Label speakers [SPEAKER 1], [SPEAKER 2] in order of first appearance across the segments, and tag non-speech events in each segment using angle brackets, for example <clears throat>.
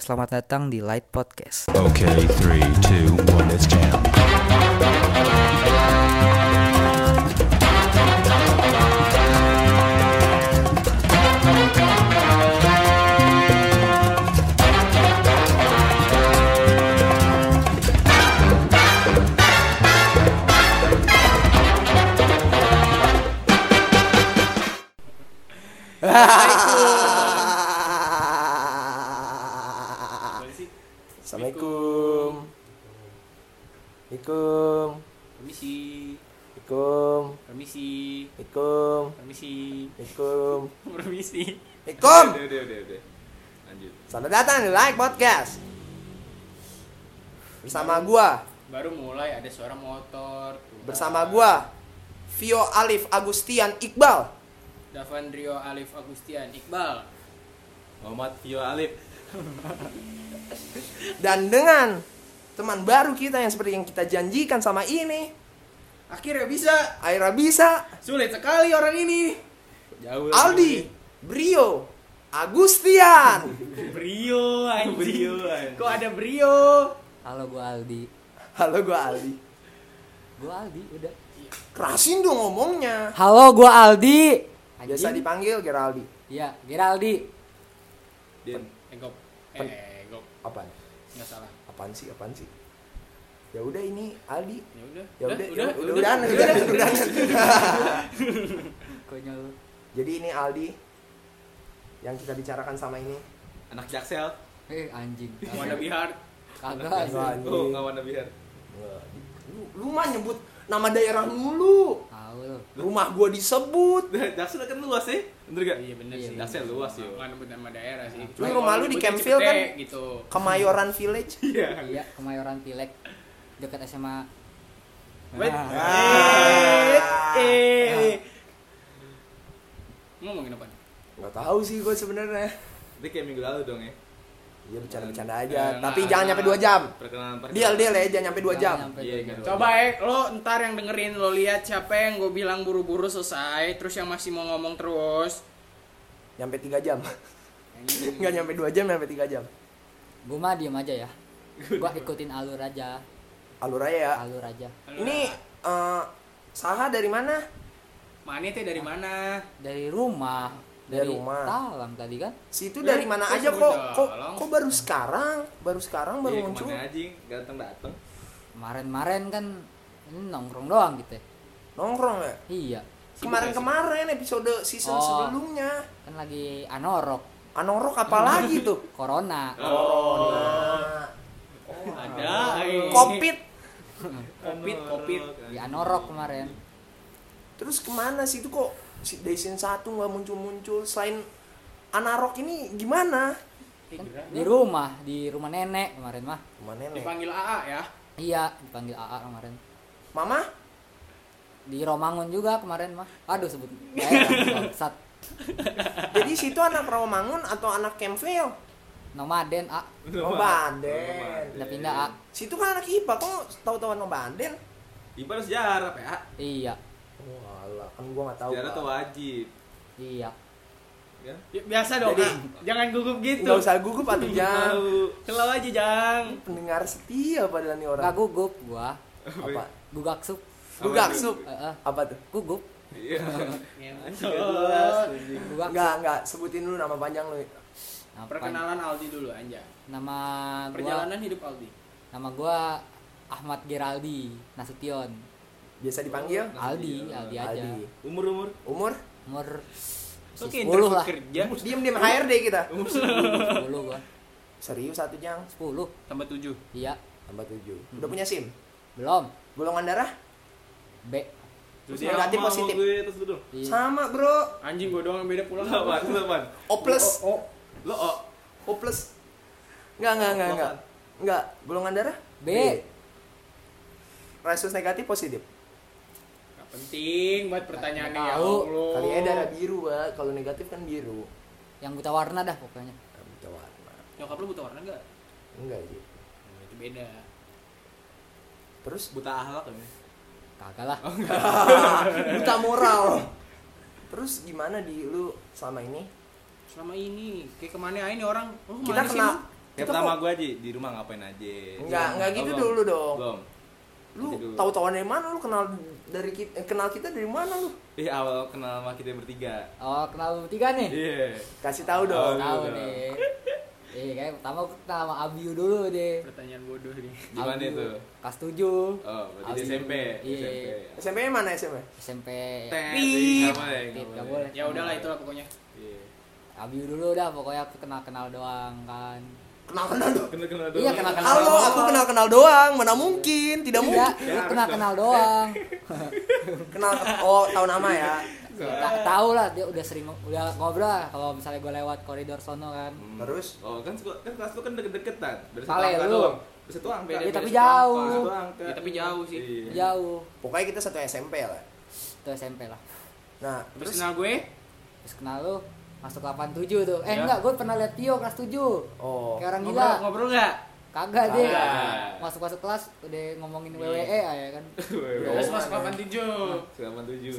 [SPEAKER 1] Selamat datang di Light Podcast.
[SPEAKER 2] Okay, three, two, one, let's jam.
[SPEAKER 3] Assalamualaikum. Assalamualaikum.
[SPEAKER 4] Permisi,
[SPEAKER 3] Assalamualaikum.
[SPEAKER 4] permisi,
[SPEAKER 3] Assalamualaikum.
[SPEAKER 4] permisi, <laughs>
[SPEAKER 3] Assalamualaikum.
[SPEAKER 4] permisi.
[SPEAKER 3] Assalamualaikum.
[SPEAKER 4] Udah, udah, udah, udah. Lanjut.
[SPEAKER 3] Selamat datang di Like Podcast. Bersama gua,
[SPEAKER 4] Baru mulai ada suara motor. Tuhan.
[SPEAKER 3] bersama gua Vio Alif Agustian Iqbal.
[SPEAKER 4] Davandrio Alif Agustian Iqbal.
[SPEAKER 5] Muhammad Vio Alif.
[SPEAKER 3] Dan dengan teman baru kita yang seperti yang kita janjikan sama ini,
[SPEAKER 4] Akhirnya bisa.
[SPEAKER 3] Aira bisa,
[SPEAKER 4] Sulit sekali orang ini. Jauh.
[SPEAKER 3] Aldi, Brio, Agustian.
[SPEAKER 4] Brio anjing. Brio. Kok ada Brio?
[SPEAKER 1] Halo, gue Aldi.
[SPEAKER 3] Halo gua Aldi.
[SPEAKER 1] Gue Aldi, udah.
[SPEAKER 3] Kerasin dong ngomongnya.
[SPEAKER 1] Halo, gue Aldi.
[SPEAKER 3] Biasa
[SPEAKER 1] Anjing.
[SPEAKER 3] dipanggil Geraldi.
[SPEAKER 1] Iya, Geraldi.
[SPEAKER 5] Din,
[SPEAKER 4] Egop. Eh, egop.
[SPEAKER 3] Apaan?
[SPEAKER 4] Enggak salah.
[SPEAKER 3] apaan sih apaan sih ya udah ini Aldi
[SPEAKER 4] Ya udah.
[SPEAKER 3] ya udah ya
[SPEAKER 4] udah,
[SPEAKER 3] udah udah udah udah
[SPEAKER 1] Konyol.
[SPEAKER 3] jadi ini Aldi yang kita bicarakan sama ini
[SPEAKER 5] anak Jaksel.
[SPEAKER 1] Eh, anjing.
[SPEAKER 4] Wanna be hard.
[SPEAKER 1] Kagak. Nah,
[SPEAKER 3] Kagak.
[SPEAKER 1] sih.
[SPEAKER 3] Anjing.
[SPEAKER 5] Oh, nggak warna biar.
[SPEAKER 3] lu, lu mah nyebut nama daerah dulu
[SPEAKER 1] Tahu lu.
[SPEAKER 3] rumah gua disebut
[SPEAKER 5] Jaksel kan luas sih, bener gak?
[SPEAKER 4] Iya bener
[SPEAKER 1] Iya,
[SPEAKER 4] sih.
[SPEAKER 1] bener.
[SPEAKER 5] Jaksel luas yo.
[SPEAKER 4] Nggak nyebut nama daerah sih.
[SPEAKER 3] Cuma
[SPEAKER 4] Cuma
[SPEAKER 3] rumah
[SPEAKER 4] kalau
[SPEAKER 3] lu di
[SPEAKER 4] nyebutnya
[SPEAKER 3] Kemfil kan?
[SPEAKER 4] Cipete Gitu.
[SPEAKER 3] Kemayoran Village
[SPEAKER 5] Iya.
[SPEAKER 1] Iya, Kemayoran Pilek dekat SMA.
[SPEAKER 4] Wait.
[SPEAKER 1] Ah.
[SPEAKER 3] Ah.
[SPEAKER 4] Eh, eh,
[SPEAKER 5] Ah.
[SPEAKER 4] eh. Ngomongin apa?
[SPEAKER 3] nggak tahu sih gua sebenarnya
[SPEAKER 5] Ini kayak minggu lalu dong ya.
[SPEAKER 3] ya bercanda-bercanda aja
[SPEAKER 4] Eh,
[SPEAKER 3] tapi
[SPEAKER 4] nah,
[SPEAKER 3] jangan nyampe 2 jam
[SPEAKER 5] Perkenalan perkenalan.
[SPEAKER 3] deal deal ya jangan nyampe 2 jam
[SPEAKER 1] Jangan nyampe
[SPEAKER 5] Iya,
[SPEAKER 1] dua jam.
[SPEAKER 5] gitu.
[SPEAKER 4] Coba eh, lo ntar yang dengerin lo lihat siapa yang gue bilang buru-buru selesai, terus yang masih mau ngomong terus.
[SPEAKER 3] nyampe 3 jam nggak nyampe 2 jam nyampe 3 jam
[SPEAKER 1] Gue mah diem aja ya. Gue ikutin alur aja.
[SPEAKER 3] alur aja ya
[SPEAKER 1] Alur aja.
[SPEAKER 3] ini eh, Saha dari mana
[SPEAKER 4] mana teh dari mana?
[SPEAKER 1] Dari rumah.
[SPEAKER 3] Dari rumah.
[SPEAKER 1] Talang tadi kan.
[SPEAKER 3] Situ
[SPEAKER 4] Ya,
[SPEAKER 3] dari mana
[SPEAKER 4] kok
[SPEAKER 3] aja kok
[SPEAKER 4] sudah
[SPEAKER 3] kok
[SPEAKER 4] langsung.
[SPEAKER 3] kok baru sekarang, baru sekarang baru
[SPEAKER 5] Iya,
[SPEAKER 3] muncul.
[SPEAKER 5] kemana aja, dateng dateng.
[SPEAKER 1] Kemarin-kemarin kan ini nongkrong doang gitu ya.
[SPEAKER 3] Nongkrong ya.
[SPEAKER 1] Iya.
[SPEAKER 3] Kemarin-kemarin episode
[SPEAKER 1] Oh.
[SPEAKER 3] season sebelumnya. Ah,
[SPEAKER 1] Kan lagi anorok.
[SPEAKER 3] Anorok apalagi tuh?
[SPEAKER 1] Corona.
[SPEAKER 5] Oh.
[SPEAKER 3] Corona. Ya,
[SPEAKER 4] Ada.
[SPEAKER 3] iya.
[SPEAKER 4] eh.
[SPEAKER 3] Covid.
[SPEAKER 4] Covid, Covid.
[SPEAKER 1] Di
[SPEAKER 5] Iya.
[SPEAKER 1] anorok kemarin.
[SPEAKER 3] Terus kemana sih itu kok si- dari season 1 nggak muncul-muncul selain Anarok ini gimana?
[SPEAKER 4] Eh, gila.
[SPEAKER 1] Di rumah, di rumah nenek kemarin mah.
[SPEAKER 3] Rumah nenek.
[SPEAKER 4] Dipanggil AA ya.
[SPEAKER 1] Iya, dipanggil AA kemarin.
[SPEAKER 3] Mama?
[SPEAKER 1] Di Romangun juga kemarin mah. Aduh sebut daerah, kan, bangsat.
[SPEAKER 3] Jadi situ anak Rawamangun atau anak Kemfil?
[SPEAKER 1] Nomaden, A.
[SPEAKER 3] Oh, Banden.
[SPEAKER 1] Udah pindah, A.
[SPEAKER 3] Situ kan anak IPA kok tahu-tahuan sama Banden?
[SPEAKER 5] Ibar sejarah, PA.
[SPEAKER 1] Iya.
[SPEAKER 3] Walah, kan gua nggak tahu.
[SPEAKER 5] Sejarah
[SPEAKER 3] Pak.
[SPEAKER 5] ya. tuh wajib.
[SPEAKER 1] Iya.
[SPEAKER 5] Kan?
[SPEAKER 4] Ya, Biasa dong.
[SPEAKER 3] Jadi-
[SPEAKER 4] ah. <laughs> Jangan gugup gitu.
[SPEAKER 3] Nggak usah gugup
[SPEAKER 4] <laughs>
[SPEAKER 3] atau jangan.
[SPEAKER 5] Tahu.
[SPEAKER 4] Selalu aja, Jang.
[SPEAKER 3] pendengar setia padahal nih orang
[SPEAKER 1] Gak gugup gua.
[SPEAKER 3] apa
[SPEAKER 1] Gugak sup.
[SPEAKER 3] gugak sup
[SPEAKER 1] Heeh.
[SPEAKER 3] apa tuh
[SPEAKER 1] gugup.
[SPEAKER 3] <laughs>
[SPEAKER 5] Iya. Anjing,
[SPEAKER 4] Ngentot.
[SPEAKER 5] gak jelas, anjing.
[SPEAKER 1] Gugak.
[SPEAKER 3] enggak enggak sebutin dulu nama panjang lu
[SPEAKER 1] Apa?
[SPEAKER 4] Perkenalan Aldi dulu aja.
[SPEAKER 1] Nama gua
[SPEAKER 4] Perjalanan hidup Aldi.
[SPEAKER 1] Nama gua Ahmad Geraldi Nasution.
[SPEAKER 3] biasa dipanggil
[SPEAKER 1] Aldi,
[SPEAKER 3] Iya,
[SPEAKER 1] Aldi aja.
[SPEAKER 3] Aldi
[SPEAKER 5] Umur umur.
[SPEAKER 3] umur
[SPEAKER 1] Umur
[SPEAKER 4] Oke,
[SPEAKER 1] masih 10 lah.
[SPEAKER 4] kerja
[SPEAKER 3] diem diem HRD kita
[SPEAKER 1] 10 gua.
[SPEAKER 3] serius satu jang
[SPEAKER 1] 10.
[SPEAKER 4] tambah 7.
[SPEAKER 1] Iya.
[SPEAKER 3] tambah tujuh udah punya sim
[SPEAKER 1] Belum.
[SPEAKER 3] golongan darah
[SPEAKER 1] B.
[SPEAKER 3] Negatif,
[SPEAKER 5] Terus dia ngomong sama
[SPEAKER 3] positif.
[SPEAKER 5] gue, Terus lu dong.
[SPEAKER 1] Iya.
[SPEAKER 3] sama bro
[SPEAKER 4] Anjing gue doang yang beda pulang.
[SPEAKER 5] Lu apaan? Lu apaan?
[SPEAKER 3] O plus
[SPEAKER 4] Oh, oh.
[SPEAKER 5] Lu O.
[SPEAKER 3] O plus enggak enggak enggak
[SPEAKER 4] kan?
[SPEAKER 3] enggak enggak golongan darah
[SPEAKER 1] B.
[SPEAKER 3] Resus negatif positif
[SPEAKER 4] Gak penting buat pertanyaannya
[SPEAKER 1] Nggak
[SPEAKER 4] ya
[SPEAKER 1] tahu.
[SPEAKER 4] Allah.
[SPEAKER 3] kali aja darah biru Wak. kalau negatif kan biru
[SPEAKER 1] Yang buta warna dah pokoknya.
[SPEAKER 3] Nah, buta warna
[SPEAKER 4] Nyokap lu buta warna enggak?
[SPEAKER 3] enggak gitu
[SPEAKER 4] Nah, itu beda. <laughs>
[SPEAKER 3] terus
[SPEAKER 5] Buta ahlak kan?
[SPEAKER 1] Kagak lah.
[SPEAKER 3] buta moral terus gimana di lu selama ini
[SPEAKER 4] Selama ini kayak kemana aja nih orang? Lu
[SPEAKER 3] kita
[SPEAKER 4] kemana sih
[SPEAKER 3] kenal
[SPEAKER 4] lu?
[SPEAKER 5] Kayak
[SPEAKER 3] Kita
[SPEAKER 5] pertama
[SPEAKER 3] kok-
[SPEAKER 5] gue di di rumah ngapain aja?
[SPEAKER 3] Enggak, enggak
[SPEAKER 5] Oh,
[SPEAKER 3] gitu
[SPEAKER 5] belum.
[SPEAKER 3] dulu dong.
[SPEAKER 5] Belum.
[SPEAKER 3] Lu
[SPEAKER 5] Nanti dulu.
[SPEAKER 3] tahu-tahuan dari mana lu kenal dari kita, kenal kita dari mana lu?
[SPEAKER 5] Ih, awal kenal sama kita bertiga.
[SPEAKER 1] Oh, kenal lu bertiga nih.
[SPEAKER 3] <laughs>
[SPEAKER 5] Iya.
[SPEAKER 3] Kasih tahu
[SPEAKER 1] Oh,
[SPEAKER 3] dong.
[SPEAKER 5] Tahu
[SPEAKER 1] tahu
[SPEAKER 5] dong.
[SPEAKER 1] nih. Iya, kayak pertama aku kenal sama Abiu dulu deh.
[SPEAKER 4] Pertanyaan bodoh nih.
[SPEAKER 5] Di mana
[SPEAKER 1] Abiu,
[SPEAKER 5] itu?
[SPEAKER 1] Kelas 7.
[SPEAKER 5] Oh, berarti di
[SPEAKER 1] Abiu.
[SPEAKER 5] SMP.
[SPEAKER 1] Iya.
[SPEAKER 5] SMP. ya.
[SPEAKER 3] SMP -nya mana SMP?
[SPEAKER 1] SMP.
[SPEAKER 5] Tet,
[SPEAKER 4] Pip.
[SPEAKER 5] nggak boleh,
[SPEAKER 1] Pip,
[SPEAKER 5] nggak
[SPEAKER 1] nggak
[SPEAKER 5] boleh.
[SPEAKER 1] boleh.
[SPEAKER 4] Ya udahlah itulah pokoknya.
[SPEAKER 5] Iya.
[SPEAKER 1] Abiu dulu dah pokoknya aku kenal-kenal doang kan.
[SPEAKER 3] Kenal-kenal doang.
[SPEAKER 5] Kenal-kenal
[SPEAKER 1] Iya,
[SPEAKER 5] doang.
[SPEAKER 1] kenal-kenal.
[SPEAKER 3] Halo, aku kenal-kenal doang. Mana mungkin? Tidak
[SPEAKER 1] Iya,
[SPEAKER 3] mungkin.
[SPEAKER 1] lu kenal-kenal doang.
[SPEAKER 3] Kenal oh, tahu nama ya.
[SPEAKER 1] Ta- Tahu Nah, lah dia udah sering udah ngobrol lah kalau misalnya gue lewat koridor sono kan.
[SPEAKER 5] Hmm.
[SPEAKER 3] Terus?
[SPEAKER 5] Oh, kan sekolah- kan kelas lu kan deket-deketan. Dari
[SPEAKER 1] Pale,
[SPEAKER 5] angka
[SPEAKER 1] lu.
[SPEAKER 5] doang. Dari satu angka.
[SPEAKER 4] Beda-
[SPEAKER 1] Iya, tapi
[SPEAKER 4] beda
[SPEAKER 1] jauh. Ya,
[SPEAKER 4] setangkat.
[SPEAKER 5] Satu angka.
[SPEAKER 4] Iya, tapi jauh sih.
[SPEAKER 5] Iya. <laughs>
[SPEAKER 1] Jauh.
[SPEAKER 3] Pokoknya kita satu SMP lah.
[SPEAKER 1] Itu SMP lah.
[SPEAKER 3] Nah,
[SPEAKER 4] Terus
[SPEAKER 3] terus
[SPEAKER 4] kenal gue?
[SPEAKER 1] Terus kenal lu masuk 87 tuh. Eh
[SPEAKER 4] Iya.
[SPEAKER 1] enggak, gue pernah lihat Tio kelas 7.
[SPEAKER 3] oh,
[SPEAKER 1] Kayak orang gila.
[SPEAKER 4] Ngobrol ngobrol enggak?
[SPEAKER 1] Kagak deh.
[SPEAKER 5] Kagak.
[SPEAKER 1] Masuk-masuk kelas udah ngomongin
[SPEAKER 4] Iya.
[SPEAKER 1] WWE ya kan.
[SPEAKER 4] Terus
[SPEAKER 3] Oh,
[SPEAKER 4] mas
[SPEAKER 3] mana?
[SPEAKER 4] 87.
[SPEAKER 5] Selamat tujuh. <laughs>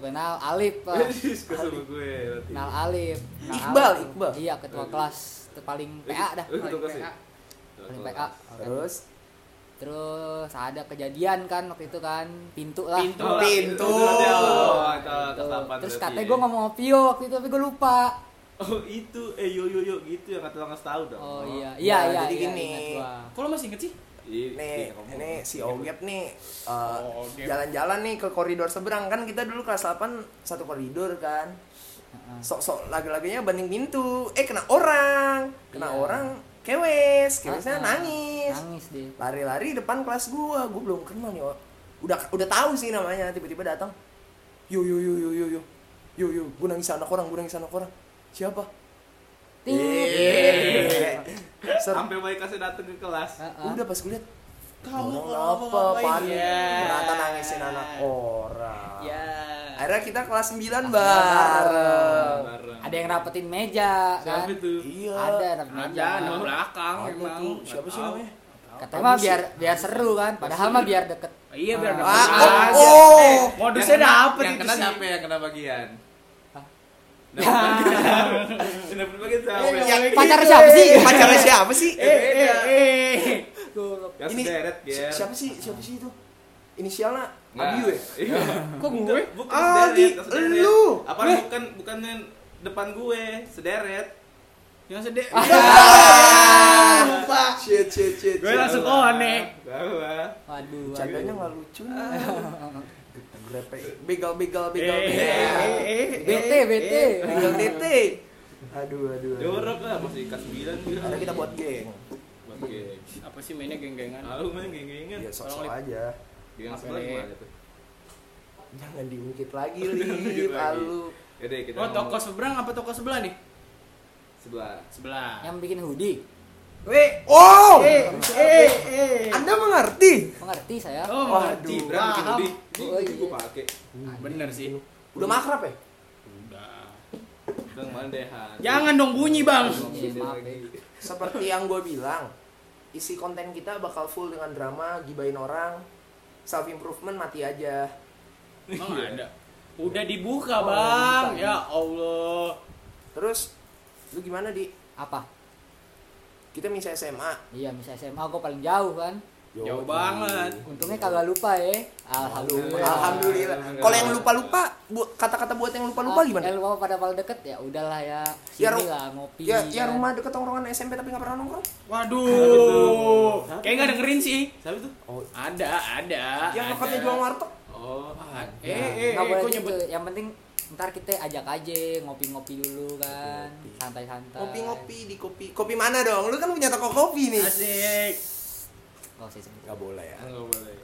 [SPEAKER 1] 87 kenal Alif lah.
[SPEAKER 5] Suka sama gue berarti.
[SPEAKER 1] Kenal Alif. Kenal
[SPEAKER 3] Iqbal,
[SPEAKER 1] Alif.
[SPEAKER 3] Iqbal.
[SPEAKER 1] Iya, ketua
[SPEAKER 5] Aduh.
[SPEAKER 1] kelas paling PA dah.
[SPEAKER 5] Lu ketua
[SPEAKER 4] Paling
[SPEAKER 5] kelas ya?
[SPEAKER 4] PA.
[SPEAKER 1] Paling
[SPEAKER 5] Ketua
[SPEAKER 1] PA.
[SPEAKER 5] kelas.
[SPEAKER 3] terus
[SPEAKER 1] Terus ada kejadian kan waktu itu kan pintu lah.
[SPEAKER 4] Pintu.
[SPEAKER 5] Oh,
[SPEAKER 3] Pintu.
[SPEAKER 5] berarti, oh, itu
[SPEAKER 1] Tuh.
[SPEAKER 5] kelas delapan
[SPEAKER 1] Terus
[SPEAKER 5] berarti
[SPEAKER 1] katanya
[SPEAKER 5] ya.
[SPEAKER 1] gue ngomong sama Pio waktu itu tapi gue lupa.
[SPEAKER 5] Oh itu, eh yo yo yo gitu yang kata lo ngasih tahu dong.
[SPEAKER 1] Oh iya,
[SPEAKER 3] iya,
[SPEAKER 1] iya iya.
[SPEAKER 3] jadi
[SPEAKER 1] iya,
[SPEAKER 3] gini.
[SPEAKER 1] ingat gua.
[SPEAKER 4] "Ah, Kok lo masih inget sih?
[SPEAKER 5] Ih,
[SPEAKER 3] nih,
[SPEAKER 5] iya, ngomong.
[SPEAKER 3] ini si Ogep nih eh,
[SPEAKER 4] Oh, Ogep.
[SPEAKER 3] jalan-jalan nih ke koridor seberang kan kita dulu kelas 8 satu koridor kan.
[SPEAKER 1] Heeh.
[SPEAKER 3] Sok-sok lagu-lagunya banding pintu. Eh kena orang.
[SPEAKER 1] Iya.
[SPEAKER 3] Kena orang kewes,
[SPEAKER 1] Ah,
[SPEAKER 3] kewesnya
[SPEAKER 1] ah.
[SPEAKER 3] nangis.
[SPEAKER 1] Nangis deh.
[SPEAKER 3] Lari-lari depan kelas gua, gua belum kenal nih. Wak. Udah udah tahu sih namanya, tiba-tiba datang. Yo yo yo yo yo yo. Yo yo, gua nangis anak orang, gua nangis anak orang. Siapa?
[SPEAKER 1] Tit.
[SPEAKER 3] Ser-
[SPEAKER 5] Sampai baik kasih datang ke kelas.
[SPEAKER 1] Heeh.
[SPEAKER 3] Iya. udah pas gue liat
[SPEAKER 4] Kamu
[SPEAKER 3] Ngomong
[SPEAKER 4] kalau
[SPEAKER 3] apa
[SPEAKER 4] ngapain?
[SPEAKER 3] panik
[SPEAKER 4] Ya.
[SPEAKER 3] ternyata nangisin anak orang
[SPEAKER 4] Ya.
[SPEAKER 3] akhirnya kita kelas 9
[SPEAKER 1] bareng.
[SPEAKER 3] bareng
[SPEAKER 5] Bareng.
[SPEAKER 1] Ada yang rapetin meja kan?
[SPEAKER 5] Siapa itu?
[SPEAKER 3] iya
[SPEAKER 1] Ada rapetin meja.
[SPEAKER 4] Ada anak belakang
[SPEAKER 3] Ada
[SPEAKER 4] emang.
[SPEAKER 3] tuh,
[SPEAKER 4] Nggak
[SPEAKER 3] siapa sih
[SPEAKER 4] tahu. ya.
[SPEAKER 3] namanya
[SPEAKER 1] Katanya mah biar biar seru kan, padahal mah biar deket.
[SPEAKER 4] Iya biar
[SPEAKER 1] Ah,
[SPEAKER 4] dapat.
[SPEAKER 3] ah,
[SPEAKER 4] aja.
[SPEAKER 3] oh, oh.
[SPEAKER 4] Eh, Modusnya
[SPEAKER 5] Yang kena-
[SPEAKER 4] dapet
[SPEAKER 5] Yang
[SPEAKER 4] itu
[SPEAKER 5] kena
[SPEAKER 4] sih. Ya.
[SPEAKER 5] siapa yang kena bagian?
[SPEAKER 1] Hah?
[SPEAKER 5] Dapat bagian. Dapat bagian <laughs> siapa? ya?
[SPEAKER 3] Eh,
[SPEAKER 5] Yang-
[SPEAKER 3] yang-
[SPEAKER 1] Pacar siapa sih?
[SPEAKER 3] pacarnya siapa sih
[SPEAKER 5] Eh, eh,
[SPEAKER 4] Eh,
[SPEAKER 1] Goblok.
[SPEAKER 5] Yang
[SPEAKER 3] ini
[SPEAKER 5] sederet, Ger.
[SPEAKER 3] siapa sih siapa sih itu inisialnya
[SPEAKER 5] Iya. Nggak.
[SPEAKER 3] Abiu ya
[SPEAKER 5] <laughs> Iya.
[SPEAKER 4] kok gue?
[SPEAKER 5] Bukan
[SPEAKER 3] Ah,
[SPEAKER 5] sederet,
[SPEAKER 3] di-
[SPEAKER 5] yang sederet.
[SPEAKER 3] lu.
[SPEAKER 5] Apa
[SPEAKER 4] Weh.
[SPEAKER 5] bukan bukan yang depan gue, sederet.
[SPEAKER 4] Yang sedih.
[SPEAKER 3] lupa shit shit shit
[SPEAKER 4] Gue
[SPEAKER 3] shit.
[SPEAKER 4] langsung
[SPEAKER 5] Salah.
[SPEAKER 4] connect.
[SPEAKER 5] Salah.
[SPEAKER 1] Waduh. waduh.
[SPEAKER 3] Candanya nggak lucu Grepe. begal begal begal
[SPEAKER 4] Eh,
[SPEAKER 3] begal
[SPEAKER 4] eh, eh,
[SPEAKER 1] BT
[SPEAKER 4] eh,
[SPEAKER 1] BT.
[SPEAKER 4] eh.
[SPEAKER 3] begal TT aduh aduh, aduh.
[SPEAKER 5] Jorok lah masih kelas 9 gitu.
[SPEAKER 3] Akhirnya kita buat geng
[SPEAKER 5] Oke.
[SPEAKER 4] Apa sih mainnya geng-gengan?
[SPEAKER 5] Ah, lu main geng-gengan.
[SPEAKER 3] Ya sok-sok
[SPEAKER 4] Tolong,
[SPEAKER 3] aja.
[SPEAKER 4] Apa
[SPEAKER 5] Yang
[SPEAKER 4] ya?
[SPEAKER 5] sebelah
[SPEAKER 4] nih?
[SPEAKER 5] gimana tuh?
[SPEAKER 3] Jangan diungkit lagi,
[SPEAKER 5] Diungkit
[SPEAKER 3] Lip.
[SPEAKER 5] lagi.
[SPEAKER 3] Alu.
[SPEAKER 5] Yaudah, Ya, kita
[SPEAKER 4] Oh, toko
[SPEAKER 5] ngomong
[SPEAKER 4] seberang apa toko sebelah nih?
[SPEAKER 5] sebelah.
[SPEAKER 4] Sebelah.
[SPEAKER 1] Yang bikin hoodie.
[SPEAKER 4] Weh.
[SPEAKER 3] Oh!
[SPEAKER 4] Eh, eh, eh.
[SPEAKER 3] Anda mengerti?
[SPEAKER 1] Mengerti saya.
[SPEAKER 4] Oh,
[SPEAKER 3] Waduh,
[SPEAKER 4] mengerti.
[SPEAKER 5] Gibran bikin
[SPEAKER 4] Paham.
[SPEAKER 5] hoodie.
[SPEAKER 1] Oh,
[SPEAKER 5] Ini gue
[SPEAKER 1] iya.
[SPEAKER 5] pake.
[SPEAKER 4] Bener sih.
[SPEAKER 3] Udah makrab ya?
[SPEAKER 4] Udah.
[SPEAKER 5] Bang Mandehan.
[SPEAKER 4] Jangan dong bunyi, Bang.
[SPEAKER 1] Iya, maaf ya.
[SPEAKER 3] Seperti yang gue bilang, isi konten kita bakal full dengan drama, gibain orang, self improvement mati aja.
[SPEAKER 4] Emang ada. Udah dibuka,
[SPEAKER 3] Oh,
[SPEAKER 4] Bang.
[SPEAKER 3] dibuka.
[SPEAKER 4] Ya Allah.
[SPEAKER 3] Terus lu gimana di?
[SPEAKER 1] Apa?
[SPEAKER 3] Kita misi SMA.
[SPEAKER 1] Iya, misalnya SMA gue paling jauh kan.
[SPEAKER 4] Jauh banget.
[SPEAKER 1] Untungnya kagak lupa ya. Alhamdulillah.
[SPEAKER 3] Alhamdulillah. Kalau yang lupa-lupa, bu- kata-kata buat yang
[SPEAKER 1] Ah,
[SPEAKER 3] lupa-lupa
[SPEAKER 1] Ya
[SPEAKER 3] gimana?
[SPEAKER 1] lupa pada pada deket ya udahlah ya. Sini
[SPEAKER 3] Ya, ru-
[SPEAKER 1] lah ngopi.
[SPEAKER 4] Iya.
[SPEAKER 3] Ya, ya
[SPEAKER 1] kan.
[SPEAKER 3] rumah deket tongkrongan SMP tapi nggak pernah nongkrong.
[SPEAKER 4] Waduh. Kayak nggak dengerin sih.
[SPEAKER 5] Siapa tuh?
[SPEAKER 3] Oh,
[SPEAKER 4] Ada, ada.
[SPEAKER 3] yang
[SPEAKER 4] Ah, ada.
[SPEAKER 3] nyokapnya Ya, jual warteg.
[SPEAKER 5] Oh,
[SPEAKER 4] Ah,
[SPEAKER 1] Ya,
[SPEAKER 4] Eh, eh, eh,
[SPEAKER 1] nggak boleh
[SPEAKER 4] kok
[SPEAKER 1] gitu.
[SPEAKER 4] nyebut
[SPEAKER 1] Yang penting ntar kita ajak aja ngopi-ngopi dulu kan. Santai-santai.
[SPEAKER 4] Ah.
[SPEAKER 3] Ngopi-ngopi di kopi. Kopi mana dong? Lu kan punya toko kopi nih.
[SPEAKER 4] asik.
[SPEAKER 1] Nggak usah disebut.
[SPEAKER 3] Gak boleh ya.
[SPEAKER 5] enggak boleh.
[SPEAKER 3] Eh,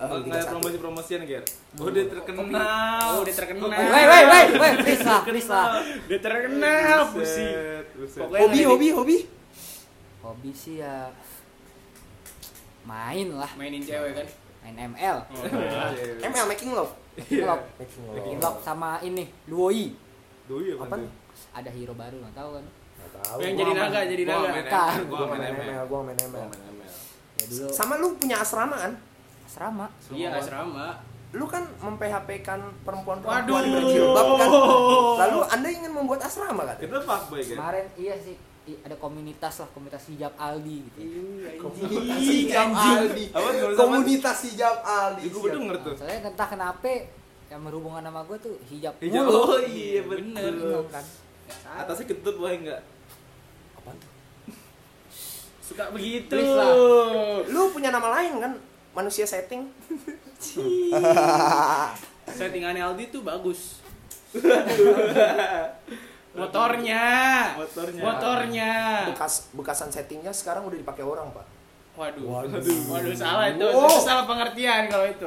[SPEAKER 4] Ah,
[SPEAKER 3] tiga
[SPEAKER 5] Oh, nggak ada
[SPEAKER 3] satu.
[SPEAKER 5] promosi-promosian, Ger. Udah terkenal.
[SPEAKER 4] Oh, udah terkenal.
[SPEAKER 1] Woi woi woi woi, please lah, please lah.
[SPEAKER 4] Udah terkenal pusing.
[SPEAKER 5] Buset, buset.
[SPEAKER 4] Pokoknya-
[SPEAKER 3] Hobi, hobi, hobi.
[SPEAKER 1] Hobi sih ya main lah,
[SPEAKER 4] Mainin cewek kan.
[SPEAKER 1] main ML.
[SPEAKER 5] <laughs>
[SPEAKER 4] Oh,
[SPEAKER 5] Cewek.
[SPEAKER 3] ML making love.
[SPEAKER 4] Iya.
[SPEAKER 1] Blok,
[SPEAKER 3] Making
[SPEAKER 5] Oh.
[SPEAKER 1] blok sama ini, Luoi.
[SPEAKER 5] Doi apa
[SPEAKER 3] Apaan?
[SPEAKER 5] tuh?
[SPEAKER 1] Ada hero baru nggak tahu kan?
[SPEAKER 3] Gak tahu.
[SPEAKER 4] Yang
[SPEAKER 5] Gua
[SPEAKER 4] jadi
[SPEAKER 5] main-
[SPEAKER 4] naga, jadi
[SPEAKER 5] gua
[SPEAKER 4] naga.
[SPEAKER 1] Bukan.
[SPEAKER 5] main ML, Gua
[SPEAKER 3] Gua
[SPEAKER 5] main
[SPEAKER 3] main
[SPEAKER 5] ML.
[SPEAKER 3] ML, gua main
[SPEAKER 5] Gua
[SPEAKER 3] ML.
[SPEAKER 5] main ML.
[SPEAKER 1] Ya dulu
[SPEAKER 3] Sama lu punya asrama kan?
[SPEAKER 1] asrama.
[SPEAKER 4] Iya, asrama.
[SPEAKER 3] Lu kan memphp-kan kan perempuan-perempuan
[SPEAKER 4] Waduh. <laughs>
[SPEAKER 3] berjilbab kan? Lalu Anda ingin membuat asrama kan?
[SPEAKER 5] Kita fuckboy, Ger.
[SPEAKER 1] Kemarin iya sih, i- ada komunitas lah komunitas hijab Aldi gitu
[SPEAKER 3] Komunitas
[SPEAKER 5] Ih,
[SPEAKER 3] hijab
[SPEAKER 5] anjing.
[SPEAKER 3] Aldi.
[SPEAKER 5] Apa, nulis apa?
[SPEAKER 3] Komunitas hijab Aldi.
[SPEAKER 5] Gue denger
[SPEAKER 1] Nah,
[SPEAKER 5] tuh.
[SPEAKER 1] soalnya entah kenapa yang berhubungan sama gue tuh hijab,
[SPEAKER 5] Hijau.
[SPEAKER 1] mulu.
[SPEAKER 5] Oh iya
[SPEAKER 4] Bener.
[SPEAKER 5] bener.
[SPEAKER 1] Bingung kan
[SPEAKER 5] Atasnya kentut boleh enggak?
[SPEAKER 4] Suka begitu.
[SPEAKER 1] Please lah.
[SPEAKER 3] Lu punya nama lain kan? Manusia setting.
[SPEAKER 4] Settingannya Aldi tuh <laughs> bagus. Motornya.
[SPEAKER 5] Motornya.
[SPEAKER 4] Motornya.
[SPEAKER 3] Bekas bekasan settingnya sekarang udah dipakai orang, Pak.
[SPEAKER 4] Waduh.
[SPEAKER 3] Waduh.
[SPEAKER 4] Waduh. salah itu.
[SPEAKER 3] Wow.
[SPEAKER 1] Oh.
[SPEAKER 4] Itu salah pengertian kalau itu.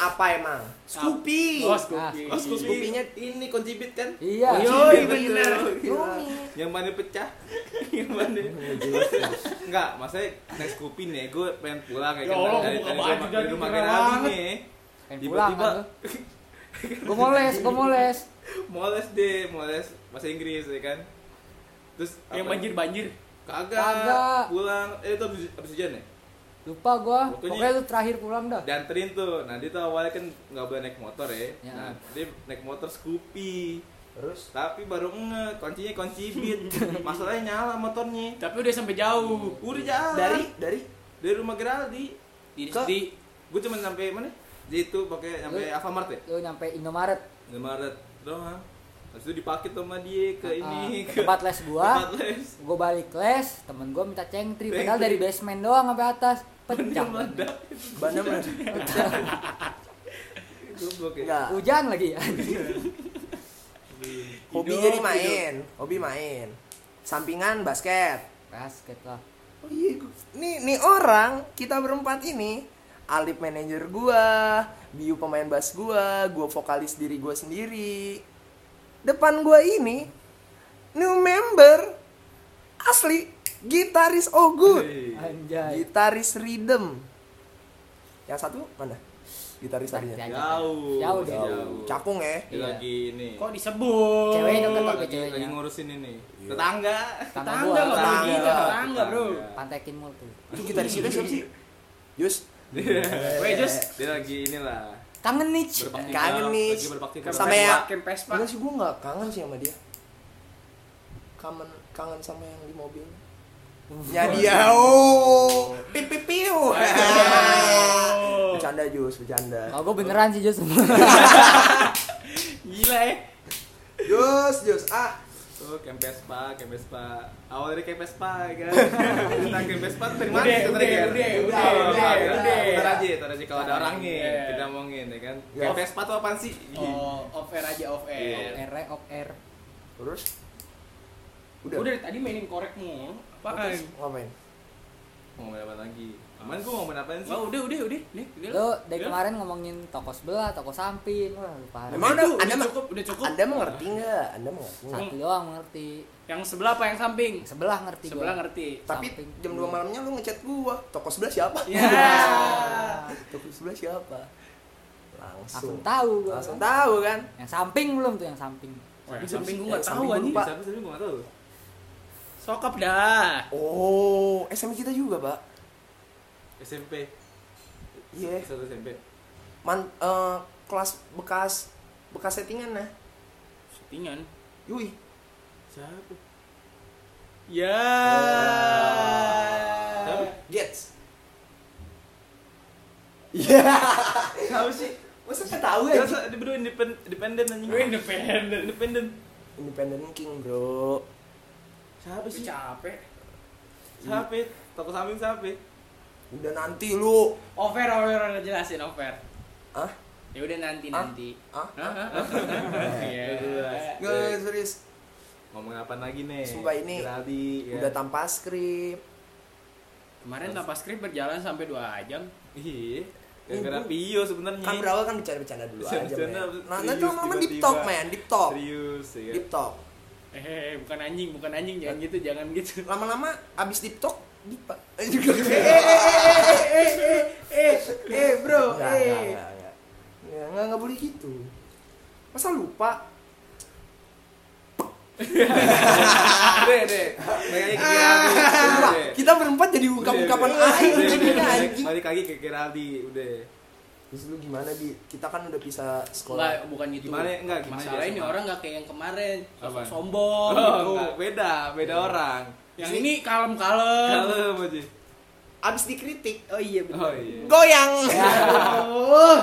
[SPEAKER 3] Apa emang? Scoopy.
[SPEAKER 4] Oh,
[SPEAKER 1] Ah.
[SPEAKER 4] Scoopy.
[SPEAKER 5] Oh, Scoopy.
[SPEAKER 3] Scoopy-nya
[SPEAKER 5] ini koncibit kan?
[SPEAKER 1] iya
[SPEAKER 4] Yoi,
[SPEAKER 5] Bener.
[SPEAKER 4] bener.
[SPEAKER 3] Rumi.
[SPEAKER 5] Yang mana pecah? <laughs> Yang mana? Enggak, maksudnya naik Scoopy nih, gue pengen pulang kayak
[SPEAKER 4] Ya Allah, gua
[SPEAKER 5] dari, dari,
[SPEAKER 4] buka
[SPEAKER 5] rumah,
[SPEAKER 4] baju
[SPEAKER 5] dari
[SPEAKER 4] dah,
[SPEAKER 5] rumah
[SPEAKER 4] dingin
[SPEAKER 5] Ken Aldi
[SPEAKER 4] banget.
[SPEAKER 5] nih.
[SPEAKER 1] pengen pulang
[SPEAKER 5] Tiba-tiba
[SPEAKER 1] kan gue mau les gue mau les
[SPEAKER 5] moles deh, moles bahasa Inggris ya kan. Terus
[SPEAKER 4] Yang
[SPEAKER 5] apa?
[SPEAKER 4] banjir-banjir.
[SPEAKER 5] Kagak.
[SPEAKER 1] Kagak. Iya.
[SPEAKER 5] Pulang. Eh itu abis, abis hujan ya?
[SPEAKER 1] lupa gue
[SPEAKER 5] Pokoknya-
[SPEAKER 1] pokoknya lu terakhir pulang dah
[SPEAKER 5] Dianterin tuh. Nah, dia tuh awalnya kan nggak boleh naik motor ya.
[SPEAKER 1] Ya.
[SPEAKER 5] Nah, dia naik motor Scoopy.
[SPEAKER 3] Terus
[SPEAKER 5] Tapi baru nge, kuncinya kunci beat. <laughs> Masalahnya nyala motornya. Uh,
[SPEAKER 4] Tapi udah sampai jauh.
[SPEAKER 5] Udah jalan.
[SPEAKER 3] dari dari
[SPEAKER 5] dari rumah Geraldi.
[SPEAKER 4] Di
[SPEAKER 5] Ke-
[SPEAKER 4] di
[SPEAKER 5] Gue cuma sampai mana? Dia itu pakai sampai
[SPEAKER 1] Lu-
[SPEAKER 5] Alfamart ya?
[SPEAKER 1] lu nyampe Indomaret
[SPEAKER 5] Indomaret doang. Habis itu dipakai tuh sama dia ke ini
[SPEAKER 1] Ah,
[SPEAKER 5] ke
[SPEAKER 1] tempat les gue
[SPEAKER 5] tempat les.
[SPEAKER 1] gue balik les temen gue minta cengtri padahal
[SPEAKER 5] Cengtri.
[SPEAKER 1] dari basement doang sampai atas pecah
[SPEAKER 5] Dia meledak.
[SPEAKER 3] Bandam
[SPEAKER 5] Goblok ya.
[SPEAKER 3] enggak.
[SPEAKER 1] hujan lagi <laughs>
[SPEAKER 3] Hobi
[SPEAKER 4] Hidup,
[SPEAKER 3] jadi main, hobi main. Sampingan basket.
[SPEAKER 1] basket lah
[SPEAKER 3] Oh iya, gua- nih nih orang kita berempat ini Alip manajer gua, Biu pemain bass gua, gua vokalis diri gua sendiri. Depan gua ini new member asli gitaris Oh Good,
[SPEAKER 5] Hei.
[SPEAKER 3] Gitu,
[SPEAKER 1] anjay
[SPEAKER 3] gitaris Rhythm. Yang satu mana? Gitaris tadinya.
[SPEAKER 1] Tadi aja.
[SPEAKER 5] Jauh.
[SPEAKER 1] Jauh
[SPEAKER 5] masih
[SPEAKER 1] dia.
[SPEAKER 5] jauh.
[SPEAKER 3] Cakung ya.
[SPEAKER 5] Dia
[SPEAKER 1] Iya.
[SPEAKER 5] lagi ini.
[SPEAKER 4] Kok disebut?
[SPEAKER 1] Cewek dong,
[SPEAKER 5] lagi,
[SPEAKER 1] Tetangga
[SPEAKER 5] lagi,
[SPEAKER 1] ceweknya.
[SPEAKER 5] ngurusin ini. Tetangga. Iya,
[SPEAKER 1] Tetangga
[SPEAKER 4] Tangga
[SPEAKER 1] gua.
[SPEAKER 4] loh,
[SPEAKER 3] Tetangga.
[SPEAKER 4] tangga, tangga bro.
[SPEAKER 1] pantekin mulu tuh
[SPEAKER 3] Itu gitaris kita siapa sih? Eh, Yus,
[SPEAKER 4] Weh, just
[SPEAKER 5] Dia lagi inilah
[SPEAKER 1] kangen nih Ci.
[SPEAKER 5] berbakti.
[SPEAKER 3] Kangen nih.
[SPEAKER 5] Lagi berbakti.
[SPEAKER 3] Sama ya.
[SPEAKER 4] Kem Vespa.
[SPEAKER 3] Enggak sih gue nggak kangen sih sama dia. Kangen kangen sama yang di mobil. Ya dia. Oh. Pip pip
[SPEAKER 4] Oh.
[SPEAKER 3] piu. Bercanda Jus, bercanda.
[SPEAKER 1] kalau gue beneran sih Jus <laughs>
[SPEAKER 4] Gila ya.
[SPEAKER 3] Jus, Jus. Ah,
[SPEAKER 5] Oh, Kempespa, Kempespa. Awal dari Kempespa kan. Tentang Kempespa tuh dari mana?
[SPEAKER 4] Udah,
[SPEAKER 5] kita
[SPEAKER 4] udah,
[SPEAKER 5] trigger?
[SPEAKER 4] udah,
[SPEAKER 5] udah,
[SPEAKER 3] udah,
[SPEAKER 5] udah,
[SPEAKER 3] udah.
[SPEAKER 5] udah. Ntar aja, ntar aja kalau ada orangnya
[SPEAKER 4] Iya.
[SPEAKER 5] kita ngomongin ya kan.
[SPEAKER 3] Iya.
[SPEAKER 5] Kempespa tuh apaan sih?
[SPEAKER 4] Oh, off air aja off
[SPEAKER 5] Iya.
[SPEAKER 4] air.
[SPEAKER 1] R off air
[SPEAKER 3] terus
[SPEAKER 4] Udah.
[SPEAKER 3] udah.
[SPEAKER 4] dari tadi mainin korek mulu. Apaan?
[SPEAKER 3] Terus ngapain?
[SPEAKER 5] Mau main apa lagi? Aman gua mau main apaan sih?
[SPEAKER 4] Wah, udah, udah, udah. Nih, udah.
[SPEAKER 1] Lo dari
[SPEAKER 4] Udah.
[SPEAKER 1] kemarin ngomongin toko sebelah, toko samping, wah lu parah.
[SPEAKER 3] Emang
[SPEAKER 4] Udah,
[SPEAKER 3] ada-
[SPEAKER 4] udah
[SPEAKER 3] ada ma-
[SPEAKER 4] cukup, udah cukup.
[SPEAKER 3] Anda mengerti nggak? Anda mengerti nggak?
[SPEAKER 1] Satu doang ngerti.
[SPEAKER 4] Yang sebelah apa yang samping?
[SPEAKER 1] Yang Sebelah ngerti
[SPEAKER 4] Sebelah
[SPEAKER 1] gua.
[SPEAKER 4] ngerti.
[SPEAKER 3] Tapi
[SPEAKER 1] Samping.
[SPEAKER 3] jam 2 malamnya lu ngechat gua. Toko sebelah siapa?
[SPEAKER 1] Iya.
[SPEAKER 4] Ya. <laughs>
[SPEAKER 3] Toko sebelah siapa? Langsung.
[SPEAKER 1] Langsung tahu gua.
[SPEAKER 3] Langsung tahu kan?
[SPEAKER 1] Yang samping belum tuh yang samping.
[SPEAKER 4] Wah, yang samping gua enggak tahu
[SPEAKER 3] Yang samping
[SPEAKER 4] anjing.
[SPEAKER 3] gua lupa.
[SPEAKER 5] Siapa sih gua enggak tahu.
[SPEAKER 4] Sokap dah.
[SPEAKER 3] Oh, SMA kita juga, Pak.
[SPEAKER 5] SMP.
[SPEAKER 3] Iya.
[SPEAKER 5] Satu SMP.
[SPEAKER 3] man eh, kelas bekas bekas settingan nah
[SPEAKER 4] Settingan.
[SPEAKER 3] yui
[SPEAKER 5] Siapa?
[SPEAKER 4] Ya.
[SPEAKER 3] Oh.
[SPEAKER 5] Siapa?
[SPEAKER 3] gets iya
[SPEAKER 5] Siapa sih?
[SPEAKER 3] <laughs> masa nggak tahu ya
[SPEAKER 5] Masa dia berdua independ- independen anjing.
[SPEAKER 4] Gue independen.
[SPEAKER 5] Independen.
[SPEAKER 3] independent king bro
[SPEAKER 5] Siapa
[SPEAKER 4] Gue
[SPEAKER 5] sih?
[SPEAKER 4] capek.
[SPEAKER 5] Siapa? Toko samping siapa?
[SPEAKER 3] udah nanti lu
[SPEAKER 4] Off air, off air, udah jelasin off air.
[SPEAKER 3] ah
[SPEAKER 4] Ya udah nanti
[SPEAKER 3] Ah?
[SPEAKER 4] nanti.
[SPEAKER 3] ah
[SPEAKER 5] Udah jelas.
[SPEAKER 3] nggak serius
[SPEAKER 5] Ngomongin apaan eh, lagi nih?
[SPEAKER 3] Sumpah ini
[SPEAKER 5] Geraldi, ya.
[SPEAKER 3] udah tanpa skrip
[SPEAKER 4] Kemarin tanpa skrip berjalan sampai 2 jam.
[SPEAKER 5] Iya. Gara-gara Pio sebenarnya.
[SPEAKER 3] kan berawal kan bercanda-bercanda dulu aja
[SPEAKER 5] Hmm. Bercanda,
[SPEAKER 3] men nah, nanti
[SPEAKER 5] serius
[SPEAKER 3] lama-lama deep
[SPEAKER 5] tiba-tiba.
[SPEAKER 3] talk men deep talk
[SPEAKER 5] Serius ya.
[SPEAKER 3] deep talk
[SPEAKER 4] Eh, bukan anjing, bukan anjing, jangan gitu, jangan gitu.
[SPEAKER 3] lama-lama abis deep talk deep pak eh <laughs> juga eh eh eh eh eh eh eh bro
[SPEAKER 5] Nggak, nggak,
[SPEAKER 3] eh
[SPEAKER 5] nggak, nggak.
[SPEAKER 3] Ya, nggak nggak boleh gitu. Masa lupa?
[SPEAKER 5] Deh, deh. Balik lagi ke
[SPEAKER 3] Lupa.
[SPEAKER 5] Geraldi. Udah, deh.
[SPEAKER 3] Ah, Kita berempat jadi
[SPEAKER 5] Udah,
[SPEAKER 3] ungkap-ungkapan
[SPEAKER 5] udah.
[SPEAKER 3] air
[SPEAKER 5] Udah,
[SPEAKER 3] jadinya
[SPEAKER 5] udah. Balik-
[SPEAKER 3] anjing.
[SPEAKER 5] Balik lagi ke Geraldi, udah.
[SPEAKER 3] Terus lu gimana di? Kita kan udah bisa
[SPEAKER 4] Enggak,
[SPEAKER 3] sekolah.
[SPEAKER 4] bukan gitu.
[SPEAKER 5] Gimana, enggak, gimana
[SPEAKER 4] Masalah
[SPEAKER 5] dia
[SPEAKER 4] ini
[SPEAKER 5] sama?
[SPEAKER 4] orang enggak kayak yang kemarin, sosok
[SPEAKER 5] Apaan?
[SPEAKER 4] sombong
[SPEAKER 5] Oh,
[SPEAKER 4] gitu.
[SPEAKER 3] Iya.
[SPEAKER 5] enggak, beda, beda orang.
[SPEAKER 4] Yang ini kalem-kalem.
[SPEAKER 5] Kalem aja.
[SPEAKER 3] Abis dikritik, oh iya bener.
[SPEAKER 5] Oh iya.
[SPEAKER 3] Goyang. Aduh.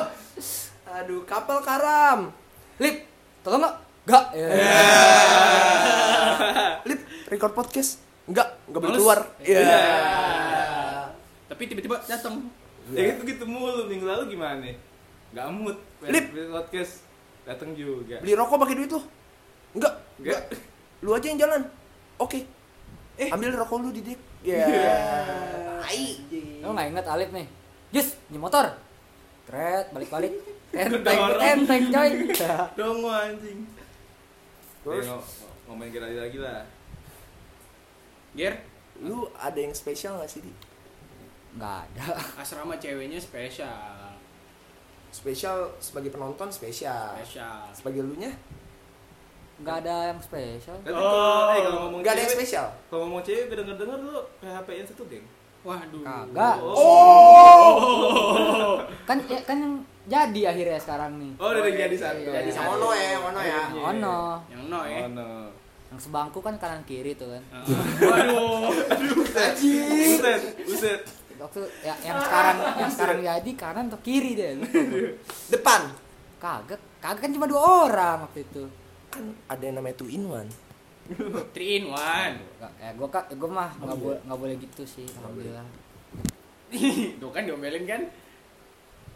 [SPEAKER 3] Aduh, kapal karam. Lip,
[SPEAKER 1] Tolong nggak? Gak. Ya.
[SPEAKER 3] lip, record podcast. Enggak, enggak boleh
[SPEAKER 4] Males.
[SPEAKER 3] keluar. Iya.
[SPEAKER 4] Tapi tiba-tiba datang.
[SPEAKER 5] Ya itu gitu mulu minggu lalu gimana? Gak mood.
[SPEAKER 3] Lip.
[SPEAKER 5] Pengen podcast datang juga.
[SPEAKER 3] Beli rokok pakai duit lu. Enggak,
[SPEAKER 5] Enggak.
[SPEAKER 3] lu aja yang jalan. Oke. Ambil rokok lu di dek. Eh. Iya. Hai.
[SPEAKER 1] Lu nggak inget Alif nih? Jus, di motor. Kret, <laughs> balik-balik. Enteng,
[SPEAKER 5] Kedorong.
[SPEAKER 1] enteng <laughs> coy.
[SPEAKER 5] Dong anjing.
[SPEAKER 3] Terus?
[SPEAKER 5] Terus ngomongin kita lagi lah.
[SPEAKER 4] Ger,
[SPEAKER 3] Lu ada yang spesial gak sih, Di?
[SPEAKER 1] Nggak ada.
[SPEAKER 4] asrama ceweknya spesial.
[SPEAKER 3] Spesial sebagai penonton
[SPEAKER 5] Ah.
[SPEAKER 3] spesial.
[SPEAKER 4] Spesial.
[SPEAKER 3] Sebagai lu nya
[SPEAKER 1] Nggak ada yang spesial.
[SPEAKER 5] Tapi
[SPEAKER 4] Oh.
[SPEAKER 5] kalau eh, kalau ngomong
[SPEAKER 3] enggak ada yang
[SPEAKER 5] cewek-
[SPEAKER 3] spesial.
[SPEAKER 5] Kalau ngomong cewek gue denger-denger lu PHP-in satu geng. Oh.
[SPEAKER 4] Waduh.
[SPEAKER 3] Oh.
[SPEAKER 1] Kagak. Kan ya, kan yang jadi akhirnya sekarang nih.
[SPEAKER 5] Oh, udah
[SPEAKER 3] iya,
[SPEAKER 5] jadi satu.
[SPEAKER 1] Jadi sama
[SPEAKER 3] Ono ya, yang Ono ya.
[SPEAKER 1] Yang Ono.
[SPEAKER 4] Yang no ya.
[SPEAKER 5] Oh no.
[SPEAKER 1] Yang sebangku kan kanan kiri tuh kan.
[SPEAKER 4] Heeh. Waduh.
[SPEAKER 5] Buset, buset.
[SPEAKER 1] Waktu ya, yang sekarang yang sekarang jadi kanan atau kiri <laughs> deh.
[SPEAKER 3] Depan.
[SPEAKER 1] Kagak. Kagak kan cuma dua orang waktu itu.
[SPEAKER 3] Kan ada yang namanya two in one.
[SPEAKER 4] Three in
[SPEAKER 5] <laughs>
[SPEAKER 4] one.
[SPEAKER 1] Nggak, eh gua ka- gua mah nggak boleh nggak boleh gitu sih alhamdulillah.
[SPEAKER 4] Tuh kan diomelin kan?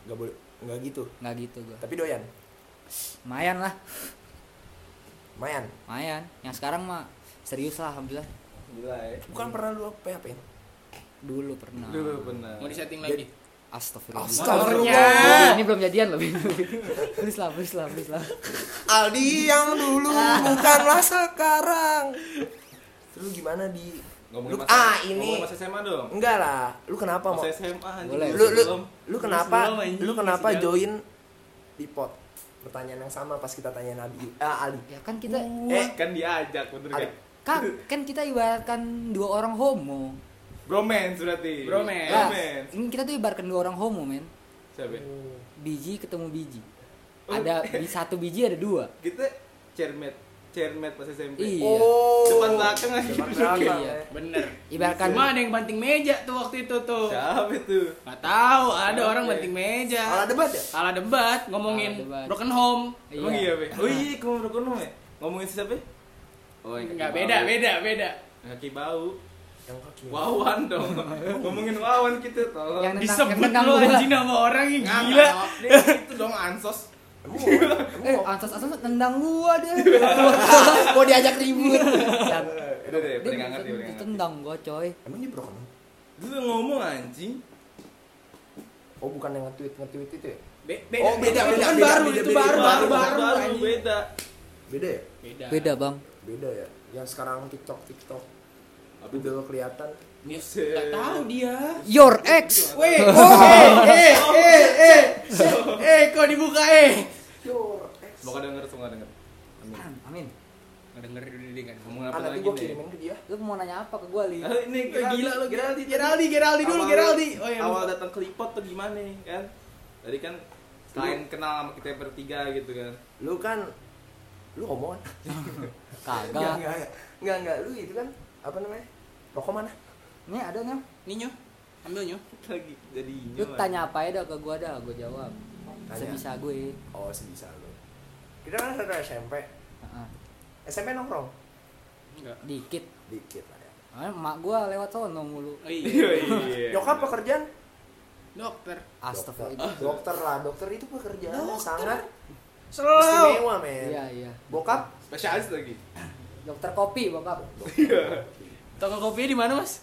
[SPEAKER 3] Enggak boleh enggak gitu.
[SPEAKER 1] Nggak gitu gua.
[SPEAKER 3] Tapi doyan.
[SPEAKER 1] Mayan lah,
[SPEAKER 3] Mayan.
[SPEAKER 1] mayan. Yang sekarang mah serius lah alhamdulillah.
[SPEAKER 5] Gila ya.
[SPEAKER 3] Bukan pernah lu ya? PHP?
[SPEAKER 1] Dulu pernah.
[SPEAKER 5] Dulu benar.
[SPEAKER 4] Mau disetting
[SPEAKER 5] Iya.
[SPEAKER 4] lagi.
[SPEAKER 1] Astagfirullah.
[SPEAKER 4] Motornya.
[SPEAKER 3] Astagfirullah.
[SPEAKER 1] Ini belum jadian loh. Bin. <laughs> please lah, please lah, please lah.
[SPEAKER 3] Aldi yang dulu bukanlah sekarang. Terus lu gimana di?
[SPEAKER 5] Ngomongin
[SPEAKER 3] Lu-
[SPEAKER 5] masa-
[SPEAKER 3] ah, ini.
[SPEAKER 5] ngomongin masa SMA dong.
[SPEAKER 3] Enggak lah. Lu kenapa mau?
[SPEAKER 5] Masa SMA anjing.
[SPEAKER 1] Boleh.
[SPEAKER 3] Lu lu
[SPEAKER 5] Belum.
[SPEAKER 3] lu kenapa?
[SPEAKER 4] Sebelum, anjing,
[SPEAKER 3] Lu kenapa
[SPEAKER 4] sebelum.
[SPEAKER 3] join di pot? Pertanyaan yang sama pas kita tanya Nabi ah, Ali.
[SPEAKER 1] Ya kan kita
[SPEAKER 5] Eh, kan diajak bener kan?
[SPEAKER 3] Ada-
[SPEAKER 1] kan, kan kita ibaratkan dua orang homo.
[SPEAKER 5] Bromance berarti. Eh,
[SPEAKER 4] Bromance.
[SPEAKER 1] Lah,
[SPEAKER 5] Bromance.
[SPEAKER 1] ini kita tuh ibaratkan dua orang homo, men.
[SPEAKER 5] Siapa? ya?
[SPEAKER 1] Biji ketemu biji.
[SPEAKER 5] Oh.
[SPEAKER 1] Ada di satu biji ada dua.
[SPEAKER 5] <laughs> Kita chairmate, chairmate pas SMP.
[SPEAKER 1] Iya.
[SPEAKER 3] Oh.
[SPEAKER 5] Depan belakang aja. <laughs>
[SPEAKER 3] Depan belakang.
[SPEAKER 1] Iya.
[SPEAKER 4] Bener.
[SPEAKER 1] Ibaratkan-
[SPEAKER 4] Cuma ada yang banting meja tuh waktu itu tuh.
[SPEAKER 5] Kan Siapa itu?
[SPEAKER 4] Gak tahu, ada orang
[SPEAKER 5] Oke.
[SPEAKER 4] banting meja.
[SPEAKER 3] Malah debat ya?
[SPEAKER 4] Kalah debat ngomongin
[SPEAKER 1] Kalah debat.
[SPEAKER 4] broken home.
[SPEAKER 5] Emang iya, Be? Oh iya, kamu udah kono, Be? Ngomongin siapa? Be? Oh, yang kaki
[SPEAKER 4] Enggak
[SPEAKER 5] bau.
[SPEAKER 4] beda, beda, beda.
[SPEAKER 5] Yang Kaki bau.
[SPEAKER 3] Yang kaki.
[SPEAKER 5] Wawan dong. Ngomongin Wawan kita tolong.
[SPEAKER 1] Yang Tentang-
[SPEAKER 4] Disebut
[SPEAKER 1] tentang
[SPEAKER 4] lu
[SPEAKER 1] bola.
[SPEAKER 4] anjing nama orang yang
[SPEAKER 5] Nggak,
[SPEAKER 4] gila.
[SPEAKER 5] nggak. Dia Itu dong ansos.
[SPEAKER 1] <laughs> Eh, ansos-ansos nendang gua deh. <laughs> Mau diajak ribut. Dan
[SPEAKER 5] Udah deh, Iya, paling hangat
[SPEAKER 1] gitu
[SPEAKER 5] ya, paling hangat.
[SPEAKER 1] Tendang gua, coy.
[SPEAKER 3] Emang kan? dia broken?
[SPEAKER 5] Lu udah ngomong anjing.
[SPEAKER 3] Oh bukan yang nge-tweet nge-tweet itu ya?
[SPEAKER 4] Be-
[SPEAKER 3] Oh, beda,
[SPEAKER 4] Itu
[SPEAKER 3] beda,
[SPEAKER 4] kan baru, itu
[SPEAKER 3] beda, beda, beda,
[SPEAKER 4] baru,
[SPEAKER 3] beda,
[SPEAKER 4] baru,
[SPEAKER 5] baru,
[SPEAKER 4] baru,
[SPEAKER 5] baru,
[SPEAKER 4] anjing.
[SPEAKER 5] beda.
[SPEAKER 3] Beda ya?
[SPEAKER 1] Beda, Bang.
[SPEAKER 3] Beda ya. Yang sekarang TikTok TikTok. Tapi udah kelihatan.
[SPEAKER 4] Ya, Nggak tahu dia.
[SPEAKER 1] Your ex.
[SPEAKER 4] Weh,
[SPEAKER 5] <laughs>
[SPEAKER 4] eh, eh, eh, eh, eh, kok dibuka eh?
[SPEAKER 3] Your ex.
[SPEAKER 5] Bakal denger tuh nggak denger.
[SPEAKER 1] Amin.
[SPEAKER 4] Nggak denger dulu deh kan.
[SPEAKER 5] Ngomong
[SPEAKER 3] Ah,
[SPEAKER 5] apa
[SPEAKER 3] nanti
[SPEAKER 5] lagi
[SPEAKER 3] gua
[SPEAKER 5] nih?
[SPEAKER 3] kirimin ke dia.
[SPEAKER 1] Lu mau nanya apa ke gua, Li?
[SPEAKER 5] Ah, Ini
[SPEAKER 4] Eh, gila lu, Geraldi,
[SPEAKER 5] tadi.
[SPEAKER 4] Geraldi, Geraldi dulu,
[SPEAKER 5] Awal-
[SPEAKER 4] Geraldi. Oh iya,
[SPEAKER 5] awal
[SPEAKER 4] lupa.
[SPEAKER 5] datang ke Lipot tuh gimana kan? Tadi kan selain kenal sama kita bertiga gitu kan.
[SPEAKER 3] Lu kan lu ngomong kan? Enggak,
[SPEAKER 1] Kagak.
[SPEAKER 3] enggak, enggak. Enggak, enggak. Lu itu kan apa namanya? Rokok mana?
[SPEAKER 1] Nih ada nih.
[SPEAKER 4] Ninyo, ambil nyo.
[SPEAKER 5] Kita lagi jadi
[SPEAKER 1] Lu tanya apa ya dah ke gua dah, gua jawab.
[SPEAKER 3] Tanya.
[SPEAKER 1] Sebisa gue.
[SPEAKER 3] Oh, sebisa lu. Kita kan satu SMP.
[SPEAKER 1] Heeh.
[SPEAKER 3] SMP nongkrong
[SPEAKER 4] Enggak.
[SPEAKER 1] Dikit.
[SPEAKER 3] dikit lah ya.
[SPEAKER 1] Ah, Emak gua lewat sono mulu.
[SPEAKER 4] Oh iya.
[SPEAKER 5] <laughs> Iya iya.
[SPEAKER 3] Nyokap pekerjaan?
[SPEAKER 4] Dokter.
[SPEAKER 1] Astagfirullah.
[SPEAKER 3] Dokter. Dokter lah, dokter itu pekerjaan yang
[SPEAKER 4] Dokter.
[SPEAKER 3] sangat
[SPEAKER 4] Selalu.
[SPEAKER 3] istimewa, men.
[SPEAKER 1] Iya, iya.
[SPEAKER 3] Bokap
[SPEAKER 5] Spesialis lagi. <laughs>
[SPEAKER 1] Dokter kopi, Bapak.
[SPEAKER 4] Toko kopinya di mana, Mas?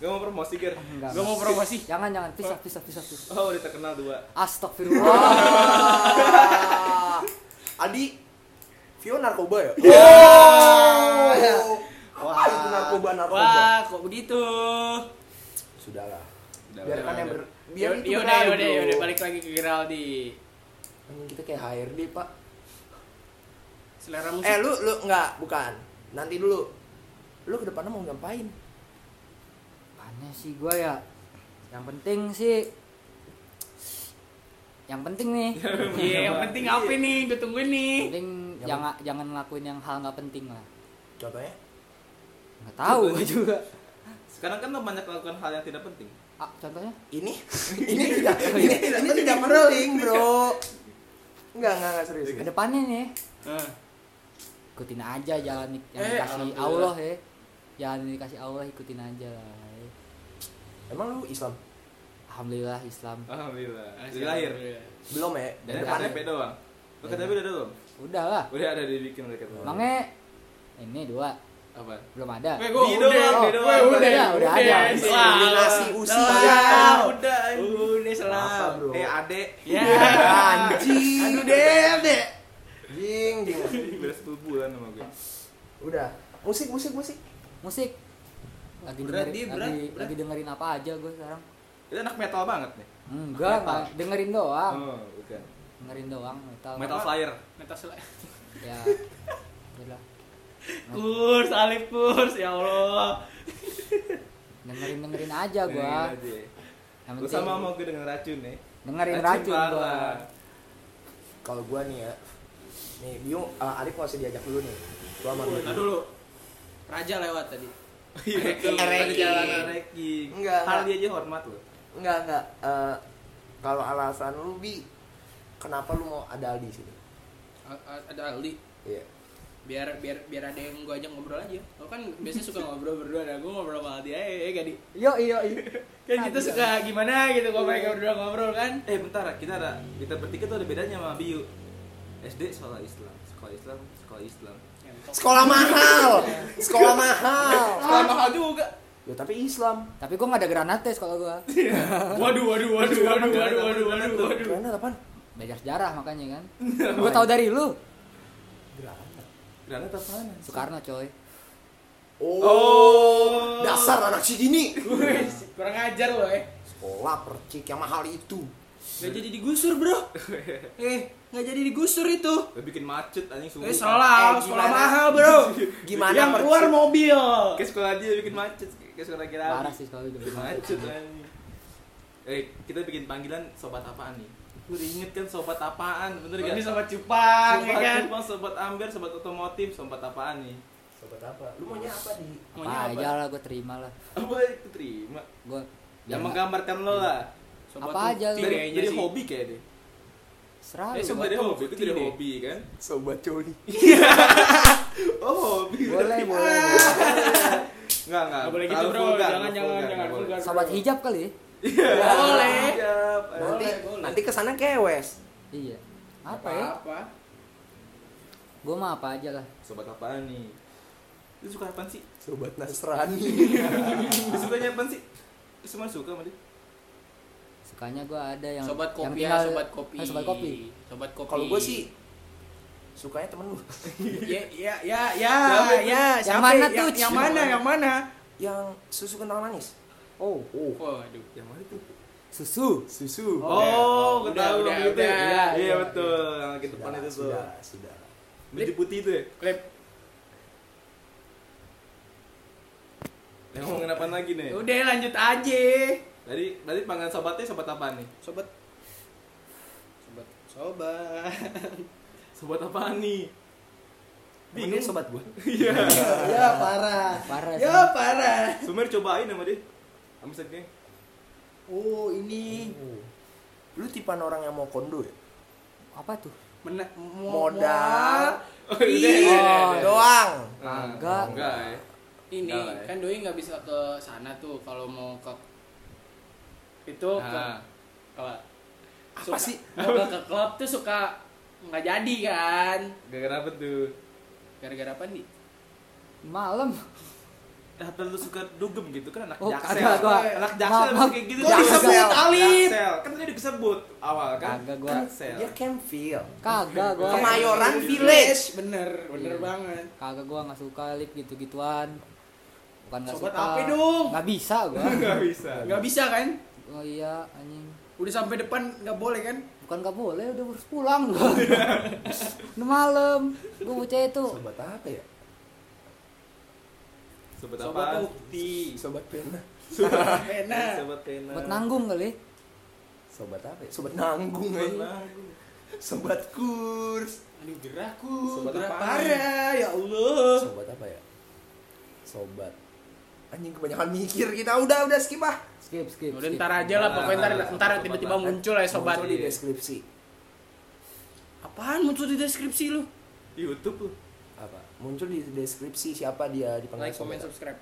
[SPEAKER 5] Gak mau promosi ger.
[SPEAKER 3] Ah,
[SPEAKER 1] Enggak.
[SPEAKER 4] Gua mau promosi.
[SPEAKER 1] Jangan, jangan. Pisah, pisah, pisah, pisah.
[SPEAKER 5] Oh udah terkenal dua.
[SPEAKER 1] Astagfirullah.
[SPEAKER 3] Ah. Adi Vio narkoba ya?
[SPEAKER 4] Iya.
[SPEAKER 3] Iya. Wah, itu narkoba narkoba.
[SPEAKER 4] Wah, kok begitu?
[SPEAKER 3] Sudahlah.
[SPEAKER 5] Udah,
[SPEAKER 3] Biarkan
[SPEAKER 5] udah,
[SPEAKER 3] yang ber
[SPEAKER 5] udah.
[SPEAKER 3] biar itu
[SPEAKER 4] Yaudah,
[SPEAKER 3] berlalu,
[SPEAKER 4] yaudah,
[SPEAKER 3] bro.
[SPEAKER 4] yaudah, balik lagi ke Geraldi.
[SPEAKER 3] Anjing, Kita kayak HRD, Pak.
[SPEAKER 4] Selera musik.
[SPEAKER 3] Eh, lu lu enggak, bukan. Nanti dulu. Lu ke depannya mau ngapain?
[SPEAKER 1] Aneh sih gua ya. Yang penting sih yang penting nih.
[SPEAKER 4] Iya, yang penting apa nih? Gue tungguin nih.
[SPEAKER 1] penting
[SPEAKER 3] Yang
[SPEAKER 1] jangan jangan ngelakuin yang hal nggak penting lah.
[SPEAKER 3] Contohnya?
[SPEAKER 1] nggak tahu gue juga
[SPEAKER 5] Sekarang kan lo banyak lakukan hal yang tidak penting.
[SPEAKER 1] ah, contohnya
[SPEAKER 3] <laughs> ini ini tidak ini tidak ini Oh, iya. tidak penting bro Enggak, enggak, enggak serius.
[SPEAKER 1] ke depannya nih
[SPEAKER 4] Ah.
[SPEAKER 5] Eh,
[SPEAKER 1] ikutin aja jalan di- yang
[SPEAKER 5] Eh,
[SPEAKER 1] dikasih
[SPEAKER 5] alhamdulillah.
[SPEAKER 1] Allah ya jalan yang dikasih Allah ikutin aja lah ya.
[SPEAKER 3] Emang lu Islam?
[SPEAKER 1] alhamdulillah Islam
[SPEAKER 5] Alhamdulillah.
[SPEAKER 4] Ah,
[SPEAKER 5] Jadi lahir.
[SPEAKER 3] Belum ya?
[SPEAKER 5] Dan
[SPEAKER 3] Depannya.
[SPEAKER 5] KTP doang. Lo KTP udah ada belum?
[SPEAKER 1] udah lah
[SPEAKER 5] Udah ada dibikin udah KTP.
[SPEAKER 1] Mangnya E, ini dua
[SPEAKER 5] Apa?
[SPEAKER 1] belum ada
[SPEAKER 4] Gue
[SPEAKER 5] Di
[SPEAKER 4] udah,
[SPEAKER 5] doang, di
[SPEAKER 4] gue
[SPEAKER 5] doang.
[SPEAKER 1] Udah,
[SPEAKER 4] udah,
[SPEAKER 1] udah ada.
[SPEAKER 3] Diskriminasi usia.
[SPEAKER 4] Udah, udah, udah,
[SPEAKER 3] Apa,
[SPEAKER 4] selam.
[SPEAKER 3] bro?
[SPEAKER 5] Uh, Eh,
[SPEAKER 3] <laughs>
[SPEAKER 5] adek. <laughs>
[SPEAKER 4] Ya,
[SPEAKER 3] Iya. Anjing.
[SPEAKER 4] Aduh deh, deh.
[SPEAKER 3] Jing, jing.
[SPEAKER 5] Udah 10 bulan kan sama gue.
[SPEAKER 3] Udah. Musik, musik, musik.
[SPEAKER 1] musik lagi dengerin
[SPEAKER 4] Berat, Di, berat,
[SPEAKER 1] lagi,
[SPEAKER 4] berat.
[SPEAKER 1] lagi dengerin apa aja gue sekarang
[SPEAKER 5] Itu anak metal banget nih.
[SPEAKER 1] enggak
[SPEAKER 5] Metal.
[SPEAKER 1] enggak dengerin doang
[SPEAKER 5] Oh, bukan.
[SPEAKER 1] dengerin doang metal
[SPEAKER 5] Metal Slayer.
[SPEAKER 4] Meta selai.
[SPEAKER 1] ya udah
[SPEAKER 4] Kurs, alif kurs, ya Allah.
[SPEAKER 1] dengerin dengerin aja gue yang
[SPEAKER 5] Gue
[SPEAKER 1] penting
[SPEAKER 5] Iya, sama mau gue dengan racun nih.
[SPEAKER 1] dengerin racun gue
[SPEAKER 5] parah.
[SPEAKER 3] Kalau gua nih ya. Nih, Biu, eh, Arif mau diajak dulu nih. Gua sama
[SPEAKER 4] Nah
[SPEAKER 3] Biu.
[SPEAKER 4] dulu, Raja lewat tadi.
[SPEAKER 5] Iya betul.
[SPEAKER 3] Ranking.
[SPEAKER 5] Perjalanan ranking.
[SPEAKER 3] Enggak,
[SPEAKER 5] Hal
[SPEAKER 3] enggak.
[SPEAKER 5] dia aja hormat lo.
[SPEAKER 3] Enggak, enggak. Eh, kalau alasan lu, Bi, kenapa lu mau ada Aldi sini?
[SPEAKER 4] A- a- Ada Aldi.
[SPEAKER 3] Iya.
[SPEAKER 4] Biar biar biar ada yang gue ajak ngobrol aja. Lo kan biasanya suka ngobrol berdua, nah gue ngobrol sama Aldi aja, ya gak di?
[SPEAKER 1] yo yo yo
[SPEAKER 4] Kan kita suka gimana gitu kalau mereka berdua ngobrol kan?
[SPEAKER 5] Eh bentar, kita ada kita bertiga tuh ada bedanya sama Biu. SD sekolah Islam, sekolah Islam, sekolah Islam.
[SPEAKER 3] Sekolah mahal. Sekolah mahal.
[SPEAKER 4] Sekolah mahal juga.
[SPEAKER 3] Ya tapi Islam.
[SPEAKER 1] tapi gue nggak ada granates kalau
[SPEAKER 5] <laughs>
[SPEAKER 1] gue
[SPEAKER 4] Waduh, waduh, waduh, waduh, waduh, waduh, waduh, waduh.
[SPEAKER 3] Granat apaan?
[SPEAKER 1] belajar sejarah makanya kan
[SPEAKER 5] Iya,
[SPEAKER 1] gue tahu dari lu
[SPEAKER 3] Granat.
[SPEAKER 5] Granat apaan?
[SPEAKER 1] Soekarno coy
[SPEAKER 3] Oh, dasar anak segini.
[SPEAKER 4] Wih, kurang ajar lo eh.
[SPEAKER 3] Sekolah percik yang mahal itu.
[SPEAKER 4] Gak jadi digusur bro. Eh, gak jadi digusur itu.
[SPEAKER 5] Gue bikin macet anjing subuh.
[SPEAKER 4] Eh, sekolah,
[SPEAKER 3] Eh,
[SPEAKER 4] sekolah
[SPEAKER 3] gimana?
[SPEAKER 4] mahal bro.
[SPEAKER 3] <laughs> Gimana
[SPEAKER 4] Yang
[SPEAKER 3] percik?
[SPEAKER 4] keluar mobil.
[SPEAKER 5] Ke sekolah dia bikin macet, ke sekolah kita.
[SPEAKER 1] parah sih kalau itu
[SPEAKER 5] Bikin macet anjing. Eh, kita bikin panggilan sobat apaan nih? Gue inget kan sobat apaan, bener
[SPEAKER 4] Ini
[SPEAKER 5] gak?
[SPEAKER 4] sama cupang, ya
[SPEAKER 5] Sobat
[SPEAKER 4] kan?
[SPEAKER 5] Kupang, sobat Amber, sobat otomotif, sobat apaan nih?
[SPEAKER 3] Sobat apa? Lu maunya apa di?
[SPEAKER 1] apa aja lah gue terima lah
[SPEAKER 5] Apa itu terima?
[SPEAKER 1] gue
[SPEAKER 5] Yang Ya, menggambarkan lo lah.
[SPEAKER 1] Apa aja
[SPEAKER 5] Dari,
[SPEAKER 1] lo?
[SPEAKER 5] dari,
[SPEAKER 4] Kayaknya sih.
[SPEAKER 5] hobi kayak deh.
[SPEAKER 1] serah
[SPEAKER 4] Eh,
[SPEAKER 1] lu,
[SPEAKER 4] sobat-
[SPEAKER 5] Dari
[SPEAKER 1] gua.
[SPEAKER 5] hobi, itu dari
[SPEAKER 4] deh.
[SPEAKER 5] hobi kan?
[SPEAKER 3] Sobat coli.
[SPEAKER 5] Oh, hobi.
[SPEAKER 1] boleh boleh
[SPEAKER 5] Enggak, enggak.
[SPEAKER 4] Gak boleh gitu
[SPEAKER 5] Terlalu
[SPEAKER 4] bro,
[SPEAKER 5] vulgar,
[SPEAKER 4] jangan,
[SPEAKER 5] terlalu
[SPEAKER 4] jangan,
[SPEAKER 5] vulgar,
[SPEAKER 4] jangan.
[SPEAKER 5] nggak boleh.
[SPEAKER 4] vulgar,
[SPEAKER 1] sobat
[SPEAKER 4] bro.
[SPEAKER 1] hijab kali ya?
[SPEAKER 4] Boleh.
[SPEAKER 5] Siap, ayo.
[SPEAKER 3] Nanti
[SPEAKER 4] boleh.
[SPEAKER 3] nanti kesana kewes.
[SPEAKER 1] iya apa ya
[SPEAKER 4] Apa?
[SPEAKER 1] gue mah apa aja lah
[SPEAKER 5] Sobat apaan nih? Lu suka apaan sih?
[SPEAKER 3] Sobat Nasrani.
[SPEAKER 5] Lu sukanya apaan sih? Lu semua suka sama dia?
[SPEAKER 1] sukanya gue ada yang
[SPEAKER 4] Sobat
[SPEAKER 1] yang
[SPEAKER 4] kopi ya,
[SPEAKER 1] tinggal-
[SPEAKER 4] sobat
[SPEAKER 1] <laughs>
[SPEAKER 4] kopi.
[SPEAKER 1] Eh, sobat kopi
[SPEAKER 4] Sobat kopi.
[SPEAKER 3] <laughs> Kalau gua sih sukanya temen lu.
[SPEAKER 4] ya ya ya ya
[SPEAKER 5] Siapa itu?
[SPEAKER 4] ya
[SPEAKER 1] Yang mana
[SPEAKER 4] ya,
[SPEAKER 1] tuh?
[SPEAKER 4] yang mana yang mana
[SPEAKER 3] Yang susu kental manis.
[SPEAKER 1] oh
[SPEAKER 4] waduh
[SPEAKER 5] Yang mana tuh?
[SPEAKER 1] susu
[SPEAKER 3] Susu.
[SPEAKER 5] Oh,
[SPEAKER 4] udah,
[SPEAKER 5] ketahuan
[SPEAKER 4] udah,
[SPEAKER 5] gitu ya?
[SPEAKER 4] udah.
[SPEAKER 5] Iya,
[SPEAKER 3] Iya,
[SPEAKER 5] Iya, betul. Yang lagi depan itu tuh.
[SPEAKER 3] sudah, sudah.
[SPEAKER 5] Baju putih itu ya?
[SPEAKER 4] klip
[SPEAKER 5] Yang ngomongin apaan lagi nih?
[SPEAKER 4] udah lanjut aja
[SPEAKER 5] Jadi, berarti panggilan sobatnya sobat apaan nih?
[SPEAKER 4] sobat sobat sobat <laughs>
[SPEAKER 5] Sobat apaan nih?
[SPEAKER 3] Emang dia sobat gua.
[SPEAKER 4] ya parah
[SPEAKER 1] parah
[SPEAKER 4] ya
[SPEAKER 1] sih.
[SPEAKER 4] parah
[SPEAKER 5] <laughs> Sumer cobain sama dia. Sama set geng.
[SPEAKER 4] oh ini
[SPEAKER 3] Lu tipan orang yang mau kondo ya?
[SPEAKER 1] apa tuh
[SPEAKER 4] Mena- mo-
[SPEAKER 3] Modal.
[SPEAKER 5] Oh,
[SPEAKER 4] Ih.
[SPEAKER 5] udah,
[SPEAKER 3] iya.
[SPEAKER 5] udah, udah, udah.
[SPEAKER 3] Doang.
[SPEAKER 5] Ah,
[SPEAKER 1] Enggak.
[SPEAKER 5] Enggak ya.
[SPEAKER 4] ini
[SPEAKER 5] Enggak lah ya.
[SPEAKER 4] kan doi nggak bisa ke sana tuh kalau mau ke itu ke
[SPEAKER 5] Ah.
[SPEAKER 4] apa
[SPEAKER 3] Apa
[SPEAKER 4] <laughs>
[SPEAKER 3] sih?
[SPEAKER 4] mau ke- ke klub tuh suka nggak jadi kan
[SPEAKER 5] Gara-gara apa tuh?
[SPEAKER 4] gara-gara apa nih
[SPEAKER 1] malam
[SPEAKER 5] Eh, Apa lu suka dugem gitu kan anak
[SPEAKER 1] Oh,
[SPEAKER 5] jaksel.
[SPEAKER 1] kagak, gua-
[SPEAKER 5] Anak
[SPEAKER 1] maaf,
[SPEAKER 5] jaksel
[SPEAKER 1] maaf.
[SPEAKER 5] kayak gitu.
[SPEAKER 1] Kok
[SPEAKER 5] Jaksel.
[SPEAKER 1] disebut,
[SPEAKER 4] Alif?
[SPEAKER 5] Jaksel. Kan tadi disebut awal kan.
[SPEAKER 1] Kagak, gua-
[SPEAKER 5] Jaksel.
[SPEAKER 3] Dia can feel.
[SPEAKER 1] kagak gue
[SPEAKER 3] Kemayoran Village.
[SPEAKER 4] bener bener
[SPEAKER 1] Iya.
[SPEAKER 4] banget
[SPEAKER 1] kagak gue nggak suka lip gitu gituan bukan nggak
[SPEAKER 4] Sobat
[SPEAKER 1] suka
[SPEAKER 4] apa dong?
[SPEAKER 1] nggak bisa
[SPEAKER 5] <laughs>
[SPEAKER 1] gue
[SPEAKER 5] Enggak bisa.
[SPEAKER 4] nggak bisa kan
[SPEAKER 1] oh iya anjing
[SPEAKER 4] udah sampai depan nggak boleh kan
[SPEAKER 1] bukan nggak boleh udah harus pulang gue udah malam gue bocah itu
[SPEAKER 3] Sobat apa ya?
[SPEAKER 5] Sobat apa?
[SPEAKER 4] sobat
[SPEAKER 5] <laughs>
[SPEAKER 4] bukti
[SPEAKER 3] Sobat pena.
[SPEAKER 4] sobat pena
[SPEAKER 5] Sobat pena.
[SPEAKER 1] buat nanggung kali
[SPEAKER 3] Sobat apa ya? Sobat nanggung
[SPEAKER 5] Sobat
[SPEAKER 3] aja.
[SPEAKER 5] nanggung.
[SPEAKER 3] Sobat kurs.
[SPEAKER 4] aduh gerahku
[SPEAKER 5] Sobat
[SPEAKER 4] gerah
[SPEAKER 5] apaan?
[SPEAKER 4] parah ya allah
[SPEAKER 3] Sobat apa ya?
[SPEAKER 6] sobat
[SPEAKER 3] Anjing kebanyakan mikir kita. Udah, udah skip ah.
[SPEAKER 6] skip skip
[SPEAKER 4] Udah
[SPEAKER 6] skip.
[SPEAKER 4] ntar aja lah, pokoknya ntar, ntar tiba-tiba muncul ya sobat.
[SPEAKER 3] Muncul di deskripsi.
[SPEAKER 4] Apaan muncul di deskripsi lu?
[SPEAKER 5] Di YouTube lu.
[SPEAKER 3] Apa? Muncul di deskripsi siapa dia di
[SPEAKER 4] Like, comment, subscribe.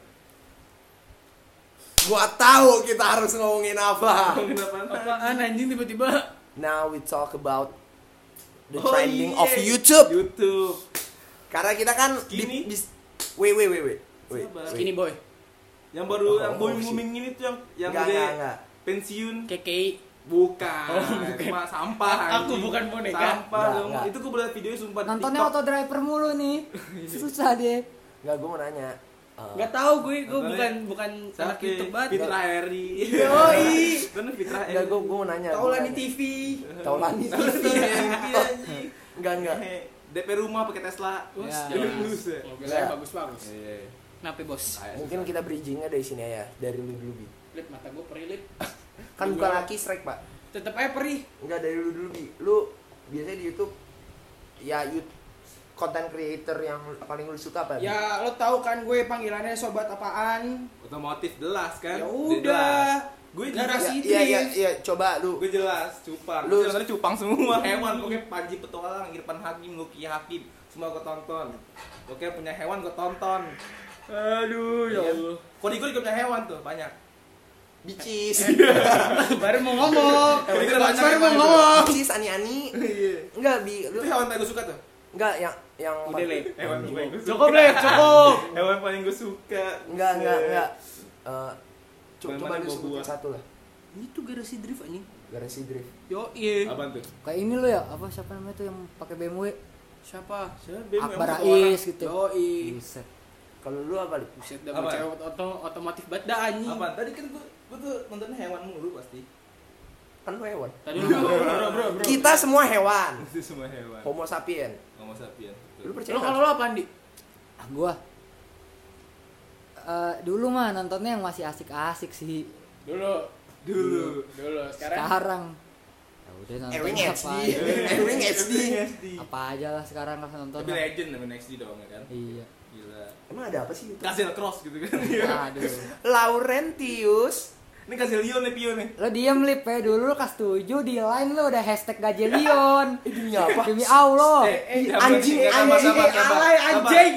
[SPEAKER 3] Gua tahu kita harus ngomongin apa.
[SPEAKER 4] Apaan anjing tiba-tiba?
[SPEAKER 3] Now we talk about the
[SPEAKER 5] Oh,
[SPEAKER 3] trending
[SPEAKER 5] iya.
[SPEAKER 3] of YouTube.
[SPEAKER 5] YouTube.
[SPEAKER 3] Karena kita kan
[SPEAKER 5] Skinny.
[SPEAKER 3] di, wait wait wait wait. Wait.
[SPEAKER 5] Sabar.
[SPEAKER 4] Skinny boy,
[SPEAKER 5] Yang baru
[SPEAKER 3] Oh,
[SPEAKER 5] yang
[SPEAKER 3] oh,
[SPEAKER 5] booming
[SPEAKER 3] shit.
[SPEAKER 5] booming ini tuh yang yang
[SPEAKER 3] Enggak,
[SPEAKER 5] udah
[SPEAKER 3] enggak, enggak.
[SPEAKER 5] pensiun.
[SPEAKER 4] KKI.
[SPEAKER 5] Bukan.
[SPEAKER 4] Oh, bukan.
[SPEAKER 5] Cuma sampah.
[SPEAKER 4] Aku
[SPEAKER 5] anjing.
[SPEAKER 4] bukan boneka.
[SPEAKER 5] Sampah
[SPEAKER 3] Enggak,
[SPEAKER 5] dong.
[SPEAKER 3] enggak.
[SPEAKER 5] Itu gue berat videonya sumpah di
[SPEAKER 1] Nontonnya
[SPEAKER 5] TikTok.
[SPEAKER 1] auto driver mulu nih. Susah deh.
[SPEAKER 3] Enggak gua mau nanya. Eh,
[SPEAKER 4] Gak tau gue, gue
[SPEAKER 5] Apaan?
[SPEAKER 4] bukan bukan anak
[SPEAKER 5] Sakit.
[SPEAKER 4] YouTube banget.
[SPEAKER 5] Fitra Eri. <laughs>
[SPEAKER 4] Yoi.
[SPEAKER 5] Kan Fitra Eri.
[SPEAKER 3] enggak gua gua mau nanya.
[SPEAKER 4] Tau
[SPEAKER 3] gua
[SPEAKER 4] lah di
[SPEAKER 3] nanya.
[SPEAKER 4] TV.
[SPEAKER 3] Iya. <laughs> Taulani
[SPEAKER 5] Tahu lah
[SPEAKER 3] TV.
[SPEAKER 5] di TV, anjing.
[SPEAKER 3] Enggak <laughs> enggak.
[SPEAKER 5] Hehe. DP rumah pakai Tesla.
[SPEAKER 4] Bos,
[SPEAKER 1] Ya.
[SPEAKER 4] jelas.
[SPEAKER 5] Lulus ya.
[SPEAKER 4] Mobilnya bagus-bagus.
[SPEAKER 5] Iya.
[SPEAKER 4] Kenapa bos?
[SPEAKER 3] Mungkin kita bridgingnya dari sini aja, dari lu dulu Bi.
[SPEAKER 4] Lip mata gue perih lip.
[SPEAKER 3] Kan bukan laki strike, Pak.
[SPEAKER 4] Tetep aja perih.
[SPEAKER 3] Enggak dari lu dulu Bi. Lu biasanya di YouTube ya YouTube konten creator yang paling lu suka apa? Bi?
[SPEAKER 4] Ya lo tau kan gue panggilannya sobat apaan?
[SPEAKER 5] Otomotif jelas kan?
[SPEAKER 4] Ya
[SPEAKER 5] Dia
[SPEAKER 4] udah.
[SPEAKER 5] jelas. Gue
[SPEAKER 4] Gara-
[SPEAKER 5] jelas.
[SPEAKER 4] Kasih
[SPEAKER 3] Iya, iya,
[SPEAKER 4] Idris.
[SPEAKER 3] iya, coba lu.
[SPEAKER 5] Gue jelas cupang.
[SPEAKER 3] Lu-
[SPEAKER 5] Lu tadi cupang semua. Hewan pokoknya Panji Petualang, Irfan Hakim, Lucky Hakim. Semua gue tonton. Pokoknya punya hewan gue tonton.
[SPEAKER 4] Aduh
[SPEAKER 5] ya Allah. Kodi gue juga punya hewan tuh banyak.
[SPEAKER 3] <laughs> Bicis.
[SPEAKER 4] <laughs> Baru mau ngomong.
[SPEAKER 5] Kodi gue
[SPEAKER 4] Baru mau
[SPEAKER 5] hewan gue.
[SPEAKER 4] ngomong.
[SPEAKER 3] Bicis ani-ani.
[SPEAKER 5] Iya.
[SPEAKER 3] Enggak, Bi.
[SPEAKER 5] Itu
[SPEAKER 3] Lu
[SPEAKER 5] hewan paling gue suka tuh.
[SPEAKER 3] enggak yang yang
[SPEAKER 4] Udah lip.
[SPEAKER 5] Hewan paling gue suka.
[SPEAKER 4] Cukup lip, cukup.
[SPEAKER 5] <laughs> Hewan paling gue suka.
[SPEAKER 3] Enggak, enggak, enggak. Eh, co- coba
[SPEAKER 5] Mana-mana
[SPEAKER 3] lu
[SPEAKER 5] gua
[SPEAKER 3] sebutin
[SPEAKER 5] buat.
[SPEAKER 3] satu lah.
[SPEAKER 4] Itu garasi drift anjing.
[SPEAKER 3] Garasi drift.
[SPEAKER 4] Yo iya.
[SPEAKER 5] Apaan tuh?
[SPEAKER 1] Kayak ini lo ya, apa siapa namanya tuh yang pakai BMW?
[SPEAKER 4] Siapa?
[SPEAKER 1] Akbar Rais gitu.
[SPEAKER 4] Yo iya.
[SPEAKER 1] Buset.
[SPEAKER 3] Kalau lu apa, Lip?
[SPEAKER 4] Buset dah
[SPEAKER 5] Apa?
[SPEAKER 4] cewek oto otomotif banget dah anjing.
[SPEAKER 5] Apa? Tadi kan gue gue tuh nontonnya hewan mulu pasti.
[SPEAKER 3] Kan lu hewan.
[SPEAKER 4] Tadi lu
[SPEAKER 5] <laughs>
[SPEAKER 4] bro bro bro.
[SPEAKER 3] Kita semua hewan.
[SPEAKER 5] Itu semua hewan.
[SPEAKER 3] Homo sapien.
[SPEAKER 5] Homo sapiens.
[SPEAKER 3] Lu percaya?
[SPEAKER 4] Lo
[SPEAKER 3] nggak?
[SPEAKER 4] kalau lo apaan di?
[SPEAKER 1] Ah, gua Eh, dulu mah nontonnya yang masih asik-asik sih.
[SPEAKER 4] Dulu.
[SPEAKER 5] Dulu.
[SPEAKER 4] Dulu.
[SPEAKER 1] Sekarang ya udah nonton
[SPEAKER 3] Ewing
[SPEAKER 1] apa
[SPEAKER 3] HD.
[SPEAKER 1] aja.
[SPEAKER 3] <laughs> Ewing HD.
[SPEAKER 5] SD.
[SPEAKER 1] apa aja lah sekarang lah nonton.
[SPEAKER 5] Tapi legend sama next D dong ya kan.
[SPEAKER 1] Iya.
[SPEAKER 5] Gila.
[SPEAKER 3] Emang ada apa sih?
[SPEAKER 5] Kasih cross gitu kan.
[SPEAKER 1] Aduh.
[SPEAKER 3] Laurentius.
[SPEAKER 5] <laughs> Ini kasih Leon nih Pio nih.
[SPEAKER 1] Lo diem lip ya dulu lo kas 7 di line lo udah hashtag gajelion.
[SPEAKER 3] Demi apa?
[SPEAKER 1] Demi Allah.
[SPEAKER 5] Eh,
[SPEAKER 3] iya, anjing, anjing,
[SPEAKER 4] alay, anjing.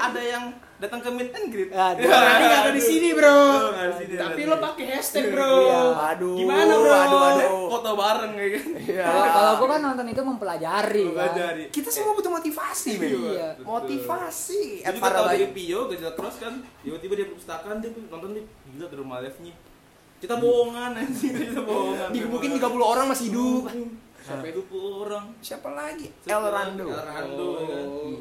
[SPEAKER 5] Ada yang datang ke meet and greet.
[SPEAKER 1] Aduh.
[SPEAKER 4] Berani gak ada di sini bro.
[SPEAKER 5] Lo nggak ada di sini,
[SPEAKER 4] Tapi
[SPEAKER 5] ada
[SPEAKER 4] lo
[SPEAKER 5] di sini.
[SPEAKER 4] pakai hashtag bro.
[SPEAKER 3] Iya. Aduh.
[SPEAKER 4] Gimana bro?
[SPEAKER 3] Aduh, aduh.
[SPEAKER 5] Foto bareng ya kan.
[SPEAKER 3] Iya.
[SPEAKER 1] Kalau
[SPEAKER 3] <laughs>
[SPEAKER 1] kalau gua kan nonton itu mempelajari.
[SPEAKER 5] Gua
[SPEAKER 1] kan.
[SPEAKER 5] Pelajari.
[SPEAKER 3] Kita semua butuh motivasi, Bim.
[SPEAKER 1] Iya.
[SPEAKER 5] Eh, iya, Betul.
[SPEAKER 3] Motivasi.
[SPEAKER 5] Gue
[SPEAKER 3] Eh,
[SPEAKER 5] juga
[SPEAKER 3] para
[SPEAKER 5] tau dari
[SPEAKER 3] bayi.
[SPEAKER 5] Pio, gak jelas cross kan Tiba-tiba dia perpustakaan, dia nonton dia gila di rumah live-nya Kita bohongan anjing, <laughs> kita bohongan
[SPEAKER 3] Mungkin 30 orang masih hidup.
[SPEAKER 5] Sampai 20 orang
[SPEAKER 3] Siapa lagi?
[SPEAKER 5] Siapa
[SPEAKER 3] El
[SPEAKER 5] lagi?
[SPEAKER 3] Rando. Oh.
[SPEAKER 5] El Rando kan.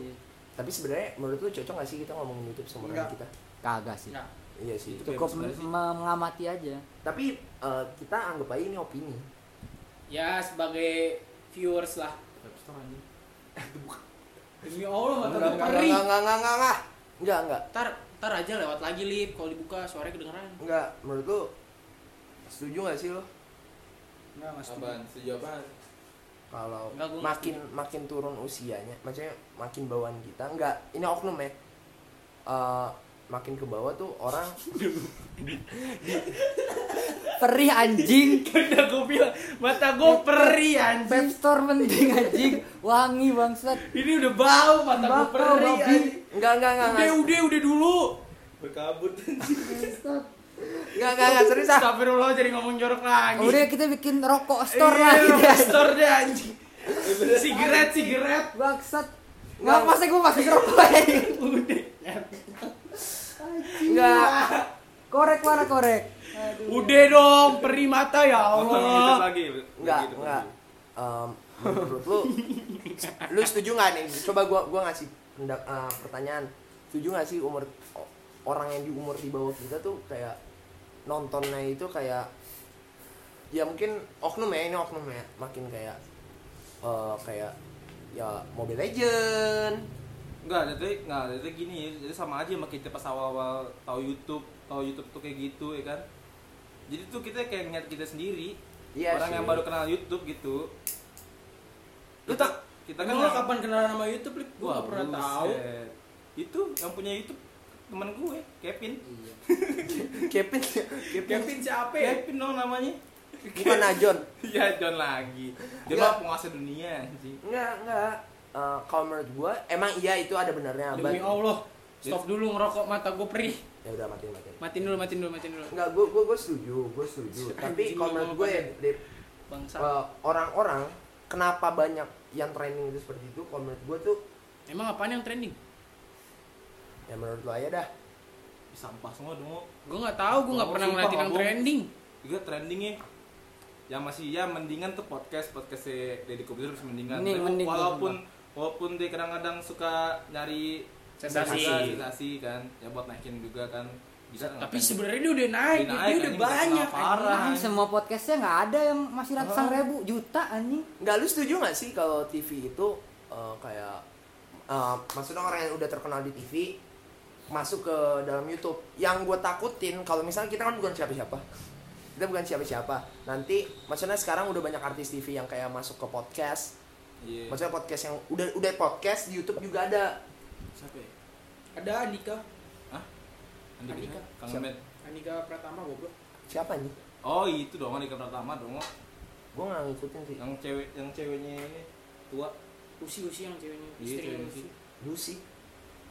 [SPEAKER 1] Iya.
[SPEAKER 3] Tapi sebenarnya menurut lu cocok gak sih kita ngomongin YouTube sama orang
[SPEAKER 4] Enggak.
[SPEAKER 3] kita?
[SPEAKER 1] Kagak sih.
[SPEAKER 4] Nggak.
[SPEAKER 3] Iya sih.
[SPEAKER 1] Cukup
[SPEAKER 5] Bebas banget sih.
[SPEAKER 1] mem- mengamati aja.
[SPEAKER 3] Tapi eh, kita anggap aja ini opini.
[SPEAKER 4] Ya sebagai viewers lah. Demi Allah mata gue perih.
[SPEAKER 3] Enggak, enggak, enggak, enggak, enggak. Enggak, enggak.
[SPEAKER 4] Ntar ntar aja lewat lagi lip kalau dibuka suaranya kedengeran.
[SPEAKER 3] Enggak, menurut lu setuju gak sih lo
[SPEAKER 4] Enggak mas.
[SPEAKER 5] Apaan? Setuju apaan?
[SPEAKER 3] kalau
[SPEAKER 4] Enggak, gua nggak
[SPEAKER 3] makin makin turun usianya, maksudnya makin bawaan kita, enggak, ini oknum ya. Eh, makin ke bawah tuh orang
[SPEAKER 1] Perih anjing.
[SPEAKER 4] Udah gue bilang mata gue perih anjing.
[SPEAKER 1] Pep Store penting anjing, wangi bangsat.
[SPEAKER 4] Ini udah bau mata gue
[SPEAKER 1] Bakau,
[SPEAKER 4] perih
[SPEAKER 1] babi.
[SPEAKER 4] anjing.
[SPEAKER 3] enggak enggak enggak
[SPEAKER 4] Udah
[SPEAKER 3] enggak
[SPEAKER 4] udah udah dulu.
[SPEAKER 5] <laughs> Berkabut
[SPEAKER 3] enggak enggak, enggak serius ah.
[SPEAKER 4] Astagfirullah jadi ngomong jorok lagi.
[SPEAKER 1] Udah kita bikin rokok store lah
[SPEAKER 4] Iya,
[SPEAKER 1] gitu ya.
[SPEAKER 4] Store deh anjing. Sigaret sigaret.
[SPEAKER 1] Bangsat. Enggak pas gue masih rokok Iya. anjing.
[SPEAKER 3] Enggak.
[SPEAKER 1] Korek mana korek?
[SPEAKER 4] Udah dong perih mata ya
[SPEAKER 5] Nonton
[SPEAKER 4] Allah.
[SPEAKER 5] lagi
[SPEAKER 3] Enggak,
[SPEAKER 5] Gitu,
[SPEAKER 3] enggak. Em, menurut lu lu setuju nggak nih? Coba gua gua ngasih pendak- eh, pertanyaan. Setuju nggak sih umur o- orang yang di umur di bawah kita tuh kayak nontonnya itu kayak ya mungkin oknum ya ini oknum ya makin kayak eh, kayak ya Mobile Legend
[SPEAKER 5] Enggak, jadi enggak, jadi gini ya. Jadi sama aja sama kita pas awal-awal tahu YouTube, tahu YouTube tuh kayak gitu ya kan. Jadi tuh kita kayak ngeliat kita sendiri.
[SPEAKER 3] Iya
[SPEAKER 5] orang
[SPEAKER 3] sih.
[SPEAKER 5] yang baru kenal YouTube gitu.
[SPEAKER 3] Lu
[SPEAKER 5] Kita-
[SPEAKER 3] tak-
[SPEAKER 5] kita
[SPEAKER 4] Tapi
[SPEAKER 5] kan
[SPEAKER 4] lo kapan kenalan sama YouTube lip? Gue
[SPEAKER 5] Wah,
[SPEAKER 4] gak pernah
[SPEAKER 5] buset.
[SPEAKER 4] tahu.
[SPEAKER 5] Itu yang punya YouTube teman gue Kevin
[SPEAKER 1] Iya.
[SPEAKER 3] Kevin
[SPEAKER 5] Kevin siapa ya? Kevin dong namanya <laughs>
[SPEAKER 3] bukan Najon
[SPEAKER 5] Iya John lagi Dia
[SPEAKER 3] Nggak.
[SPEAKER 5] mah penguasa dunia anjing
[SPEAKER 3] enggak enggak Eh, kalau menurut gua emang iya itu ada benernya
[SPEAKER 4] Demi
[SPEAKER 3] but-
[SPEAKER 4] Allah, stop dulu ngerokok mata gue perih.
[SPEAKER 3] ya udah matiin matiin
[SPEAKER 4] Matiin dulu, matiin dulu, matiin dulu.
[SPEAKER 3] Enggak, gue gue gue setuju, gue setuju. Tapi
[SPEAKER 4] Anjing,
[SPEAKER 3] kalau menurut gue
[SPEAKER 4] ngomong
[SPEAKER 3] Dip,
[SPEAKER 4] Bangsa.
[SPEAKER 3] eh, orang-orang kenapa banyak yang training itu seperti itu? Kalau menurut gue tuh
[SPEAKER 4] Emang apaan yang trending?
[SPEAKER 3] ya menurut lo aja dah.
[SPEAKER 5] Sampah semua dong
[SPEAKER 4] Gue nggak tahu, gue nggak
[SPEAKER 5] Oh,
[SPEAKER 4] pernah
[SPEAKER 5] sumpah,
[SPEAKER 4] ngeliatin yang
[SPEAKER 5] Abang.
[SPEAKER 4] trending.
[SPEAKER 5] Juga trendingnya yang masih ya mendingan tuh podcast podcast si Deddy Kobuzer masih mendingan
[SPEAKER 1] Mending,
[SPEAKER 5] Tapi
[SPEAKER 1] mending,
[SPEAKER 5] walaupun walaupun dia kadang-kadang suka nyari
[SPEAKER 4] Sensasi.
[SPEAKER 5] suka sensasi kan ya buat naikin juga kan bisa nggak
[SPEAKER 4] Tapi
[SPEAKER 5] kan?
[SPEAKER 4] sebenarnya dia udah naik, dia
[SPEAKER 5] Udah naik,
[SPEAKER 4] udah
[SPEAKER 5] anjing,
[SPEAKER 4] banyak.
[SPEAKER 5] udah kenal
[SPEAKER 4] anjing.
[SPEAKER 5] parah.
[SPEAKER 1] Anjing, Oh. semua podcastnya nggak ada yang masih ratusan ribu juta anjing
[SPEAKER 3] Enggak lu setuju nggak sih kalau TV itu eh, kayak eh, maksudnya orang yang udah terkenal di TV masuk ke dalam YouTube. Yang gue takutin kalau misalnya kita kan bukan siapa-siapa. Kita bukan siapa-siapa. Nanti maksudnya sekarang udah banyak artis TV yang kayak masuk ke podcast.
[SPEAKER 5] Iya.
[SPEAKER 3] Maksudnya podcast yang udah udah podcast di YouTube juga ada.
[SPEAKER 5] siapa ya?
[SPEAKER 4] Ada Andika,
[SPEAKER 5] Andi
[SPEAKER 4] Andika.
[SPEAKER 5] Andika. Kang
[SPEAKER 3] Siapa?
[SPEAKER 5] Med.
[SPEAKER 4] Andika Pratama goblok.
[SPEAKER 3] Siapa nih?
[SPEAKER 5] Oh itu dong Andika Pratama dong
[SPEAKER 3] Gue nggak ngikutin sih.
[SPEAKER 5] yang cewek yang ceweknya ini tua
[SPEAKER 4] Usi Usi yang ceweknya,
[SPEAKER 5] Iya,
[SPEAKER 4] istrinya
[SPEAKER 5] ceweknya
[SPEAKER 4] Usi.
[SPEAKER 5] Usi.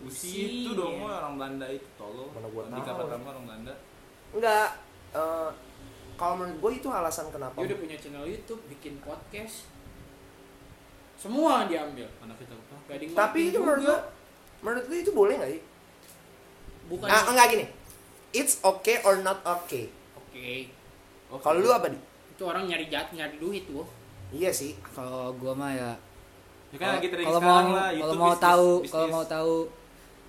[SPEAKER 3] Lucy.
[SPEAKER 5] Usi itu
[SPEAKER 4] Usi,
[SPEAKER 5] dong
[SPEAKER 4] iya.
[SPEAKER 5] orang Belanda itu tolong
[SPEAKER 3] Mana gua
[SPEAKER 5] Andika
[SPEAKER 3] tahu.
[SPEAKER 5] Pratama orang Belanda
[SPEAKER 3] Enggak. eh, kalau menurut gue itu alasan kenapa.
[SPEAKER 4] Dia Ya udah punya channel YouTube, bikin podcast. Semua diambil.
[SPEAKER 5] anak kita lupa
[SPEAKER 4] Gading
[SPEAKER 3] Tapi
[SPEAKER 4] Martin
[SPEAKER 3] itu menurut
[SPEAKER 4] juga.
[SPEAKER 3] lo, menurut lo itu boleh nggak sih?
[SPEAKER 4] bukan
[SPEAKER 3] Ah, enggak gini. It's okay or not okay.
[SPEAKER 4] Oke.
[SPEAKER 5] oh
[SPEAKER 3] Kalau lu apa nih?
[SPEAKER 4] Itu orang nyari jat, nyari duit tuh.
[SPEAKER 3] Iya sih.
[SPEAKER 1] kalau gua mah ya
[SPEAKER 5] ya kan lagi trending
[SPEAKER 1] kalau mau
[SPEAKER 5] sekarang lah
[SPEAKER 1] kalau
[SPEAKER 5] YouTube
[SPEAKER 1] mau
[SPEAKER 5] bisnis,
[SPEAKER 1] tahu
[SPEAKER 5] bisnis.
[SPEAKER 1] kalau mau tahu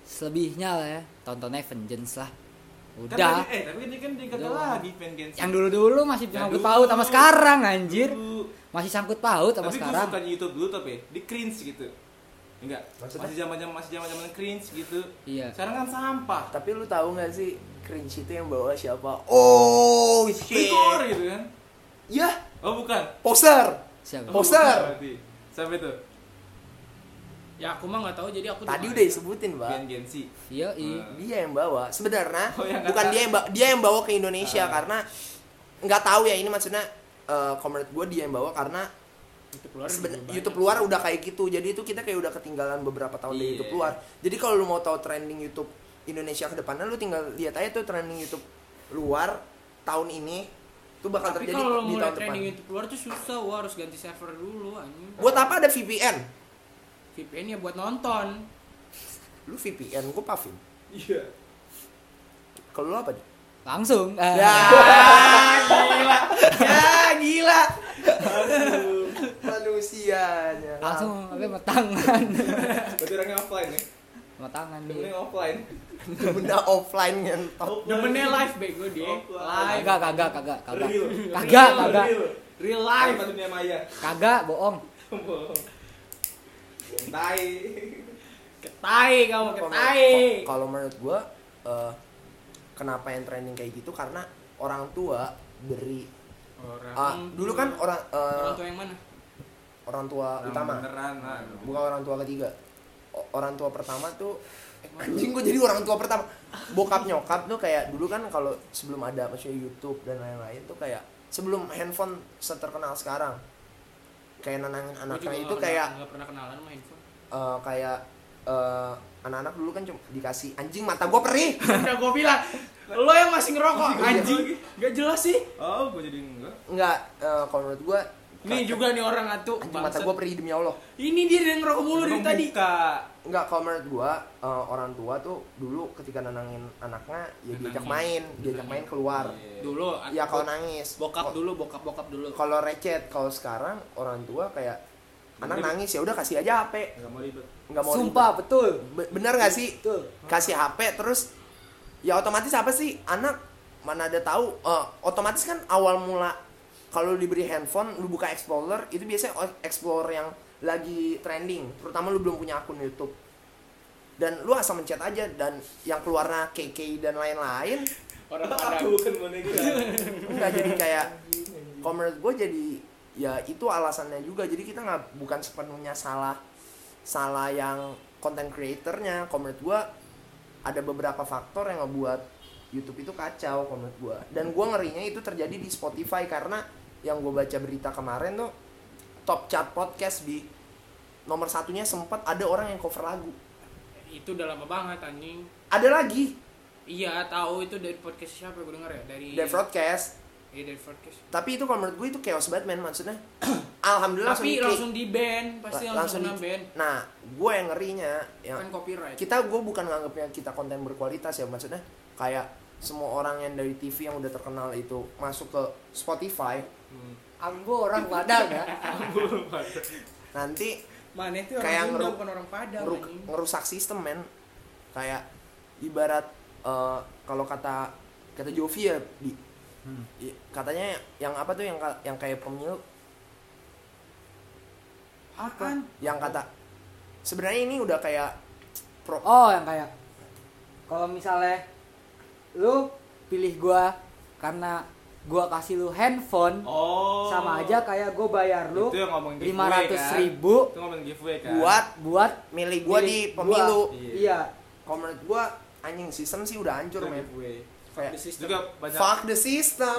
[SPEAKER 1] selebihnya lah ya tontonnya Vengeance lah
[SPEAKER 5] Kan
[SPEAKER 1] udah
[SPEAKER 5] tadi- eh tapi ini kan dia kata
[SPEAKER 1] Udah.
[SPEAKER 5] lagi fan Genshin.
[SPEAKER 1] yang dulu dulu masih
[SPEAKER 5] Yang
[SPEAKER 1] sangkut
[SPEAKER 5] dulu.
[SPEAKER 1] paut sama sekarang anjir
[SPEAKER 5] Dulu.
[SPEAKER 1] masih sangkut paut sama
[SPEAKER 5] tapi gue
[SPEAKER 1] sekarang
[SPEAKER 5] suka YouTube dulu tapi di cringe gitu enggak
[SPEAKER 3] Maksudnya?
[SPEAKER 5] masih zaman zaman masih zaman zaman cringe gitu
[SPEAKER 1] Iya.
[SPEAKER 5] sekarang kan sampah
[SPEAKER 3] Tapi lu tahu nggak sih cringe itu yang bawa siapa? Oh shit. Ya,
[SPEAKER 5] Vigor gitu kan
[SPEAKER 3] Yah,
[SPEAKER 5] oh bukan
[SPEAKER 3] poser.
[SPEAKER 1] siapa
[SPEAKER 5] oh,
[SPEAKER 3] Poser.
[SPEAKER 5] bukan berarti. siapa itu
[SPEAKER 4] Ya aku mah nggak tahu jadi aku cuma-
[SPEAKER 3] Tadi udah disebutin,
[SPEAKER 5] Gen
[SPEAKER 3] Pak.
[SPEAKER 5] Gen Z
[SPEAKER 1] iya i
[SPEAKER 5] Nah.
[SPEAKER 3] Dia yang bawa. Sebenarnya
[SPEAKER 5] Oh, yang
[SPEAKER 3] bukan
[SPEAKER 5] kata-
[SPEAKER 3] dia yang ba- dia yang bawa ke Indonesia
[SPEAKER 5] Ah.
[SPEAKER 3] karena nggak tahu ya ini maksudnya eh kalau menurut gue dia yang bawa karena
[SPEAKER 4] YouTube luar.
[SPEAKER 3] Seben-
[SPEAKER 4] juga
[SPEAKER 3] YouTube
[SPEAKER 4] banyak.
[SPEAKER 3] luar udah kayak gitu. Jadi itu kita kayak udah ketinggalan beberapa tahun dari
[SPEAKER 5] Iya.
[SPEAKER 3] YouTube luar. Jadi kalau lu mau tahu trending YouTube Indonesia ke depannya lu tinggal lihat aja tuh trending YouTube luar tahun ini tuh bakal
[SPEAKER 4] Tapi
[SPEAKER 3] terjadi
[SPEAKER 4] kalau
[SPEAKER 3] di
[SPEAKER 4] mulai
[SPEAKER 3] tahun
[SPEAKER 4] trending
[SPEAKER 3] depan.
[SPEAKER 4] YouTube luar tuh susah, wah harus ganti server dulu anjing.
[SPEAKER 3] Buat apa ada VPN?
[SPEAKER 4] VPN ya buat nonton.
[SPEAKER 3] Lu VPN, gua pavin.
[SPEAKER 5] iya
[SPEAKER 3] Kalau lu apa? Di?
[SPEAKER 1] langsung Eh,
[SPEAKER 3] Ya,
[SPEAKER 4] Ah.
[SPEAKER 3] gila. Ya, gila. Aduh, manusianya.
[SPEAKER 1] <laughs> langsung pakai sama tangan <laughs>
[SPEAKER 5] berarti orangnya offline ya
[SPEAKER 1] sama tangan dia
[SPEAKER 5] Demennya offline
[SPEAKER 3] benda offline ngentot.
[SPEAKER 4] Demennya live bego dia. Live.
[SPEAKER 1] kagak kagak kagak kagak
[SPEAKER 5] Real.
[SPEAKER 1] kagak
[SPEAKER 4] Real,
[SPEAKER 1] kagak
[SPEAKER 5] real
[SPEAKER 4] Real
[SPEAKER 5] live
[SPEAKER 4] live.
[SPEAKER 5] dunia maya
[SPEAKER 1] kagak bohong
[SPEAKER 5] tai
[SPEAKER 4] Ketai kamu
[SPEAKER 3] Kalau-
[SPEAKER 4] ketai.
[SPEAKER 3] kalau- Kalau menurut gua eh, kenapa yang trending kayak gitu karena orang tua beri ah, dulu kan orang eh,
[SPEAKER 4] orang tua yang mana?
[SPEAKER 3] orang tua utama
[SPEAKER 5] beneran lah
[SPEAKER 3] bukan orang tua ketiga O- orang tua pertama tuh eh, anjing gua jadi orang tua pertama bokap nyokap tuh kayak dulu kan kalau sebelum ada maksudnya YouTube dan lain-lain tuh kayak sebelum handphone seterkenal sekarang kayak nenangin anaknya itu kayak
[SPEAKER 4] nggak pernah kenalan sama
[SPEAKER 3] <laughs>
[SPEAKER 4] handphone.
[SPEAKER 3] eh, kayak eh, anak-anak dulu kan cuma dikasih anjing mata gua perih
[SPEAKER 4] Udah gue bilang, lo yang masih ngerokok anjing. Gak jelas sih.
[SPEAKER 5] oh gue jadi enggak
[SPEAKER 3] Enggak, eh, kalau menurut gua
[SPEAKER 4] Ini juga nih orang atuh.
[SPEAKER 3] anjing mata gua perih demi Allah.
[SPEAKER 4] Ini dia yang ngerokok mulu dari
[SPEAKER 5] Belum
[SPEAKER 4] tadi.
[SPEAKER 5] buka.
[SPEAKER 3] Enggak, kalau menurut gua eh, orang tua tuh dulu ketika nenangin anaknya ya diajak
[SPEAKER 4] Nenangin. Iya,
[SPEAKER 3] main, diajak main keluar.
[SPEAKER 5] Dulu
[SPEAKER 4] Dulu aku-
[SPEAKER 3] Ya kalau nangis.
[SPEAKER 4] bokap
[SPEAKER 3] Ko-
[SPEAKER 4] dulu, bokap bokap dulu.
[SPEAKER 3] Kalau recet, kalau sekarang orang tua kayak anak
[SPEAKER 5] Ribet.
[SPEAKER 3] nangis ya udah kasih aja HP.
[SPEAKER 5] nggak mau ribet
[SPEAKER 3] Enggak mau
[SPEAKER 1] sumpah betul
[SPEAKER 3] ribet. Be- bener gak sih? Kasih HP terus ya otomatis apa sih anak mana ada tahu eh, otomatis kan awal mula kalau diberi handphone lu buka explorer itu biasanya o- explorer yang lagi trending terutama lu belum punya akun YouTube dan lu asal mencet aja dan yang keluarnya KK dan lain-lain
[SPEAKER 4] Orang-orang
[SPEAKER 5] aku bukan
[SPEAKER 3] <laughs>
[SPEAKER 5] boneka
[SPEAKER 3] nggak jadi kayak kalau menurut gue jadi ya itu alasannya juga jadi kita nggak bukan sepenuhnya salah salah yang content creatornya kalau menurut gue ada beberapa faktor yang ngebuat YouTube itu kacau kalau menurut gua dan gua ngerinya itu terjadi di Spotify karena yang gua baca berita kemarin tuh top chart podcast di nomor satunya sempat ada orang yang cover lagu
[SPEAKER 4] Itu udah lama banget anjing.
[SPEAKER 3] ada lagi
[SPEAKER 4] Iya, tahu itu dari podcast siapa gue denger ya? Dari
[SPEAKER 3] The Broadcast
[SPEAKER 4] Iya, dari podcast.
[SPEAKER 3] tapi itu kalau menurut gue itu chaos banget men maksudnya <clears throat> alhamdulillah
[SPEAKER 4] Tapi
[SPEAKER 3] di-kick.
[SPEAKER 4] langsung di ban, pasti
[SPEAKER 3] La-
[SPEAKER 4] langsung,
[SPEAKER 3] di- Ya.
[SPEAKER 4] langsung ban.
[SPEAKER 3] nah gue yang ngerinya yang
[SPEAKER 4] Kan copyright.
[SPEAKER 3] kita gue bukan nganggapnya kita konten berkualitas ya maksudnya kayak semua orang yang dari TV yang udah terkenal itu masuk ke Spotify
[SPEAKER 1] Ambo orang Padang ya.
[SPEAKER 3] nanti
[SPEAKER 4] Mana itu
[SPEAKER 3] Kayak
[SPEAKER 4] orang Sunda
[SPEAKER 3] ngeru-
[SPEAKER 4] bukan orang Padang
[SPEAKER 3] ngeru-
[SPEAKER 4] anjing.
[SPEAKER 3] ngerusak sistem men kayak ibarat eh, kalau kata kata Jovi ya di i- katanya yang apa tuh yang ka- yang kayak pemilu
[SPEAKER 4] Apaan?
[SPEAKER 3] yang kata sebenarnya ini udah kayak pro
[SPEAKER 1] Oh, yang kayak kalau misalnya lu pilih gua karena gua kasih lu handphone
[SPEAKER 5] Oh.
[SPEAKER 1] sama aja kayak gua bayar lu
[SPEAKER 5] Itu yang ngomongin giveaway,
[SPEAKER 1] lima ratus
[SPEAKER 5] kan?
[SPEAKER 1] ribu
[SPEAKER 5] Itu ngomongin giveaway kan.
[SPEAKER 3] buat
[SPEAKER 1] buat
[SPEAKER 3] milih gue
[SPEAKER 1] milih
[SPEAKER 3] di
[SPEAKER 1] gua.
[SPEAKER 3] pemilu
[SPEAKER 5] Iya.
[SPEAKER 1] Iya.
[SPEAKER 3] kalau menurut gue anjing sistem sih udah
[SPEAKER 5] Itu
[SPEAKER 3] hancur men
[SPEAKER 5] giveaway.
[SPEAKER 3] kayak
[SPEAKER 5] Itu juga banyak <laughs>
[SPEAKER 3] fuck the system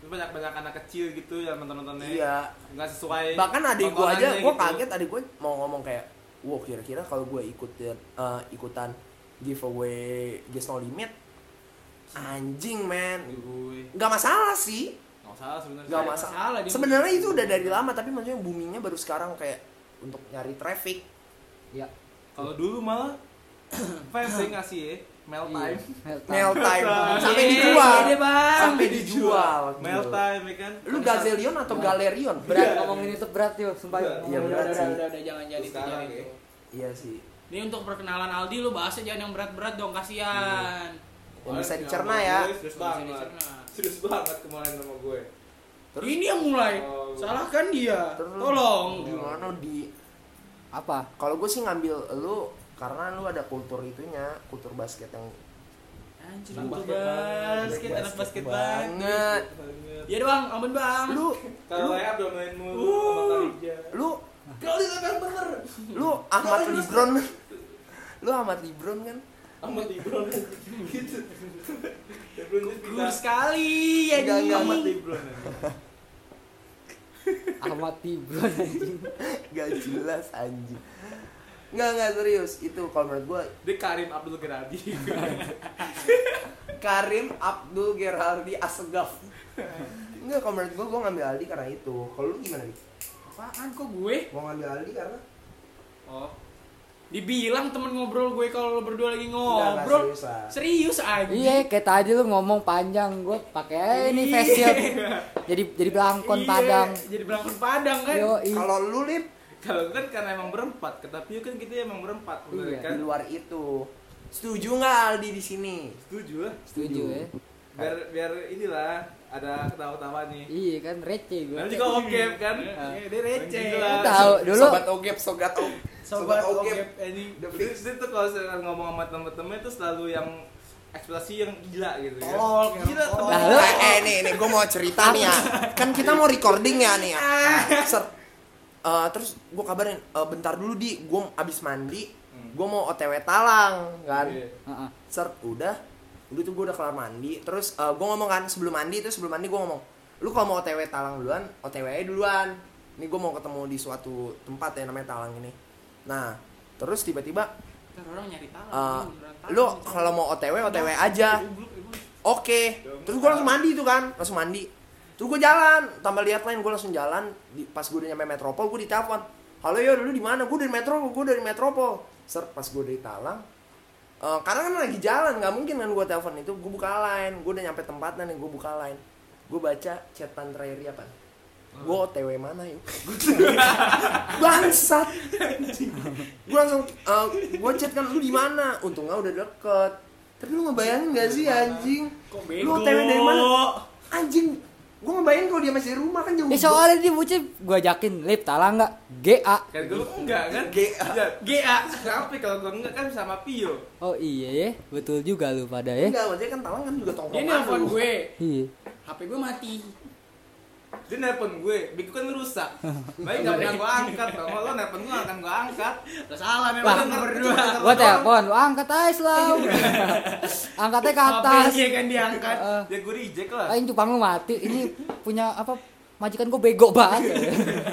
[SPEAKER 5] Itu banyak-banyak anak kecil gitu yang nonton-nontonnya.
[SPEAKER 3] iya
[SPEAKER 5] Nggak sesuai.
[SPEAKER 3] bahkan adik gue aja
[SPEAKER 5] tontonannya
[SPEAKER 3] gue
[SPEAKER 5] gitu.
[SPEAKER 3] kaget adik gue mau ngomong kayak wow kira-kira kalau gue ikutin eh, ikutan giveaway Just No Limit anjing men
[SPEAKER 5] Giveaway.
[SPEAKER 3] nggak masalah sih
[SPEAKER 5] Nggak masalah sebenarnya.
[SPEAKER 3] nggak
[SPEAKER 5] Saya-
[SPEAKER 4] masalah
[SPEAKER 3] masalah
[SPEAKER 4] dia.
[SPEAKER 3] sebenarnya itu udah dari lama tapi maksudnya boomingnya baru sekarang kayak untuk nyari
[SPEAKER 5] <laughs>
[SPEAKER 3] traffic Ya.
[SPEAKER 1] Iya.
[SPEAKER 5] Kalau dulu malah <coughs> fans yang ngasih ya. Mail
[SPEAKER 3] Iya.
[SPEAKER 5] time.
[SPEAKER 1] Iya.
[SPEAKER 3] mail time
[SPEAKER 5] Masa.
[SPEAKER 3] sampai
[SPEAKER 4] Yeay,
[SPEAKER 3] dijual
[SPEAKER 4] iya, Bang.
[SPEAKER 3] sampai dijual
[SPEAKER 5] Mail
[SPEAKER 3] Gila.
[SPEAKER 5] time Iya. ya kan.
[SPEAKER 3] lu gazelion atau galerion
[SPEAKER 1] Berat ngomongin itu berat yuk, sumpah. yuk. Ngomongin
[SPEAKER 5] Iya,
[SPEAKER 4] udah,
[SPEAKER 1] itu
[SPEAKER 3] berat
[SPEAKER 4] udah,
[SPEAKER 3] sih.
[SPEAKER 4] udah, udah, udah, jangan jadi itu,
[SPEAKER 5] Sekarang
[SPEAKER 4] jangan
[SPEAKER 5] ya.
[SPEAKER 4] itu.
[SPEAKER 3] iya sih
[SPEAKER 4] Ini untuk perkenalan Aldi lu bahasnya jangan yang berat-berat dong, kasihan.
[SPEAKER 3] yang bisa
[SPEAKER 5] Kemarin
[SPEAKER 3] dicerna
[SPEAKER 5] sama
[SPEAKER 3] ya
[SPEAKER 5] gue Serius banget.
[SPEAKER 4] dicerna.
[SPEAKER 5] Serius banget kemarin sama gue.
[SPEAKER 3] Terus?
[SPEAKER 4] Ini yang mulai.
[SPEAKER 5] Oh.
[SPEAKER 4] Salahkan dia.
[SPEAKER 3] Terus?
[SPEAKER 4] Tolong.
[SPEAKER 3] gimana di
[SPEAKER 1] Apa?
[SPEAKER 3] kalau gue sih ngambil lu karena lu ada kultur itunya kultur basket yang
[SPEAKER 4] Anjir,
[SPEAKER 5] Anak
[SPEAKER 4] itu
[SPEAKER 5] basket banget.
[SPEAKER 4] basket, ya, anak basket banget.
[SPEAKER 3] banget
[SPEAKER 4] Ya doang, ampun bang.
[SPEAKER 3] lu
[SPEAKER 5] Iya.
[SPEAKER 3] Uh.
[SPEAKER 5] Kalau layar domain mulu sama Karija.
[SPEAKER 3] lu
[SPEAKER 5] Kalau di layar bener.
[SPEAKER 3] lu Ahmad Libron lu Ahmad Libron kan
[SPEAKER 5] Sama Libron gitu. Ya, Lebron itu
[SPEAKER 4] Gugur sekali ya
[SPEAKER 3] Enggak,
[SPEAKER 4] Di.
[SPEAKER 3] enggak, amat
[SPEAKER 5] Libron.
[SPEAKER 1] Ahmad <laughs> Tibron anjing.
[SPEAKER 3] gak jelas anjing nggak nggak serius itu kalau menurut gue
[SPEAKER 5] Dia Karim Abdul Geradi.
[SPEAKER 3] Karim Abdul Geraldi Asegaf Enggak, kalau menurut gue, gue ngambil Aldi karena itu Kalau lu gimana, Dik?
[SPEAKER 4] Apaan kok gue?
[SPEAKER 3] Gue ngambil Aldi karena
[SPEAKER 5] Oh,
[SPEAKER 4] Dibilang temen ngobrol gue kalau lo berdua lagi
[SPEAKER 3] Enggak, enggak,
[SPEAKER 4] ngobrol.
[SPEAKER 3] serius lah.
[SPEAKER 4] Serius aja.
[SPEAKER 1] Iya, kayak tadi lu ngomong panjang, gua pakai aja ini face shield. Jadi jadi belangkon Padang.
[SPEAKER 4] Iya, Jadi belangkon Padang kan.
[SPEAKER 1] Yo,
[SPEAKER 3] Kalau lu, Lip,
[SPEAKER 5] kalau kan karena emang berempat, tapi kan kita emang berempat, bener
[SPEAKER 1] Iya.
[SPEAKER 5] kan?
[SPEAKER 3] di luar itu Setuju nggak Aldi di sini?
[SPEAKER 5] Setuju lah.
[SPEAKER 1] setuju ya.
[SPEAKER 5] Biar biar inilah ada ketawa-tawa nih.
[SPEAKER 1] Iya kan receh gua.
[SPEAKER 5] Namanya juga Ogep kan?
[SPEAKER 4] Iya, dia receh.
[SPEAKER 5] Gila.
[SPEAKER 1] Lu tahu dulu
[SPEAKER 3] Sobat Ogep, Sobat E Ogep
[SPEAKER 4] Sobat E Ogep ini.
[SPEAKER 3] The
[SPEAKER 5] Terus
[SPEAKER 3] Fix
[SPEAKER 5] dia tuh kalau saya ngomong sama temen-temen itu selalu yang ekspresi yang gila gitu kan.
[SPEAKER 3] Oh,
[SPEAKER 4] Tolol, kayak
[SPEAKER 5] gila
[SPEAKER 4] orang
[SPEAKER 5] temen.
[SPEAKER 1] tolol.
[SPEAKER 3] Eh, eh, nih, nih, gue mau cerita nih ya Kan kita mau recording ya nih ya
[SPEAKER 4] Ah.
[SPEAKER 3] Ser- eh, Terus gue kabarin, eh, bentar dulu di, gue abis mandi Gue mau otw talang, kan
[SPEAKER 5] Iya.
[SPEAKER 1] Heeh.
[SPEAKER 3] Sert, udah udah tuh gue udah kelar mandi terus gue ngomong kan sebelum mandi terus sebelum mandi gue ngomong lu kalau mau otw talang duluan otw aja duluan ini gue mau ketemu di suatu tempat ya namanya talang ini nah terus tiba-tiba
[SPEAKER 4] Ntar orang nyari talang.
[SPEAKER 3] eh,
[SPEAKER 4] ini beneran talang.
[SPEAKER 3] lu kalau mau otw otw aja
[SPEAKER 5] Goblok, emang.
[SPEAKER 3] oke terus gue langsung mandi tuh kan langsung mandi terus gue jalan tambah lihat lain gue langsung jalan di, pas gue udah nyampe metropol gue ditelepon halo yo lu di mana gue dari metropol gue dari metropol ser pas gue dari Talang eh, karena kan lagi jalan nggak mungkin kan gue telepon itu gue buka line gue udah nyampe tempatnya nih gue buka line gue baca chatan terakhir dia apa gue otw mana yuk <laughs> bangsat gue langsung eh, gue chat kan lu di mana untungnya udah deket tapi lu ngebayangin gak sih anjing
[SPEAKER 4] Kok bego?
[SPEAKER 3] lu otw dari mana anjing gue ngebayangin kalau dia masih di rumah kan jauh
[SPEAKER 1] Ya soalnya dia bucin gua ajakin lip talang enggak? GA.
[SPEAKER 5] Kan gue enggak kan?
[SPEAKER 3] G.A.
[SPEAKER 5] Ya,
[SPEAKER 4] GA.
[SPEAKER 5] Tapi kalau gue enggak kan sama Pio.
[SPEAKER 1] Oh iya ya, betul juga lu pada ya.
[SPEAKER 3] enggak maksudnya kan talang kan juga
[SPEAKER 4] Dia
[SPEAKER 3] tongkrongan
[SPEAKER 4] nelfon
[SPEAKER 3] lu.
[SPEAKER 4] gue.
[SPEAKER 1] Iya.
[SPEAKER 4] HP gue mati.
[SPEAKER 5] dia nelpon gue bikin kan rusak baik nggak pernah gue angkat bang kalau lo nelpon gue akan gue angkat
[SPEAKER 4] Gak salah
[SPEAKER 1] Wah.
[SPEAKER 4] memang nomor dua.
[SPEAKER 1] Gua telepon, "Wah, angkat aja Islam. Angkatnya ke atas.
[SPEAKER 4] Apanya kan diangkat.
[SPEAKER 1] Eh,
[SPEAKER 5] ya gue reject lah
[SPEAKER 1] Ah, ini cupang lu mati. Ini punya apa? Majikan gue bego banget.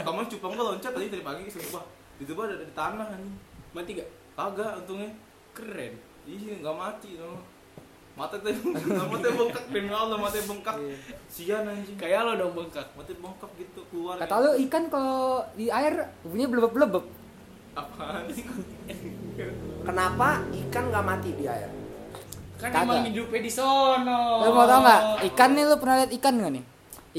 [SPEAKER 5] kamu cupang gue loncat tadi dari pagi sumpah itu gue ada di tanah anjing
[SPEAKER 4] Mati gak?
[SPEAKER 5] kagak untungnya
[SPEAKER 4] Keren.
[SPEAKER 5] iya nggak mati no. mata tuh <laughs> mata bengkak demi Allah mata bengkak sian anjing
[SPEAKER 4] Kayak lo dong bengkak.
[SPEAKER 5] mata bengkak gitu keluar
[SPEAKER 1] Kata lu ikan kalau di air bunyinya blebep-blebep.
[SPEAKER 5] apa sih
[SPEAKER 3] Kenapa ikan nggak mati di air?
[SPEAKER 4] Kan
[SPEAKER 1] Kagak.
[SPEAKER 4] emang hidupnya di sono.
[SPEAKER 1] Lu mau tau nggak?
[SPEAKER 4] Oh.
[SPEAKER 1] Ikan nih lu pernah lihat ikan nggak nih?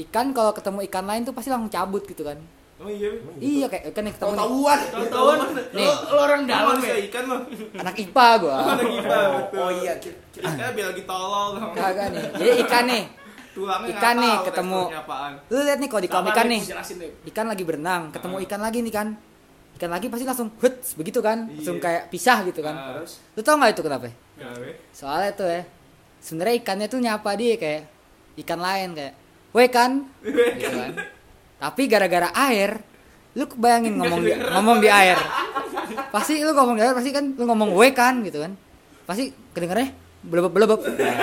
[SPEAKER 1] Ikan kalau ketemu ikan lain tuh pasti langsung cabut gitu kan?
[SPEAKER 5] emang iya
[SPEAKER 1] Iya kayak ikan yang ketemu nih.
[SPEAKER 3] Tahu-tahuan.
[SPEAKER 4] Tahun-tahun
[SPEAKER 1] Nih.
[SPEAKER 4] lo, lo orang dalam
[SPEAKER 5] dalam
[SPEAKER 4] ya.
[SPEAKER 5] ikan lo
[SPEAKER 1] Anak IPA gua.
[SPEAKER 5] ada kita
[SPEAKER 3] Oh,
[SPEAKER 5] betul.
[SPEAKER 3] oh iya, ki- ki-
[SPEAKER 5] kita biar lagi tolol sama
[SPEAKER 1] Kagak nih. Jadi ikan nih.
[SPEAKER 5] tulangnya nggak
[SPEAKER 1] Ikan nih
[SPEAKER 5] tahu
[SPEAKER 1] ketemu.
[SPEAKER 5] teksturnya apaan.
[SPEAKER 1] Lu lihat nih kalau di kolam
[SPEAKER 4] Sabar,
[SPEAKER 1] ikan
[SPEAKER 4] Dip,
[SPEAKER 1] nih.
[SPEAKER 4] Jelasin deh.
[SPEAKER 1] Ikan lagi berenang, ketemu
[SPEAKER 5] Ah.
[SPEAKER 1] ikan lagi nih kan. Ikan lagi pasti langsung huts begitu kan? Langsung
[SPEAKER 5] Iya.
[SPEAKER 1] kayak pisah gitu kan.
[SPEAKER 5] Ah, ya, terus
[SPEAKER 1] Lu tau nggak itu kenapa?
[SPEAKER 5] Nggak, weh.
[SPEAKER 1] Soalnya tuh ya. Sebenarnya ikannya tuh nyapa dia kayak ikan lain kayak, "Woi kan?" gitu kan. Tapi gara-gara air, lu kebayangin ngomong di, ngomong di air. Pasti lu ngomong di air pasti kan lu ngomong we kan gitu kan. Pasti kedengerannya blebeb-blebeb. Nah,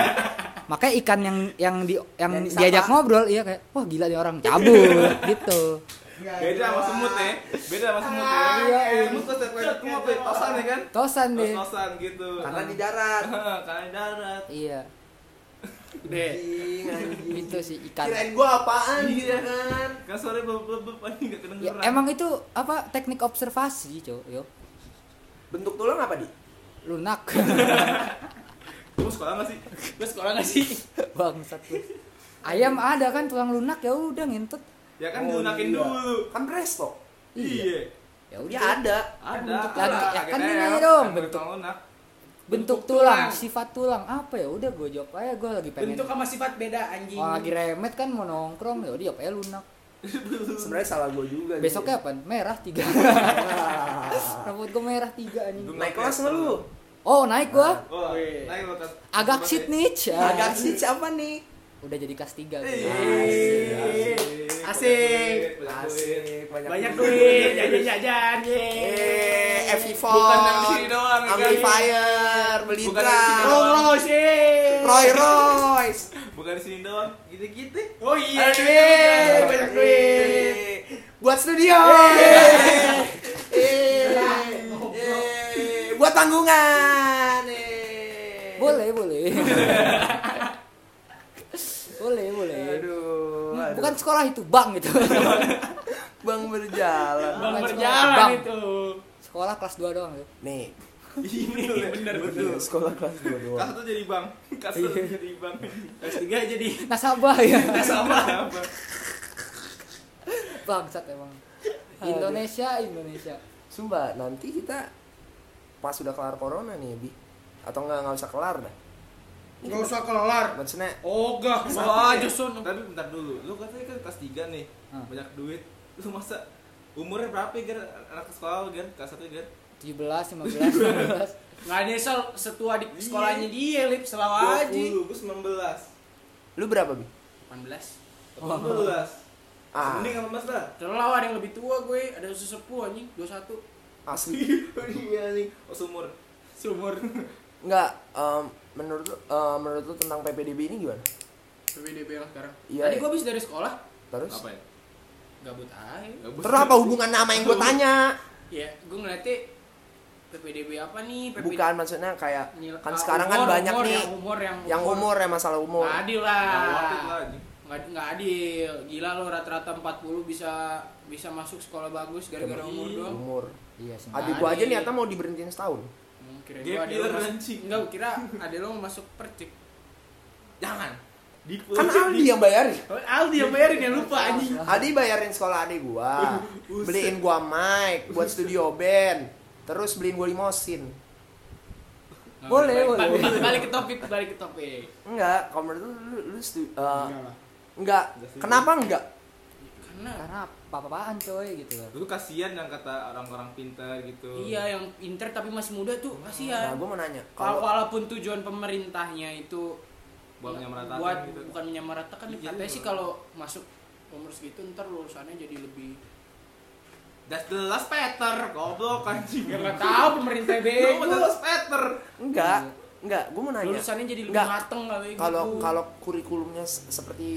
[SPEAKER 1] makanya ikan yang yang di yang
[SPEAKER 3] Yang disapa.
[SPEAKER 1] diajak ngobrol iya kayak wah gila nih orang cabut gitu.
[SPEAKER 5] beda sama semut ya beda sama semut ya
[SPEAKER 1] iya, iya.
[SPEAKER 5] semut tuh setiap kali ketemu apa ya? tosan ya kan
[SPEAKER 1] Tosan deh.
[SPEAKER 5] tos-tosan gitu
[SPEAKER 3] Karena
[SPEAKER 5] <laughs>
[SPEAKER 3] di darat.
[SPEAKER 5] Heeh, karena di darat
[SPEAKER 1] Iya,
[SPEAKER 4] Deh.
[SPEAKER 3] Anjing, anjing.
[SPEAKER 1] itu kan. sih ikan.
[SPEAKER 3] Kirain gua apaan gitu kan.
[SPEAKER 5] kan sore blub-blub anjing nggak
[SPEAKER 1] Ya,
[SPEAKER 5] kedengeran
[SPEAKER 1] emang itu apa teknik observasi, Cok, yo.
[SPEAKER 3] Bentuk tulang apa, Di?
[SPEAKER 1] Lunak.
[SPEAKER 5] kamu sekolah nggak sih
[SPEAKER 4] Gue sekolah gak sih?
[SPEAKER 1] Bangsat lu. Ayam ada kan tulang lunak ya udah ngentut.
[SPEAKER 5] ya kan
[SPEAKER 3] Oh,
[SPEAKER 5] dilunakin
[SPEAKER 3] iya.
[SPEAKER 5] dulu
[SPEAKER 3] Kan presto.
[SPEAKER 5] iya
[SPEAKER 1] Ya udah.
[SPEAKER 3] Dia ada.
[SPEAKER 5] ada
[SPEAKER 1] tulang.
[SPEAKER 5] ada.
[SPEAKER 1] Ya kan
[SPEAKER 5] Akhirnya
[SPEAKER 1] gini dong,
[SPEAKER 5] ada
[SPEAKER 1] bentuk.
[SPEAKER 5] tulang lunak.
[SPEAKER 1] bentuk
[SPEAKER 4] Bentuk
[SPEAKER 1] tulang,
[SPEAKER 4] tulang.
[SPEAKER 1] sifat tulang apa ya udah gue jawab aja gue lagi pengen
[SPEAKER 4] Bentuk sama sifat beda anjing.
[SPEAKER 1] Wah, lagi remet kan mau nongkrong ya udah jawab aja lunak
[SPEAKER 3] Sebenarnya salah gua juga. Di.
[SPEAKER 1] besoknya apa merah tiga
[SPEAKER 3] Ah.
[SPEAKER 1] rambut gue merah tiga anjing
[SPEAKER 5] Dulu.
[SPEAKER 3] Naik kelas nggak lu?
[SPEAKER 1] oh naik gue
[SPEAKER 5] Wah,
[SPEAKER 4] Wih.
[SPEAKER 3] iya.
[SPEAKER 5] naik lo Tat.
[SPEAKER 1] agak
[SPEAKER 5] Coba
[SPEAKER 1] shit
[SPEAKER 5] deh.
[SPEAKER 1] nih Cah.
[SPEAKER 3] Agak sih siapa nih?
[SPEAKER 1] udah jadi kelas tiga
[SPEAKER 5] Iya.
[SPEAKER 1] gue.
[SPEAKER 4] Asik.
[SPEAKER 5] Banyak duit.
[SPEAKER 3] Asik,
[SPEAKER 4] Banyak duit, jajan-jajan,
[SPEAKER 3] Eh,
[SPEAKER 4] yeay.
[SPEAKER 3] FV4.
[SPEAKER 5] Bukan yang sini
[SPEAKER 3] Oh,
[SPEAKER 5] doang, ya,
[SPEAKER 3] Amplifier, beli
[SPEAKER 5] Bukan
[SPEAKER 3] drum.
[SPEAKER 5] yang sini
[SPEAKER 4] Rolls Royce, yeay.
[SPEAKER 3] Roy Royce.
[SPEAKER 5] bukan di sini doang gitu-gitu
[SPEAKER 4] Oh iya,
[SPEAKER 3] Ada
[SPEAKER 4] duit,
[SPEAKER 3] duit.
[SPEAKER 4] banyak duit.
[SPEAKER 3] Buat studio. Eh, eh, Buat panggungan. Eh.
[SPEAKER 1] boleh boleh boleh boleh
[SPEAKER 3] Aduh. aduh.
[SPEAKER 1] bukan sekolah itu bang gitu
[SPEAKER 3] Bang berjalan.
[SPEAKER 4] Bang
[SPEAKER 1] Bukan
[SPEAKER 4] berjalan
[SPEAKER 1] bang.
[SPEAKER 4] itu.
[SPEAKER 1] sekolah kelas 2 doang gitu.
[SPEAKER 3] Nih,
[SPEAKER 5] ini
[SPEAKER 3] Iya,
[SPEAKER 5] bener bener
[SPEAKER 3] sekolah kelas 2
[SPEAKER 5] kelas satu jadi bang kelas
[SPEAKER 3] Iya.
[SPEAKER 5] satu jadi bang
[SPEAKER 4] Kelas tiga jadi
[SPEAKER 1] nasabah
[SPEAKER 4] <laughs>
[SPEAKER 1] ya
[SPEAKER 5] sama
[SPEAKER 1] bangsat emang Indonesia Indonesia
[SPEAKER 3] Sumpah, nanti kita pas sudah kelar corona nih, Bi. Atau nggak nggak usah kelar dah.
[SPEAKER 4] Gak usah kelar.
[SPEAKER 3] Maksudnya
[SPEAKER 4] Oh gak, wah
[SPEAKER 5] Wah,
[SPEAKER 4] Joson.
[SPEAKER 5] Tapi bentar dulu. Lu katanya kan kelas 3 nih.
[SPEAKER 3] Ah.
[SPEAKER 1] Hah.
[SPEAKER 5] Banyak duit. Lu masa umurnya berapa ya, Ger? Anak sekolah, Ger? Kelas 1, Ger?
[SPEAKER 1] 17
[SPEAKER 4] <laughs>
[SPEAKER 1] 15 16
[SPEAKER 4] Gak nyesel setua di
[SPEAKER 1] Iya.
[SPEAKER 4] sekolahnya dia, Lip, selalu aja.
[SPEAKER 5] 20, gua 19.
[SPEAKER 3] lu berapa, Bi?
[SPEAKER 4] 18.
[SPEAKER 5] 18.
[SPEAKER 3] Ah,
[SPEAKER 5] Mending 18 lah.
[SPEAKER 4] Terlalu ada yang lebih tua gue, ada sesepuh anjing, 21.
[SPEAKER 3] asli.
[SPEAKER 5] Iya nih, oh seumur.
[SPEAKER 4] Seumur.
[SPEAKER 3] Nggak, em, menurut lu- em, menurut lu tentang PPDB ini gimana?
[SPEAKER 4] PBDB lah sekarang.
[SPEAKER 3] Iya,
[SPEAKER 4] Tadi
[SPEAKER 3] iya.
[SPEAKER 4] gue habis dari sekolah,
[SPEAKER 3] Terus?
[SPEAKER 5] Apa ya?
[SPEAKER 4] gabut aja.
[SPEAKER 5] Gabut.
[SPEAKER 3] Terus apa hubungan nama yang gue tanya?
[SPEAKER 4] Ya, gue ngeliatnya PPDB apa nih? PPDB.
[SPEAKER 3] Bukan maksudnya kayak
[SPEAKER 4] Nil-
[SPEAKER 3] kan
[SPEAKER 4] ah,
[SPEAKER 3] sekarang kan
[SPEAKER 4] umur,
[SPEAKER 3] banyak
[SPEAKER 4] umur,
[SPEAKER 3] nih
[SPEAKER 4] yang umur yang
[SPEAKER 3] yang umur ya masalah umur.
[SPEAKER 4] Nggak adil
[SPEAKER 5] Nah,
[SPEAKER 4] lah.
[SPEAKER 5] worth it lah, anjing.
[SPEAKER 4] Nggak, nggak adil. Gila lo rata-rata 40 bisa bisa masuk sekolah bagus gara-gara
[SPEAKER 3] Iya.
[SPEAKER 4] umur doang.
[SPEAKER 3] Umur.
[SPEAKER 1] iya sih
[SPEAKER 3] Adik gue aja
[SPEAKER 4] Adil.
[SPEAKER 3] niatnya mau diberhentiin setahun.
[SPEAKER 4] Hmm, Kira
[SPEAKER 5] Gap
[SPEAKER 4] gua ada lo
[SPEAKER 5] year,
[SPEAKER 4] masuk-
[SPEAKER 5] anjing.
[SPEAKER 4] Enggak, gua kira ada lo masuk percik.
[SPEAKER 5] Jangan. Di
[SPEAKER 3] Kan Aldi yang bayarin.
[SPEAKER 4] Oh, Aldi yang bayarin ya lupa anjing.
[SPEAKER 3] Adi bayarin sekolah adik
[SPEAKER 4] <laughs>
[SPEAKER 3] gua. Beliin gua mic buat studio band. Terus beliin gua limosin.
[SPEAKER 1] Boleh,
[SPEAKER 4] Balik-
[SPEAKER 1] boleh.
[SPEAKER 4] balik- Balik ke topik, balik ke topik.
[SPEAKER 3] Enggak, kalau menurut lu lu, lu stu- eh, enggak. Kenapa enggak?
[SPEAKER 4] Karena
[SPEAKER 1] karena apa-apaan coy gitu kan
[SPEAKER 5] Lu kasihan yang kata orang-orang pintar gitu.
[SPEAKER 4] iya yang pinter tapi masih muda tuh
[SPEAKER 3] Nah,
[SPEAKER 4] kasihan.
[SPEAKER 3] gua mau nanya.
[SPEAKER 4] Kalau
[SPEAKER 3] Kalau
[SPEAKER 4] walaupun tujuan pemerintahnya itu
[SPEAKER 5] Buat menyamaratakan
[SPEAKER 4] Iya. buat-
[SPEAKER 5] gitu.
[SPEAKER 4] bukan menyamaratakan
[SPEAKER 5] Iya,
[SPEAKER 4] katanya
[SPEAKER 5] iya.
[SPEAKER 4] sih kalau masuk umur segitu ntar lulusannya jadi lebih
[SPEAKER 5] That's the last pattern, goblok anjing.
[SPEAKER 4] ya nggak tahu pemerintah
[SPEAKER 5] Lu mau
[SPEAKER 4] bego
[SPEAKER 5] that's pattern.
[SPEAKER 3] Enggak, enggak. Gue mau nanya.
[SPEAKER 4] lulusannya jadi lebih
[SPEAKER 3] Nah, iya. Nggak.
[SPEAKER 4] mateng kali gitu
[SPEAKER 3] Kalau kalau kurikulumnya se- seperti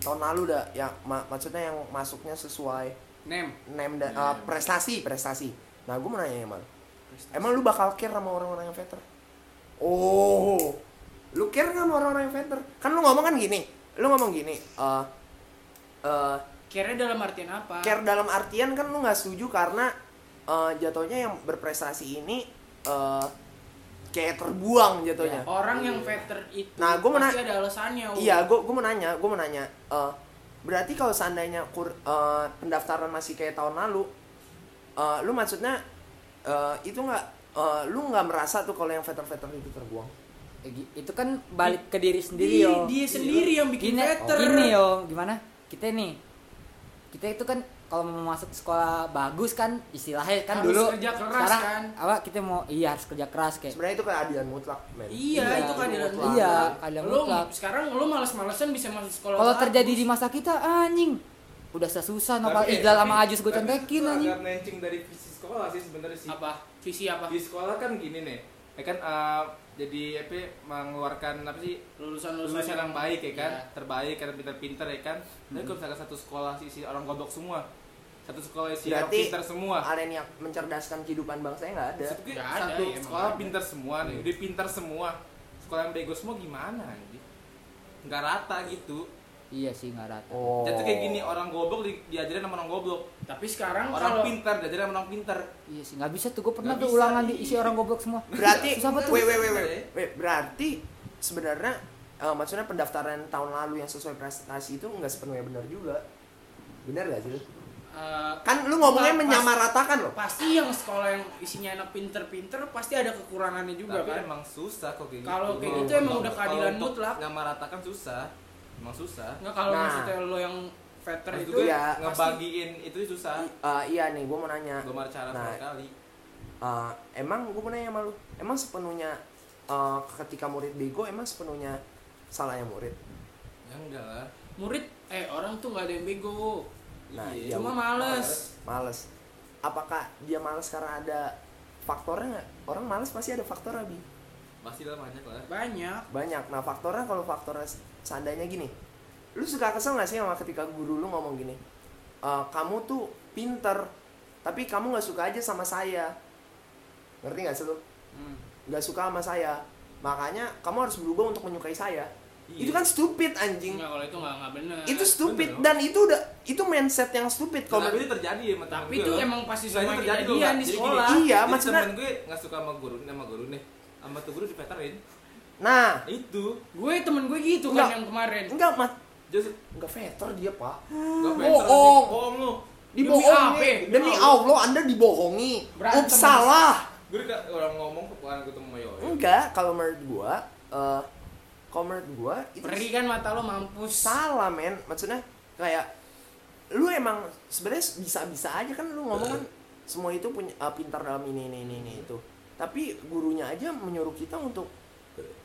[SPEAKER 3] tahun lalu dah, yang ma- maksudnya yang masuknya sesuai
[SPEAKER 4] nem
[SPEAKER 3] name dan eh, prestasi, prestasi. Nah, gue mau nanya emang. Emang lu bakal care sama orang-orang yang veter? Oh, lu care nggak sama orang-orang yang veter? Kan lu ngomong kan gini, lu ngomong gini. eh eh,
[SPEAKER 4] kira dalam artian apa
[SPEAKER 3] care dalam artian kan lu nggak setuju karena eh, jatuhnya yang berprestasi ini eh, kayak terbuang jatuhnya.
[SPEAKER 4] orang yang veter itu
[SPEAKER 3] Nah, gua mau
[SPEAKER 4] pasti
[SPEAKER 3] na-
[SPEAKER 4] ada alasannya Wu.
[SPEAKER 3] Iya, gue gue mau nanya, gue mau nanya. eh, berarti kalau seandainya kur, eh, pendaftaran masih kayak tahun lalu, eh, lu maksudnya eh, itu nggak, eh, lu nggak merasa tuh kalau yang veteran-veteran itu terbuang?
[SPEAKER 1] Ya, gi- itu kan balik ke diri sendiri
[SPEAKER 4] Di-
[SPEAKER 1] yo Iya.
[SPEAKER 4] dia sendiri yang bikin
[SPEAKER 1] gini, oh,
[SPEAKER 4] veter
[SPEAKER 1] gini yo gimana kita nih kita itu kan kalau mau masuk sekolah bagus kan istilahnya kan
[SPEAKER 4] Harus
[SPEAKER 1] dulu
[SPEAKER 4] kerja keras,
[SPEAKER 1] sekarang
[SPEAKER 4] kan?
[SPEAKER 1] apa kita mau iya harus kerja keras kayak
[SPEAKER 3] Sebenarnya itu keadilan mutlak, men.
[SPEAKER 4] Iya,
[SPEAKER 1] Iya,
[SPEAKER 4] itu keadilan
[SPEAKER 1] mutlak.
[SPEAKER 4] mutlak.
[SPEAKER 1] Iya, keadilan
[SPEAKER 4] Lu
[SPEAKER 1] mutlak.
[SPEAKER 4] sekarang lu males-malesan bisa masuk sekolah.
[SPEAKER 1] kalau
[SPEAKER 4] bagus.
[SPEAKER 1] terjadi di masa kita anjing udah susah nopal
[SPEAKER 5] Tapi-
[SPEAKER 1] Iqbal sama
[SPEAKER 5] tapi-
[SPEAKER 1] Ajus gue
[SPEAKER 5] tapi
[SPEAKER 1] contekin
[SPEAKER 5] itu
[SPEAKER 1] anjing
[SPEAKER 5] Agak melenceng dari visi sekolah sih sebenarnya sih.
[SPEAKER 4] apa? Visi apa?
[SPEAKER 5] Di sekolah kan gini nih. Ya kan eh, jadi apa mengeluarkan apa sih
[SPEAKER 4] Lulusan-lulusan
[SPEAKER 5] lulusan yang baik ya kan
[SPEAKER 4] Iya.
[SPEAKER 5] terbaik karena pintar-pintar ya kan
[SPEAKER 1] Hmm.
[SPEAKER 5] tapi kalau misalkan satu sekolah sih isi orang goblok semua satu sekolah isi orang
[SPEAKER 3] Berarti
[SPEAKER 5] pintar semua
[SPEAKER 3] Ada yang niat mencerdaskan kehidupan bangsa nggak ada.
[SPEAKER 5] Maksudnya
[SPEAKER 4] Nggak ada,
[SPEAKER 5] satu
[SPEAKER 4] ya, emang nggak
[SPEAKER 5] sekolah
[SPEAKER 4] ada. Iya.
[SPEAKER 5] pintar semua nih udah pintar semua sekolah yang bego semua gimana anjing nggak rata gitu
[SPEAKER 1] iya sih nggak rata
[SPEAKER 3] Oh.
[SPEAKER 5] Jatuh kayak gini orang goblok di- diajarin sama orang goblok
[SPEAKER 4] Tapi sekarang
[SPEAKER 5] orang
[SPEAKER 4] kalau
[SPEAKER 5] pintar diajarin sama orang pintar
[SPEAKER 1] iya sih nggak bisa tuh gue pernah
[SPEAKER 5] Nggak
[SPEAKER 1] tuh
[SPEAKER 5] bisa,
[SPEAKER 1] ulangan
[SPEAKER 5] iya.
[SPEAKER 1] diisi orang goblok semua
[SPEAKER 3] Berarti,
[SPEAKER 1] Susah banget tuh.
[SPEAKER 3] wait, wait, wait, wait, wait. Berarti sebenarnya eh, maksudnya pendaftaran tahun lalu yang sesuai prestasi itu nggak sepenuhnya benar juga. Benar gak sih?
[SPEAKER 4] eh,
[SPEAKER 3] Kan lu ngomongnya
[SPEAKER 4] Pas-
[SPEAKER 3] menyamaratakan loh.
[SPEAKER 4] pasti yang sekolah yang isinya anak pinter-pinter pasti ada kekurangannya juga
[SPEAKER 5] tapi
[SPEAKER 4] kan.
[SPEAKER 5] emang susah kok kayak gitu
[SPEAKER 4] Kalau kayak gitu emang udah keadilan mutlak.
[SPEAKER 5] nggak meratakan susah emang susah
[SPEAKER 4] Nggak kalau
[SPEAKER 3] Nah.
[SPEAKER 4] maksudnya lo yang veter
[SPEAKER 5] Terus
[SPEAKER 4] itu
[SPEAKER 5] juga
[SPEAKER 3] ya,
[SPEAKER 5] ngebagiin itu susah
[SPEAKER 3] Eh, iya nih, gue mau nanya.
[SPEAKER 5] gue cara
[SPEAKER 3] Nah.
[SPEAKER 5] nah, kali
[SPEAKER 3] Eh, emang gue mau nanya sama lu, emang sepenuhnya eh, ketika murid bego, emang sepenuhnya salahnya murid?
[SPEAKER 5] ya enggak lah
[SPEAKER 4] murid eh orang tuh nggak ada yang bego.
[SPEAKER 3] Nah, iya.
[SPEAKER 5] Iya.
[SPEAKER 4] Cuma males.
[SPEAKER 3] Males. Apakah dia males karena ada faktornya nggak? Orang males pasti ada faktornya, Bi.
[SPEAKER 5] pasti lah banyak lah
[SPEAKER 4] Banyak.
[SPEAKER 3] banyak nah faktornya kalau faktornya se- seandainya gini lu suka kesel gak sih sama ketika guru lu ngomong gini "Eh, kamu tuh pinter tapi kamu nggak suka aja sama saya ngerti nggak sih lu
[SPEAKER 4] Hmm.
[SPEAKER 3] nggak suka sama saya makanya kamu harus berubah untuk menyukai saya
[SPEAKER 5] Iya.
[SPEAKER 3] itu kan stupid anjing
[SPEAKER 4] Nggak kalau itu nggak nggak benar.
[SPEAKER 3] itu stupid
[SPEAKER 5] bener.
[SPEAKER 3] dan itu udah itu mindset yang stupid kalau menurut-
[SPEAKER 5] tapi
[SPEAKER 4] Iya.
[SPEAKER 5] itu terjadi ya sama temen
[SPEAKER 4] Tapi
[SPEAKER 5] gue,
[SPEAKER 4] itu
[SPEAKER 5] loh.
[SPEAKER 4] emang pasti
[SPEAKER 5] Nah,
[SPEAKER 4] semua
[SPEAKER 5] itu terjadi
[SPEAKER 4] kejadian di
[SPEAKER 5] loh, Kak. Jadi
[SPEAKER 4] sekolah.
[SPEAKER 5] gini,
[SPEAKER 3] Iya,
[SPEAKER 5] jadi
[SPEAKER 3] maksudnya-
[SPEAKER 5] temen gue nggak suka sama guru sama guru nih sama tuh guru dipeterin
[SPEAKER 3] nah
[SPEAKER 5] itu
[SPEAKER 4] Gue temen gue gitu
[SPEAKER 3] Nggak.
[SPEAKER 4] kan yang kemarin.
[SPEAKER 3] enggak mat
[SPEAKER 5] just
[SPEAKER 3] enggak veter dia pak
[SPEAKER 5] gak
[SPEAKER 3] Oh, Bohong.
[SPEAKER 5] bohong lu
[SPEAKER 4] apa?
[SPEAKER 3] dibohongi
[SPEAKER 4] Demi
[SPEAKER 3] demi Allah anda dibohongi
[SPEAKER 4] Berantem.
[SPEAKER 3] Ups, salah
[SPEAKER 5] gue udah kayak orang ngomong ke bukan ketemu sama Yoyo
[SPEAKER 3] Enggak, kalau menurut gua, eh kalau menurut gua itu
[SPEAKER 4] Perih kan mata lo mampus.
[SPEAKER 3] salah men. Maksudnya kayak lu emang sebenarnya bisa-bisa aja kan lu ngomong kan semua itu punya eh, pintar dalam ini ini ini, ini, itu. Tapi gurunya aja menyuruh kita untuk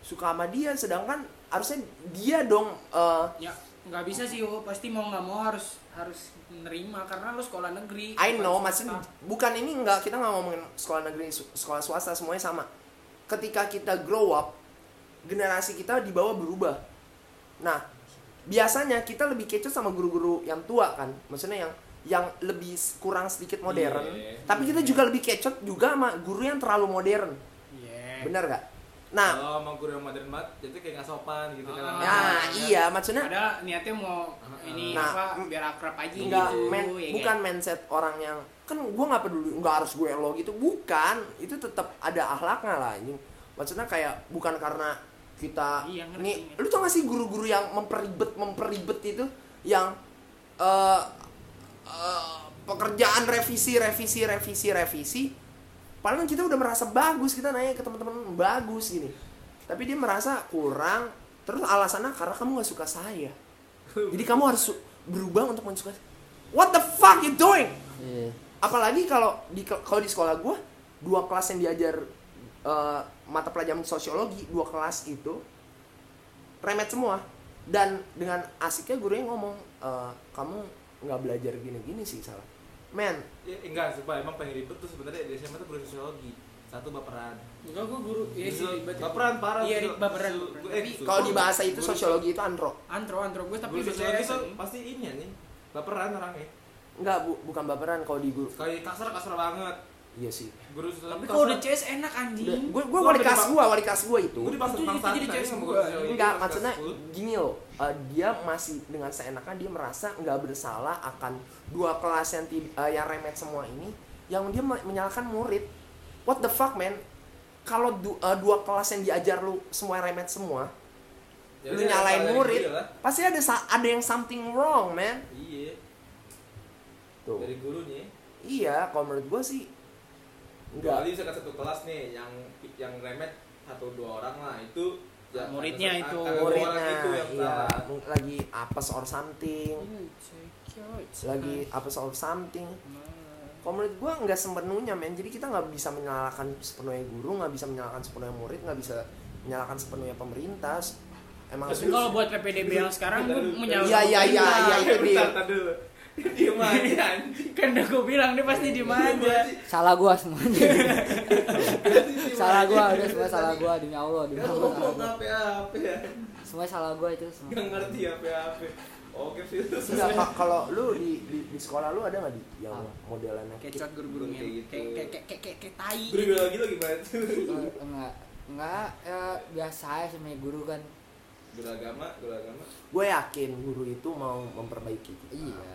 [SPEAKER 3] suka sama dia, sedangkan harusnya dia dong eh,
[SPEAKER 4] ya nggak bisa sih Wo. pasti mau nggak mau harus harus menerima karena lu sekolah negeri Iya.
[SPEAKER 3] I know,
[SPEAKER 4] bukan swasta.
[SPEAKER 3] maksudnya bukan ini enggak kita nggak ngomongin sekolah negeri, su- sekolah swasta semuanya sama. Ketika kita grow up, generasi kita di bawah berubah. Nah, biasanya kita lebih kecoh sama guru-guru yang tua kan, maksudnya yang yang lebih s- kurang sedikit modern.
[SPEAKER 5] Iya.
[SPEAKER 3] Tapi kita juga lebih kecoh juga sama guru yang terlalu modern,
[SPEAKER 4] Iya.
[SPEAKER 3] benar nggak? Nah,
[SPEAKER 5] kalau Ya, sama guru yang modern banget jadi kayak nggak sopan gitu kan
[SPEAKER 4] Ah.
[SPEAKER 3] nah iya maksudnya
[SPEAKER 4] padahal niatnya mau ini
[SPEAKER 3] Nah,
[SPEAKER 4] apa
[SPEAKER 3] mm,
[SPEAKER 4] biar akrab aja
[SPEAKER 3] nggak
[SPEAKER 4] gitu
[SPEAKER 3] men-
[SPEAKER 4] ya
[SPEAKER 3] bukan
[SPEAKER 4] kan?
[SPEAKER 3] mindset orang yang kan gue nggak peduli nggak harus gue lo gitu bukan itu tetap ada akhlaknya lah anjing maksudnya kayak bukan karena kita
[SPEAKER 4] Iya, ngerti,
[SPEAKER 3] nih
[SPEAKER 4] ngerti.
[SPEAKER 3] lu tau gak sih guru-guru yang memperibet memperibet itu yang eh eh, pekerjaan revisi revisi revisi revisi padahal kita udah merasa bagus kita nanya ke teman-teman bagus gini tapi dia merasa kurang terus alasannya karena kamu nggak suka
[SPEAKER 4] <laughs>
[SPEAKER 3] saya jadi kamu harus su- berubah untuk mensukai what the fuck you doing
[SPEAKER 1] Iya.
[SPEAKER 3] apalagi kalau di kalau di sekolah gua dua kelas yang diajar eh, mata pelajaran sosiologi dua kelas itu remet semua dan dengan asiknya gurunya ngomong "Eh, kamu nggak belajar gini-gini sih salah men
[SPEAKER 5] Ya, enggak, sumpah emang paling ribet tuh sebenarnya di SMA tuh guru sosiologi. Satu baperan.
[SPEAKER 4] Enggak gua guru. Iya sih,
[SPEAKER 5] Justru-
[SPEAKER 4] ribet.
[SPEAKER 5] baperan parah.
[SPEAKER 4] Iya,
[SPEAKER 5] justru.
[SPEAKER 4] ribet, baperan.
[SPEAKER 5] Justru-
[SPEAKER 4] baperan.
[SPEAKER 5] eh,
[SPEAKER 4] Tapi
[SPEAKER 5] justru.
[SPEAKER 3] kalau di bahasa itu
[SPEAKER 5] Guru-
[SPEAKER 3] sosiologi itu andro
[SPEAKER 4] antro antro gua tapi kan-
[SPEAKER 5] Guru
[SPEAKER 4] udah
[SPEAKER 5] sosiologi
[SPEAKER 4] beres.
[SPEAKER 5] tuh pasti ini ya nih. Baperan orangnya.
[SPEAKER 3] nggak bu bukan baperan kalau di guru
[SPEAKER 5] Kalau kasar kasar banget.
[SPEAKER 3] iya sih
[SPEAKER 5] Guru sosiologi.
[SPEAKER 4] Tapi kalau udah CS enak
[SPEAKER 3] Udah,
[SPEAKER 4] anjing.
[SPEAKER 3] gue gue
[SPEAKER 5] Gua
[SPEAKER 3] wali
[SPEAKER 5] udah
[SPEAKER 3] kelas
[SPEAKER 5] dipak-
[SPEAKER 3] gue wali kelas gue itu
[SPEAKER 5] Gue dipaksa
[SPEAKER 4] Itu jadi-
[SPEAKER 5] pangsaan
[SPEAKER 4] jadi
[SPEAKER 5] tadi
[SPEAKER 4] cewek
[SPEAKER 5] sama
[SPEAKER 4] gua.
[SPEAKER 5] guru sosiologi.
[SPEAKER 3] Enggak,
[SPEAKER 5] kelas
[SPEAKER 3] maksudnya
[SPEAKER 5] 10.
[SPEAKER 3] gini loh. eh, dia masih dengan seenaknya dia merasa nggak bersalah akan dua kelas yang ti- eh, yang remet semua ini yang dia me- menyalahkan murid. What the fuck, man? Kalau du- eh, dua kelas yang diajar lu semua remet semua,
[SPEAKER 5] Ya
[SPEAKER 3] lu
[SPEAKER 5] udah,
[SPEAKER 3] nyalain
[SPEAKER 5] salah dari
[SPEAKER 3] murid,
[SPEAKER 5] guru lah.
[SPEAKER 3] pasti ada sa- ada yang something wrong, man.
[SPEAKER 5] Iya,
[SPEAKER 3] Tuh.
[SPEAKER 5] dari gurunya.
[SPEAKER 3] Iya, kalau menurut gue sih
[SPEAKER 5] Kali
[SPEAKER 3] enggak.
[SPEAKER 5] misalkan satu kelas nih yang yang remet satu dua orang lah itu ya,
[SPEAKER 4] Muridnya
[SPEAKER 5] agak-
[SPEAKER 4] itu.
[SPEAKER 5] agak dua orang
[SPEAKER 3] Muridnya
[SPEAKER 5] itu yang
[SPEAKER 3] iya,
[SPEAKER 5] salah.
[SPEAKER 3] mung- lagi apes or something,
[SPEAKER 4] Iya,
[SPEAKER 5] Iya.
[SPEAKER 3] lagi apes or something. Kalau menurut gue nggak sepenuhnya men, jadi kita nggak bisa menyalahkan sepenuhnya guru, nggak bisa menyalahkan sepenuhnya murid, nggak bisa menyalahkan sepenuhnya pemerintah. Emang
[SPEAKER 4] Tapi kalau buat PPDB yang sekarang gue menyalahkan
[SPEAKER 3] Iya, iya, iya,
[SPEAKER 4] pemerintah.
[SPEAKER 3] iya, itu dia.
[SPEAKER 5] Bentar, bentar dulu. Diem aja anjing.
[SPEAKER 4] <laughs> Kan udah gue bilang dia pasti di
[SPEAKER 3] Iya,
[SPEAKER 5] Diem
[SPEAKER 4] mana.
[SPEAKER 5] aja.
[SPEAKER 1] Salah gua semuanya.
[SPEAKER 5] Diem
[SPEAKER 1] salah
[SPEAKER 5] aja.
[SPEAKER 1] gua, udah semua salah gua demi Allah, demi
[SPEAKER 5] Nggak
[SPEAKER 1] Allah.
[SPEAKER 5] ngomong apa-apa ya.
[SPEAKER 1] Semua salah gua itu semua.
[SPEAKER 5] Nggak ngerti apa-apa. Oke sih.
[SPEAKER 3] Enggak, Kak, kalau lu di, di, di sekolah lu ada nggak di yang
[SPEAKER 1] Apa?
[SPEAKER 3] modelannya?
[SPEAKER 4] Kecot guru-guru
[SPEAKER 5] Kayak
[SPEAKER 4] men.
[SPEAKER 5] gitu.
[SPEAKER 4] Kayak kayak kayak kayak- kayak- kayak tai.
[SPEAKER 5] Guru bilang gitu gimana tuh?
[SPEAKER 1] Enggak, enggak Eh, ya, biasa aja sama guru kan.
[SPEAKER 5] Guru agama, guru agama.
[SPEAKER 3] Gue yakin guru itu mau memperbaiki kita.
[SPEAKER 1] Iya.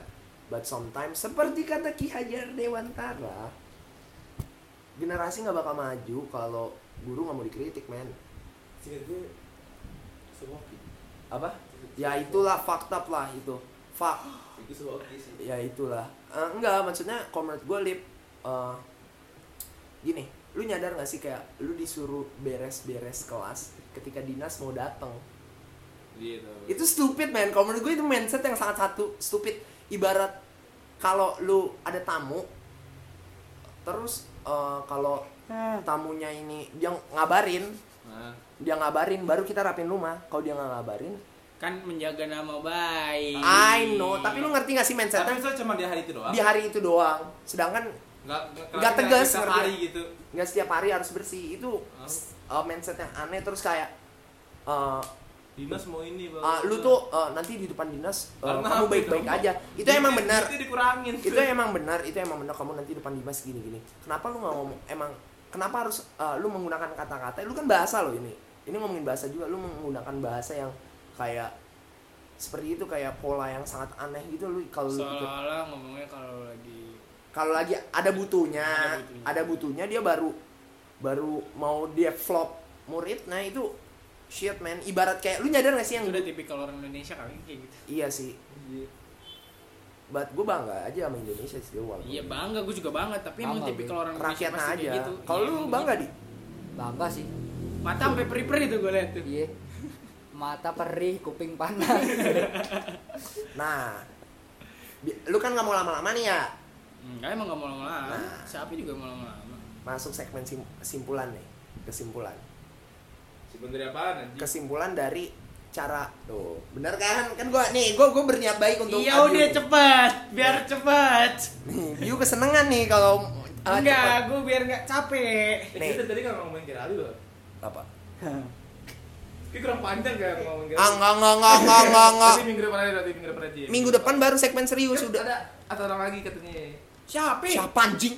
[SPEAKER 3] But sometimes seperti kata Ki Hajar Dewantara, generasi nggak bakal maju kalau guru nggak mau dikritik, men.
[SPEAKER 5] Sini gue sewoki.
[SPEAKER 3] Apa? Ya itulah fakta lah itu. Fak.
[SPEAKER 5] Itu sewoki sih.
[SPEAKER 3] ya itulah Eh, enggak maksudnya kalau menurut gue lip eh, gini lu nyadar gak sih kayak lu disuruh beres-beres kelas ketika dinas mau datang
[SPEAKER 5] Gitu.
[SPEAKER 3] itu stupid man kalau menurut gue itu mindset yang sangat satu stupid ibarat kalau lu ada tamu terus eh, kalau tamunya ini dia ngabarin
[SPEAKER 5] Nah,
[SPEAKER 3] dia ngabarin baru kita rapin rumah kalau dia nggak ngabarin
[SPEAKER 4] Kan menjaga nama baik.
[SPEAKER 3] I know tapi lu ngerti gak sih
[SPEAKER 5] tapi
[SPEAKER 3] mindsetnya
[SPEAKER 5] itu cuma di hari itu doang.
[SPEAKER 3] di hari itu doang sedangkan
[SPEAKER 5] Nggak
[SPEAKER 3] Nggak tegas,
[SPEAKER 5] setiap
[SPEAKER 3] ngerti.
[SPEAKER 5] hari gitu.
[SPEAKER 3] nggak setiap hari harus bersih itu s- uh, mindset yang aneh terus kayak uh,
[SPEAKER 5] Dinas mau ini, Bang. Gitu.
[SPEAKER 3] ah, lu tuh uh, nanti di depan dinas uh,
[SPEAKER 5] Karena
[SPEAKER 3] kamu
[SPEAKER 5] apa
[SPEAKER 3] baik-baik
[SPEAKER 5] dong?
[SPEAKER 3] aja itu emang
[SPEAKER 5] Duitnya-
[SPEAKER 3] benar
[SPEAKER 5] duitnya gitu dikurangin.
[SPEAKER 3] itu emang benar itu emang benar kamu nanti depan dinas gini-gini kenapa lu nggak ngomong emang kenapa harus uh, lu menggunakan kata-kata lu kan bahasa lo ini ini ngomongin bahasa juga lu menggunakan bahasa yang kayak seperti itu kayak pola yang sangat aneh gitu lu kalau lu pikir-
[SPEAKER 4] Seolah-olah ngomongnya kalau lagi
[SPEAKER 3] kalau lagi ada butuhnya,
[SPEAKER 4] Ada butuhnya.
[SPEAKER 3] ada butuhnya dia baru baru mau dia flop murid, nah itu shit man. Ibarat kayak lu nyadar gak sih yang
[SPEAKER 4] itu udah tipikal orang Indonesia kali kayak gitu.
[SPEAKER 3] Iya sih.
[SPEAKER 5] Iya.
[SPEAKER 3] But gue bangga aja sama Indonesia sih gue walaupun
[SPEAKER 4] Iya bangga, gue juga bangga, tapi emang
[SPEAKER 1] Bangga,
[SPEAKER 4] tipikal orang Indonesia
[SPEAKER 3] rakyatnya
[SPEAKER 4] pasti
[SPEAKER 3] aja.
[SPEAKER 4] kayak gitu.
[SPEAKER 3] Kalau
[SPEAKER 4] Iya,
[SPEAKER 3] lu
[SPEAKER 4] emang
[SPEAKER 3] bangga
[SPEAKER 4] gitu.
[SPEAKER 3] di
[SPEAKER 1] Bangga sih.
[SPEAKER 4] Mata sampai perih-perih tuh gue liat tuh.
[SPEAKER 1] Iya. Mata perih, kuping
[SPEAKER 5] <laughs>
[SPEAKER 1] panas.
[SPEAKER 3] Nah, bi- lu kan nggak mau lama-lama nih ya.
[SPEAKER 4] Enggak emang gak mau lama-lama.
[SPEAKER 3] Nah.
[SPEAKER 4] Siapa juga mau lama-lama.
[SPEAKER 3] Masuk segmen sim- simpulan nih, kesimpulan.
[SPEAKER 4] Iya.
[SPEAKER 5] Sebenernya apaan anjing?
[SPEAKER 3] Kesimpulan dari cara tuh bener kan kan gue nih gue gue berniat baik untuk
[SPEAKER 4] Iya
[SPEAKER 3] Abiu
[SPEAKER 4] udah
[SPEAKER 3] nih.
[SPEAKER 4] cepat, biar
[SPEAKER 3] Nah.
[SPEAKER 4] cepat.
[SPEAKER 3] nih Abiu kesenengan nih kalau uh,
[SPEAKER 4] Enggak,
[SPEAKER 3] cepet.
[SPEAKER 4] gue biar nggak capek.
[SPEAKER 5] Eh,
[SPEAKER 3] Nih.
[SPEAKER 5] kita tadi nggak ngomongin Gerali loh.
[SPEAKER 3] apa
[SPEAKER 5] Kita kurang panjang nggak
[SPEAKER 3] Ah,
[SPEAKER 5] ngomongin Gerali?
[SPEAKER 3] enggak, enggak, enggak, enggak, <laughs> enggak, enggak.
[SPEAKER 5] Tapi minggu depan aja, nanti minggu depan aja.
[SPEAKER 3] Minggu depan baru segmen serius
[SPEAKER 5] Kan
[SPEAKER 3] sudah.
[SPEAKER 5] Ada atau orang lagi katanya.
[SPEAKER 4] Siapa?
[SPEAKER 3] Siapa anjing?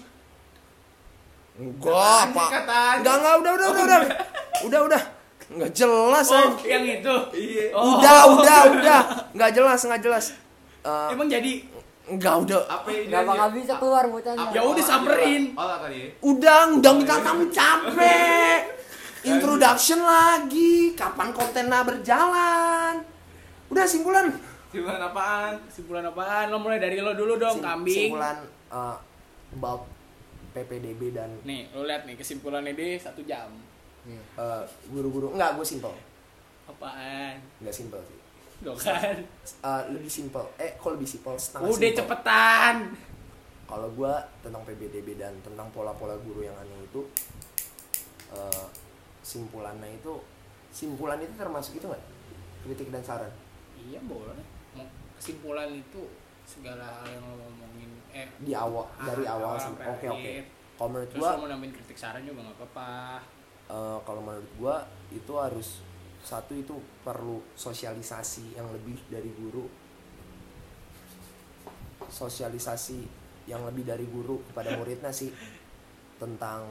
[SPEAKER 3] Enggak,
[SPEAKER 5] Anjing
[SPEAKER 3] Pak.
[SPEAKER 5] katanya.
[SPEAKER 3] Enggak, enggak, udah, udah, udah, udah. Udah, udah. Enggak jelas,
[SPEAKER 4] Oh,
[SPEAKER 3] anjing.
[SPEAKER 4] yang itu.
[SPEAKER 5] Iya.
[SPEAKER 4] Oh.
[SPEAKER 3] Udah, udah, udah. Enggak jelas, enggak jelas. Eh,
[SPEAKER 4] Emang jadi
[SPEAKER 3] enggak udah.
[SPEAKER 5] Apa ini?
[SPEAKER 1] Gak bakal bisa keluar bocahnya.
[SPEAKER 4] Ya udah, samperin.
[SPEAKER 5] Olah kali ya.
[SPEAKER 3] Udah, udah kita kamu capek. Introduction lagi. Kapan kontennya berjalan? Udah simpulan.
[SPEAKER 5] Simpulan apaan?
[SPEAKER 4] simpulan apaan? Lo mulai dari lo dulu dong,
[SPEAKER 3] Sim-
[SPEAKER 4] kambing.
[SPEAKER 3] Simpulan eh, about PPDB dan
[SPEAKER 4] Nih, lo lihat nih kesimpulannya deh satu jam.
[SPEAKER 1] Iya.
[SPEAKER 3] eh, guru-guru enggak gue simpel
[SPEAKER 4] Apaan?
[SPEAKER 3] enggak simpel sih
[SPEAKER 4] Tuh kan.
[SPEAKER 3] Eh, lebih simpel eh kalau lebih simpel setengah
[SPEAKER 4] Udah
[SPEAKER 3] simpel.
[SPEAKER 4] cepetan.
[SPEAKER 3] kalau gue tentang PBDB dan tentang pola-pola guru yang aneh itu eh, simpulannya itu simpulan itu termasuk itu nggak kritik dan saran
[SPEAKER 4] iya boleh Mau- kesimpulan itu segala hal yang lo ngomongin eh
[SPEAKER 3] di awal
[SPEAKER 4] Ah,
[SPEAKER 3] dari
[SPEAKER 4] awal
[SPEAKER 3] awal sih
[SPEAKER 4] sampai
[SPEAKER 3] oke oke
[SPEAKER 4] akhir.
[SPEAKER 3] kalau menurut
[SPEAKER 4] terus
[SPEAKER 3] gua
[SPEAKER 4] lo mau nambahin kritik saran juga nggak apa-apa
[SPEAKER 3] eh, kalau menurut gua itu harus satu itu perlu sosialisasi yang lebih dari guru sosialisasi yang lebih dari guru kepada muridnya sih tentang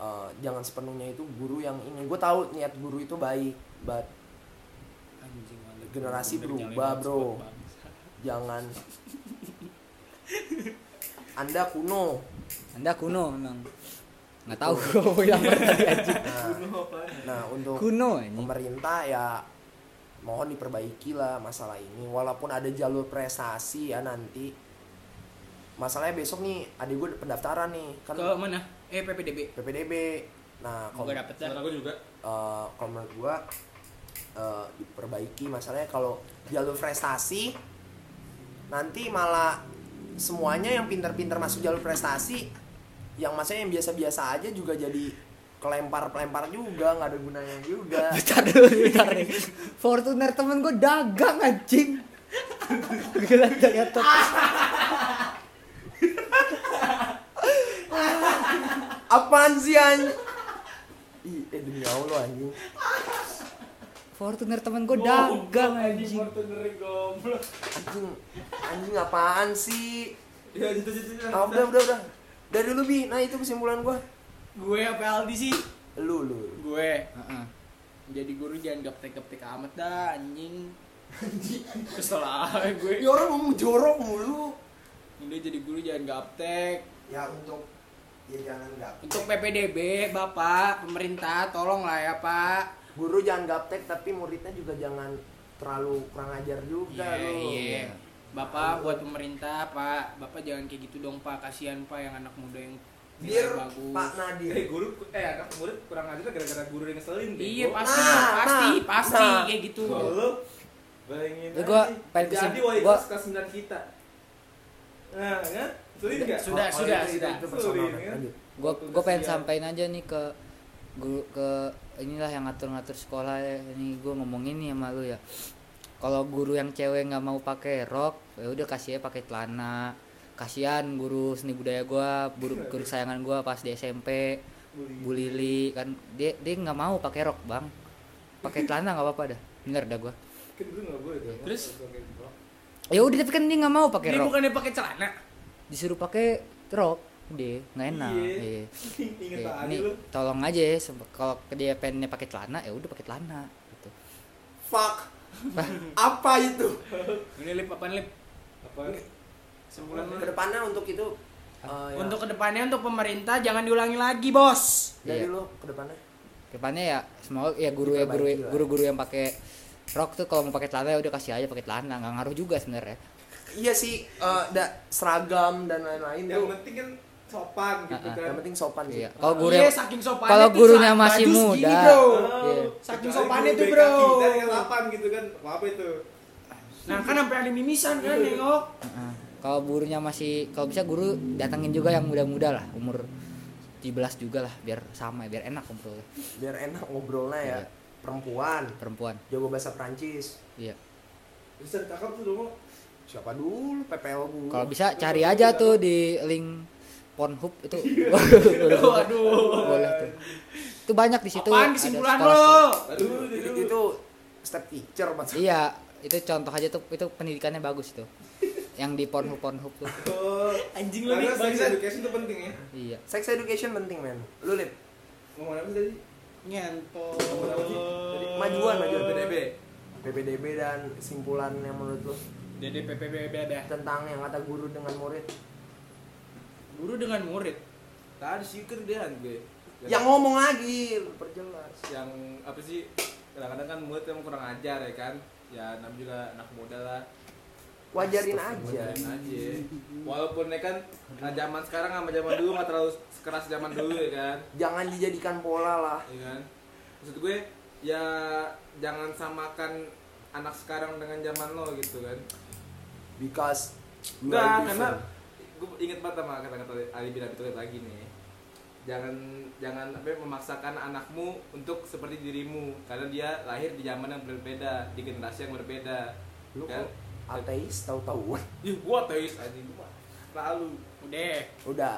[SPEAKER 3] eh, jangan sepenuhnya itu guru yang ini gue tahu niat guru itu baik but
[SPEAKER 4] anjing mantep.
[SPEAKER 3] Generasi
[SPEAKER 4] Bener
[SPEAKER 3] berubah,
[SPEAKER 4] nyalain
[SPEAKER 3] bro.
[SPEAKER 4] hotspot, bangsa.
[SPEAKER 3] jangan anda kuno
[SPEAKER 1] Anda kuno memang. Nggak tahu gua bilang apa tadi anjing.
[SPEAKER 3] nah, nah
[SPEAKER 5] Oh.
[SPEAKER 3] untuk
[SPEAKER 1] Kuno anjing.
[SPEAKER 3] pemerintah ya mohon diperbaiki lah masalah ini walaupun ada jalur prestasi ya nanti masalahnya besok nih adik gue pendaftaran nih kan
[SPEAKER 4] ke mana eh PPDB
[SPEAKER 3] PPDB nah kalau
[SPEAKER 4] gue dapet dah
[SPEAKER 5] Saudara gue juga.
[SPEAKER 3] eh, kalau menurut gue eh, diperbaiki masalahnya kalau jalur prestasi nanti malah semuanya yang pinter-pinter masuk jalur prestasi yang maksudnya yang biasa-biasa aja juga jadi kelempar-pelempar juga nggak ada gunanya
[SPEAKER 4] <laughs>
[SPEAKER 3] juga
[SPEAKER 1] Bentar dulu, bentar nih. Fortuner temen gue dagang anjing. Gelat dari atas.
[SPEAKER 3] Apaan sih anjing? Ih, eh demi Allah anjing.
[SPEAKER 1] Fortuner temen gue
[SPEAKER 4] Oh,
[SPEAKER 1] dagang anjing.
[SPEAKER 5] Fortuner goblok.
[SPEAKER 3] Anjing, anjing apaan sih?
[SPEAKER 5] Ya gitu gitu. gitu.
[SPEAKER 3] Ah, udah, udah, udah. Dari lu, Bi. Nah, itu kesimpulan gua.
[SPEAKER 4] gue apa Aldi sih
[SPEAKER 3] Lu, lu.
[SPEAKER 4] gue
[SPEAKER 1] Heeh.
[SPEAKER 4] jadi guru jangan gaptek-gaptek amat dah anjing kesel aja gue
[SPEAKER 3] Ya orang ngomong jorok mulu.
[SPEAKER 4] udah jadi guru jangan gaptek
[SPEAKER 3] Ya untuk ya jangan gaptek.
[SPEAKER 4] untuk PPDB bapak pemerintah tolong lah ya pak
[SPEAKER 3] Guru jangan gaptek tapi muridnya juga jangan terlalu kurang ajar juga
[SPEAKER 4] Iya,
[SPEAKER 3] lu.
[SPEAKER 4] iya. Bapak buat pemerintah, Pak. Bapak jangan kayak gitu dong, Pak. Kasihan, Pak, yang anak muda yang
[SPEAKER 3] Biar
[SPEAKER 4] nilai bagus.
[SPEAKER 3] Pak
[SPEAKER 5] Eh
[SPEAKER 3] Nadir.
[SPEAKER 5] guru, eh anak murid kurang ajar gara-gara guru yang ngeselin. bego.
[SPEAKER 4] Iya, pasti,
[SPEAKER 3] Nah,
[SPEAKER 4] pasti,
[SPEAKER 3] nah,
[SPEAKER 4] pasti
[SPEAKER 3] nah.
[SPEAKER 4] kayak gitu.
[SPEAKER 5] Kalau lu bayangin
[SPEAKER 1] Ya, gua
[SPEAKER 5] aja,
[SPEAKER 1] pengen
[SPEAKER 5] jadi
[SPEAKER 1] kesim-
[SPEAKER 5] wali
[SPEAKER 1] gua-
[SPEAKER 5] kelas kelas 9 kita. Nah, kan? Sulit enggak?
[SPEAKER 4] Sudah,
[SPEAKER 3] Oh, oh,
[SPEAKER 4] sudah,
[SPEAKER 3] itu- itu-
[SPEAKER 4] sudah.
[SPEAKER 3] Itu personal,
[SPEAKER 5] Sorry,
[SPEAKER 3] kan?
[SPEAKER 5] kan?
[SPEAKER 3] Lanjut.
[SPEAKER 1] Gue
[SPEAKER 5] Waktu
[SPEAKER 1] gue pengen
[SPEAKER 5] kesian.
[SPEAKER 1] sampaiin aja nih ke guru ke inilah yang ngatur-ngatur sekolah ya. ini gue ngomongin nih sama lu ya kalau guru yang cewek nggak mau pakai rok ya udah kasih aja pakai celana kasihan guru seni budaya gua guru guru kesayangan gua pas di SMP Bu Lili kan dia dia nggak mau pakai rok bang pakai celana nggak apa-apa dah bener dah gua
[SPEAKER 5] Kan guru nggak boleh gitu. dong.
[SPEAKER 4] Terus?
[SPEAKER 1] ya udah tapi kan dia nggak mau pakai
[SPEAKER 4] Dia
[SPEAKER 1] rok
[SPEAKER 4] bukannya pakai celana.
[SPEAKER 1] disuruh pakai rok dia nggak enak
[SPEAKER 5] Iya.
[SPEAKER 1] Iya.
[SPEAKER 4] kan
[SPEAKER 5] Ingat
[SPEAKER 1] Kayak,
[SPEAKER 5] aja
[SPEAKER 1] "Nih,
[SPEAKER 5] lu.
[SPEAKER 1] tolong aja ya sebe- kalau dia pengennya pakai celana ya udah pakai celana gitu
[SPEAKER 3] Fuck. Apa itu?
[SPEAKER 4] Ini lip apa lip?
[SPEAKER 5] Apa?
[SPEAKER 4] Sembulan lu.
[SPEAKER 3] Kedepannya untuk itu
[SPEAKER 1] Oh,
[SPEAKER 3] eh,
[SPEAKER 1] iya.
[SPEAKER 3] ya,
[SPEAKER 4] Untuk kedepannya untuk pemerintah jangan diulangi lagi, Bos.
[SPEAKER 1] Iya.
[SPEAKER 3] dari lu kedepannya
[SPEAKER 1] depannya ya semoga ya guru ya guru
[SPEAKER 3] Diperbaiki lah.
[SPEAKER 1] guru-guru yang pakai rok tuh kalau mau pakai celana ya udah kasih aja pakai celana nggak ngaruh juga sebenarnya
[SPEAKER 3] Iya sih, eh, da- seragam dan lain-lain
[SPEAKER 5] Yang
[SPEAKER 3] tuh.
[SPEAKER 5] penting kan sopan gitu
[SPEAKER 1] Ah, ah.
[SPEAKER 5] kan.
[SPEAKER 3] Yang penting sopan sih.
[SPEAKER 1] iya kalau guru
[SPEAKER 4] Iya,
[SPEAKER 1] yang
[SPEAKER 4] saking sopannya
[SPEAKER 1] kalau
[SPEAKER 4] tuh
[SPEAKER 1] gurunya
[SPEAKER 4] celana
[SPEAKER 1] masih
[SPEAKER 4] baju segini,
[SPEAKER 1] muda
[SPEAKER 4] bro.
[SPEAKER 1] Iya.
[SPEAKER 4] Oh, Saking
[SPEAKER 5] Saking
[SPEAKER 4] sopannya
[SPEAKER 5] sopannya
[SPEAKER 4] tuh,
[SPEAKER 5] itu,
[SPEAKER 4] bro.
[SPEAKER 5] Bro. lapan gitu kan. Apa itu?
[SPEAKER 4] Nah, kan sampai ada mimisan kan nengok.
[SPEAKER 1] Heeh. kalau gurunya masih kalau bisa guru datangin juga yang muda-muda lah umur 17 juga lah biar sama biar enak ngobrolnya
[SPEAKER 3] Biar enak ngobrolnya ya.
[SPEAKER 1] Iya.
[SPEAKER 3] Perempuan,
[SPEAKER 1] perempuan
[SPEAKER 3] jago bahasa Prancis.
[SPEAKER 1] iya
[SPEAKER 5] Bisa ditangkap tuh dong.
[SPEAKER 3] Siapa dulu PPL gua?
[SPEAKER 1] kalau bisa cari aja tuh di link Pornhub <laughs> itu
[SPEAKER 4] Waduh.
[SPEAKER 1] boleh tuh itu banyak di situ
[SPEAKER 4] Apaan
[SPEAKER 1] ada
[SPEAKER 4] kesimpulan
[SPEAKER 1] sekolah-sekolah.
[SPEAKER 4] lo?
[SPEAKER 5] Aduh,
[SPEAKER 3] itu,
[SPEAKER 5] aduh.
[SPEAKER 3] itu step teacher maksudnya.
[SPEAKER 1] iya itu contoh aja tuh itu pendidikannya bagus tuh yang di Pornhub Pornhub tuh
[SPEAKER 5] Oh,
[SPEAKER 4] Anjing lu nih,
[SPEAKER 5] Karena sex
[SPEAKER 4] bangsat.
[SPEAKER 5] education itu penting ya.
[SPEAKER 1] iya
[SPEAKER 3] Sex education penting, men. Lu lip.
[SPEAKER 5] Ngomong apa sih tadi?
[SPEAKER 4] Ngentot.
[SPEAKER 5] Ngomong apa sih? Tadi
[SPEAKER 3] Majuan, majuan
[SPEAKER 5] PDB.
[SPEAKER 3] PPDB dan simpulan yang menurut lu
[SPEAKER 4] Dede PPBB ada.
[SPEAKER 3] tentang yang kata guru dengan murid.
[SPEAKER 4] Guru dengan murid.
[SPEAKER 5] Tadi sih kan dia kan gue.
[SPEAKER 3] Yang ngomong lagi, lu perjelas.
[SPEAKER 5] yang apa sih kadang-kadang kan mulut emang kurang ajar ya kan ya namanya juga anak muda lah
[SPEAKER 3] Wajarin aja.
[SPEAKER 5] Wajarin aja walaupun ya kan nah zaman sekarang sama zaman dulu nggak terlalu sekeras zaman dulu ya kan
[SPEAKER 3] Jangan dijadikan pola lah.
[SPEAKER 5] ya kan maksud gue ya jangan samakan anak sekarang dengan zaman lo gitu kan
[SPEAKER 3] Because you
[SPEAKER 5] enggak
[SPEAKER 3] are
[SPEAKER 5] karena
[SPEAKER 3] different.
[SPEAKER 5] gue inget banget sama kata-kata Ali bin Abi Thalib lagi nih jangan jangan apa ya, memaksakan anakmu untuk seperti dirimu karena dia lahir di zaman yang berbeda di generasi yang berbeda
[SPEAKER 3] Lu kok
[SPEAKER 5] kan?
[SPEAKER 3] ateis tahu-tahu.
[SPEAKER 5] ih gua ateis anjing gua lalu
[SPEAKER 4] Udah.
[SPEAKER 3] <laughs> Udah.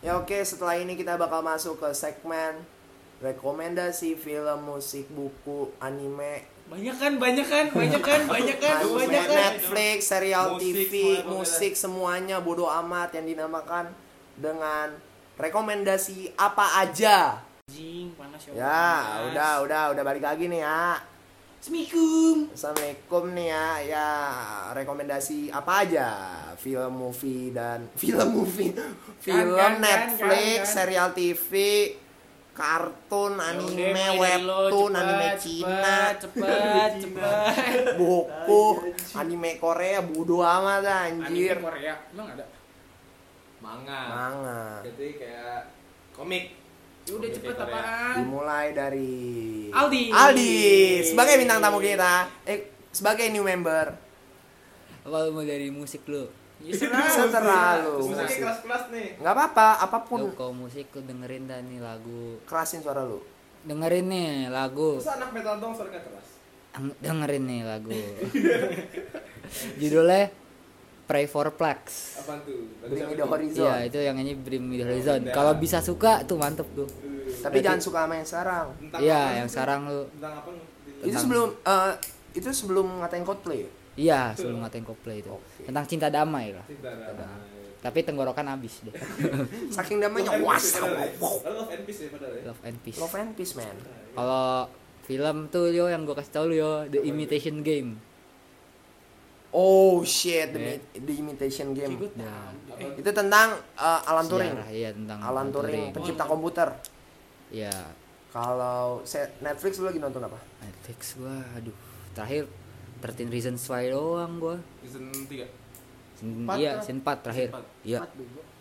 [SPEAKER 3] Ya oke, setelah ini kita bakal masuk ke segmen rekomendasi film, musik, buku, anime,
[SPEAKER 4] Banyak kan, banyak kan, banyak kan, banyak kan,
[SPEAKER 3] anime,
[SPEAKER 4] banyak kan.
[SPEAKER 3] Netflix, serial
[SPEAKER 5] Musik,
[SPEAKER 3] TV,
[SPEAKER 5] semuanya,
[SPEAKER 3] musik semuanya bodo amat yang dinamakan dengan rekomendasi apa aja.
[SPEAKER 4] Anjing, panas ya.
[SPEAKER 3] Ya,
[SPEAKER 4] panas.
[SPEAKER 3] udah, udah, udah balik lagi nih ya.
[SPEAKER 4] Assalamualaikum.
[SPEAKER 3] Assalamualaikum nih ya, ya rekomendasi apa aja film movie dan <laughs> film movie, film
[SPEAKER 4] kan, kan, kan,
[SPEAKER 3] Netflix,
[SPEAKER 4] kan.
[SPEAKER 3] serial TV, kartun, anime,
[SPEAKER 4] Ya Udah, mulai dari lo,
[SPEAKER 3] webtoon,
[SPEAKER 4] cepat,
[SPEAKER 3] anime
[SPEAKER 4] cepat,
[SPEAKER 3] Cina,
[SPEAKER 4] Cepat, cepat.
[SPEAKER 3] buku, anime Korea, bodo amat dah,
[SPEAKER 4] Anjir.
[SPEAKER 3] anjir.
[SPEAKER 4] Korea, emang ada.
[SPEAKER 3] Nah.
[SPEAKER 5] manga
[SPEAKER 3] Manga.
[SPEAKER 5] jadi kayak komik
[SPEAKER 4] Ya udah
[SPEAKER 5] Komik
[SPEAKER 4] cepet
[SPEAKER 5] Korea.
[SPEAKER 4] apaan?
[SPEAKER 3] Dimulai dari
[SPEAKER 4] Aldi.
[SPEAKER 3] Aldi sebagai bintang tamu kita, eh sebagai new member.
[SPEAKER 1] Apa lu mau dari musik lu?
[SPEAKER 4] Ya serah.
[SPEAKER 3] Terserah lu.
[SPEAKER 5] musiknya kelas kelas nih
[SPEAKER 3] nggak apa-apa,
[SPEAKER 1] Lu
[SPEAKER 4] Ya,
[SPEAKER 3] apapun
[SPEAKER 1] kalau musik lu dengerin dah nih lagu.
[SPEAKER 3] kerasin suara lu.
[SPEAKER 1] Dengerin nih lagu.
[SPEAKER 5] masa anak metal dong suaranya keras
[SPEAKER 1] Eng- Dengerin nih <laughs> lagu. Judulnya Pray for Plax.
[SPEAKER 5] apaan tuh Lagu
[SPEAKER 3] Bring me
[SPEAKER 5] siapa
[SPEAKER 3] the
[SPEAKER 5] tuh?
[SPEAKER 3] horizon.
[SPEAKER 1] Iya, itu yang nyanyi Bring Me The Horizon. Kalau bisa suka tuh mantep tuh.
[SPEAKER 3] Tapi jangan suka sama yang sekarang.
[SPEAKER 5] Tentang apa
[SPEAKER 1] Iya, yang
[SPEAKER 5] sih?
[SPEAKER 1] sekarang lu.
[SPEAKER 5] tentang apa
[SPEAKER 3] Itu sebelum eh, itu sebelum ngatain Coldplay.
[SPEAKER 1] Iya, sebelum ngatain cosplay itu. Tentang cinta damai lah.
[SPEAKER 5] cinta damai
[SPEAKER 1] Tapi tenggorokan habis deh.
[SPEAKER 3] Saking damainya was.
[SPEAKER 5] ya,
[SPEAKER 3] Love
[SPEAKER 5] Lalu of NPC padahal ya.
[SPEAKER 1] Love and Peace.
[SPEAKER 3] and peace man.
[SPEAKER 1] Kalau film tuh yo yang gue kasih tau lu yo The Imitation Game.
[SPEAKER 3] Oh shit, the, Mi- The imitation game.
[SPEAKER 4] Gue tahu. Eh,
[SPEAKER 3] Itu tentang eh, Alan Turing.
[SPEAKER 1] Sejarah, iya tentang
[SPEAKER 3] Alan Turing, pencipta komputer.
[SPEAKER 1] Iya,
[SPEAKER 3] Kalau se- Netflix lu lagi nonton apa?
[SPEAKER 1] Netflix gua aduh. Terakhir 13 Reasons Why doang gua.
[SPEAKER 5] Season 3.
[SPEAKER 1] Sen-
[SPEAKER 5] Empat
[SPEAKER 1] Iya,
[SPEAKER 5] kan?
[SPEAKER 1] season 4 terakhir.
[SPEAKER 5] Empat.
[SPEAKER 1] Iya.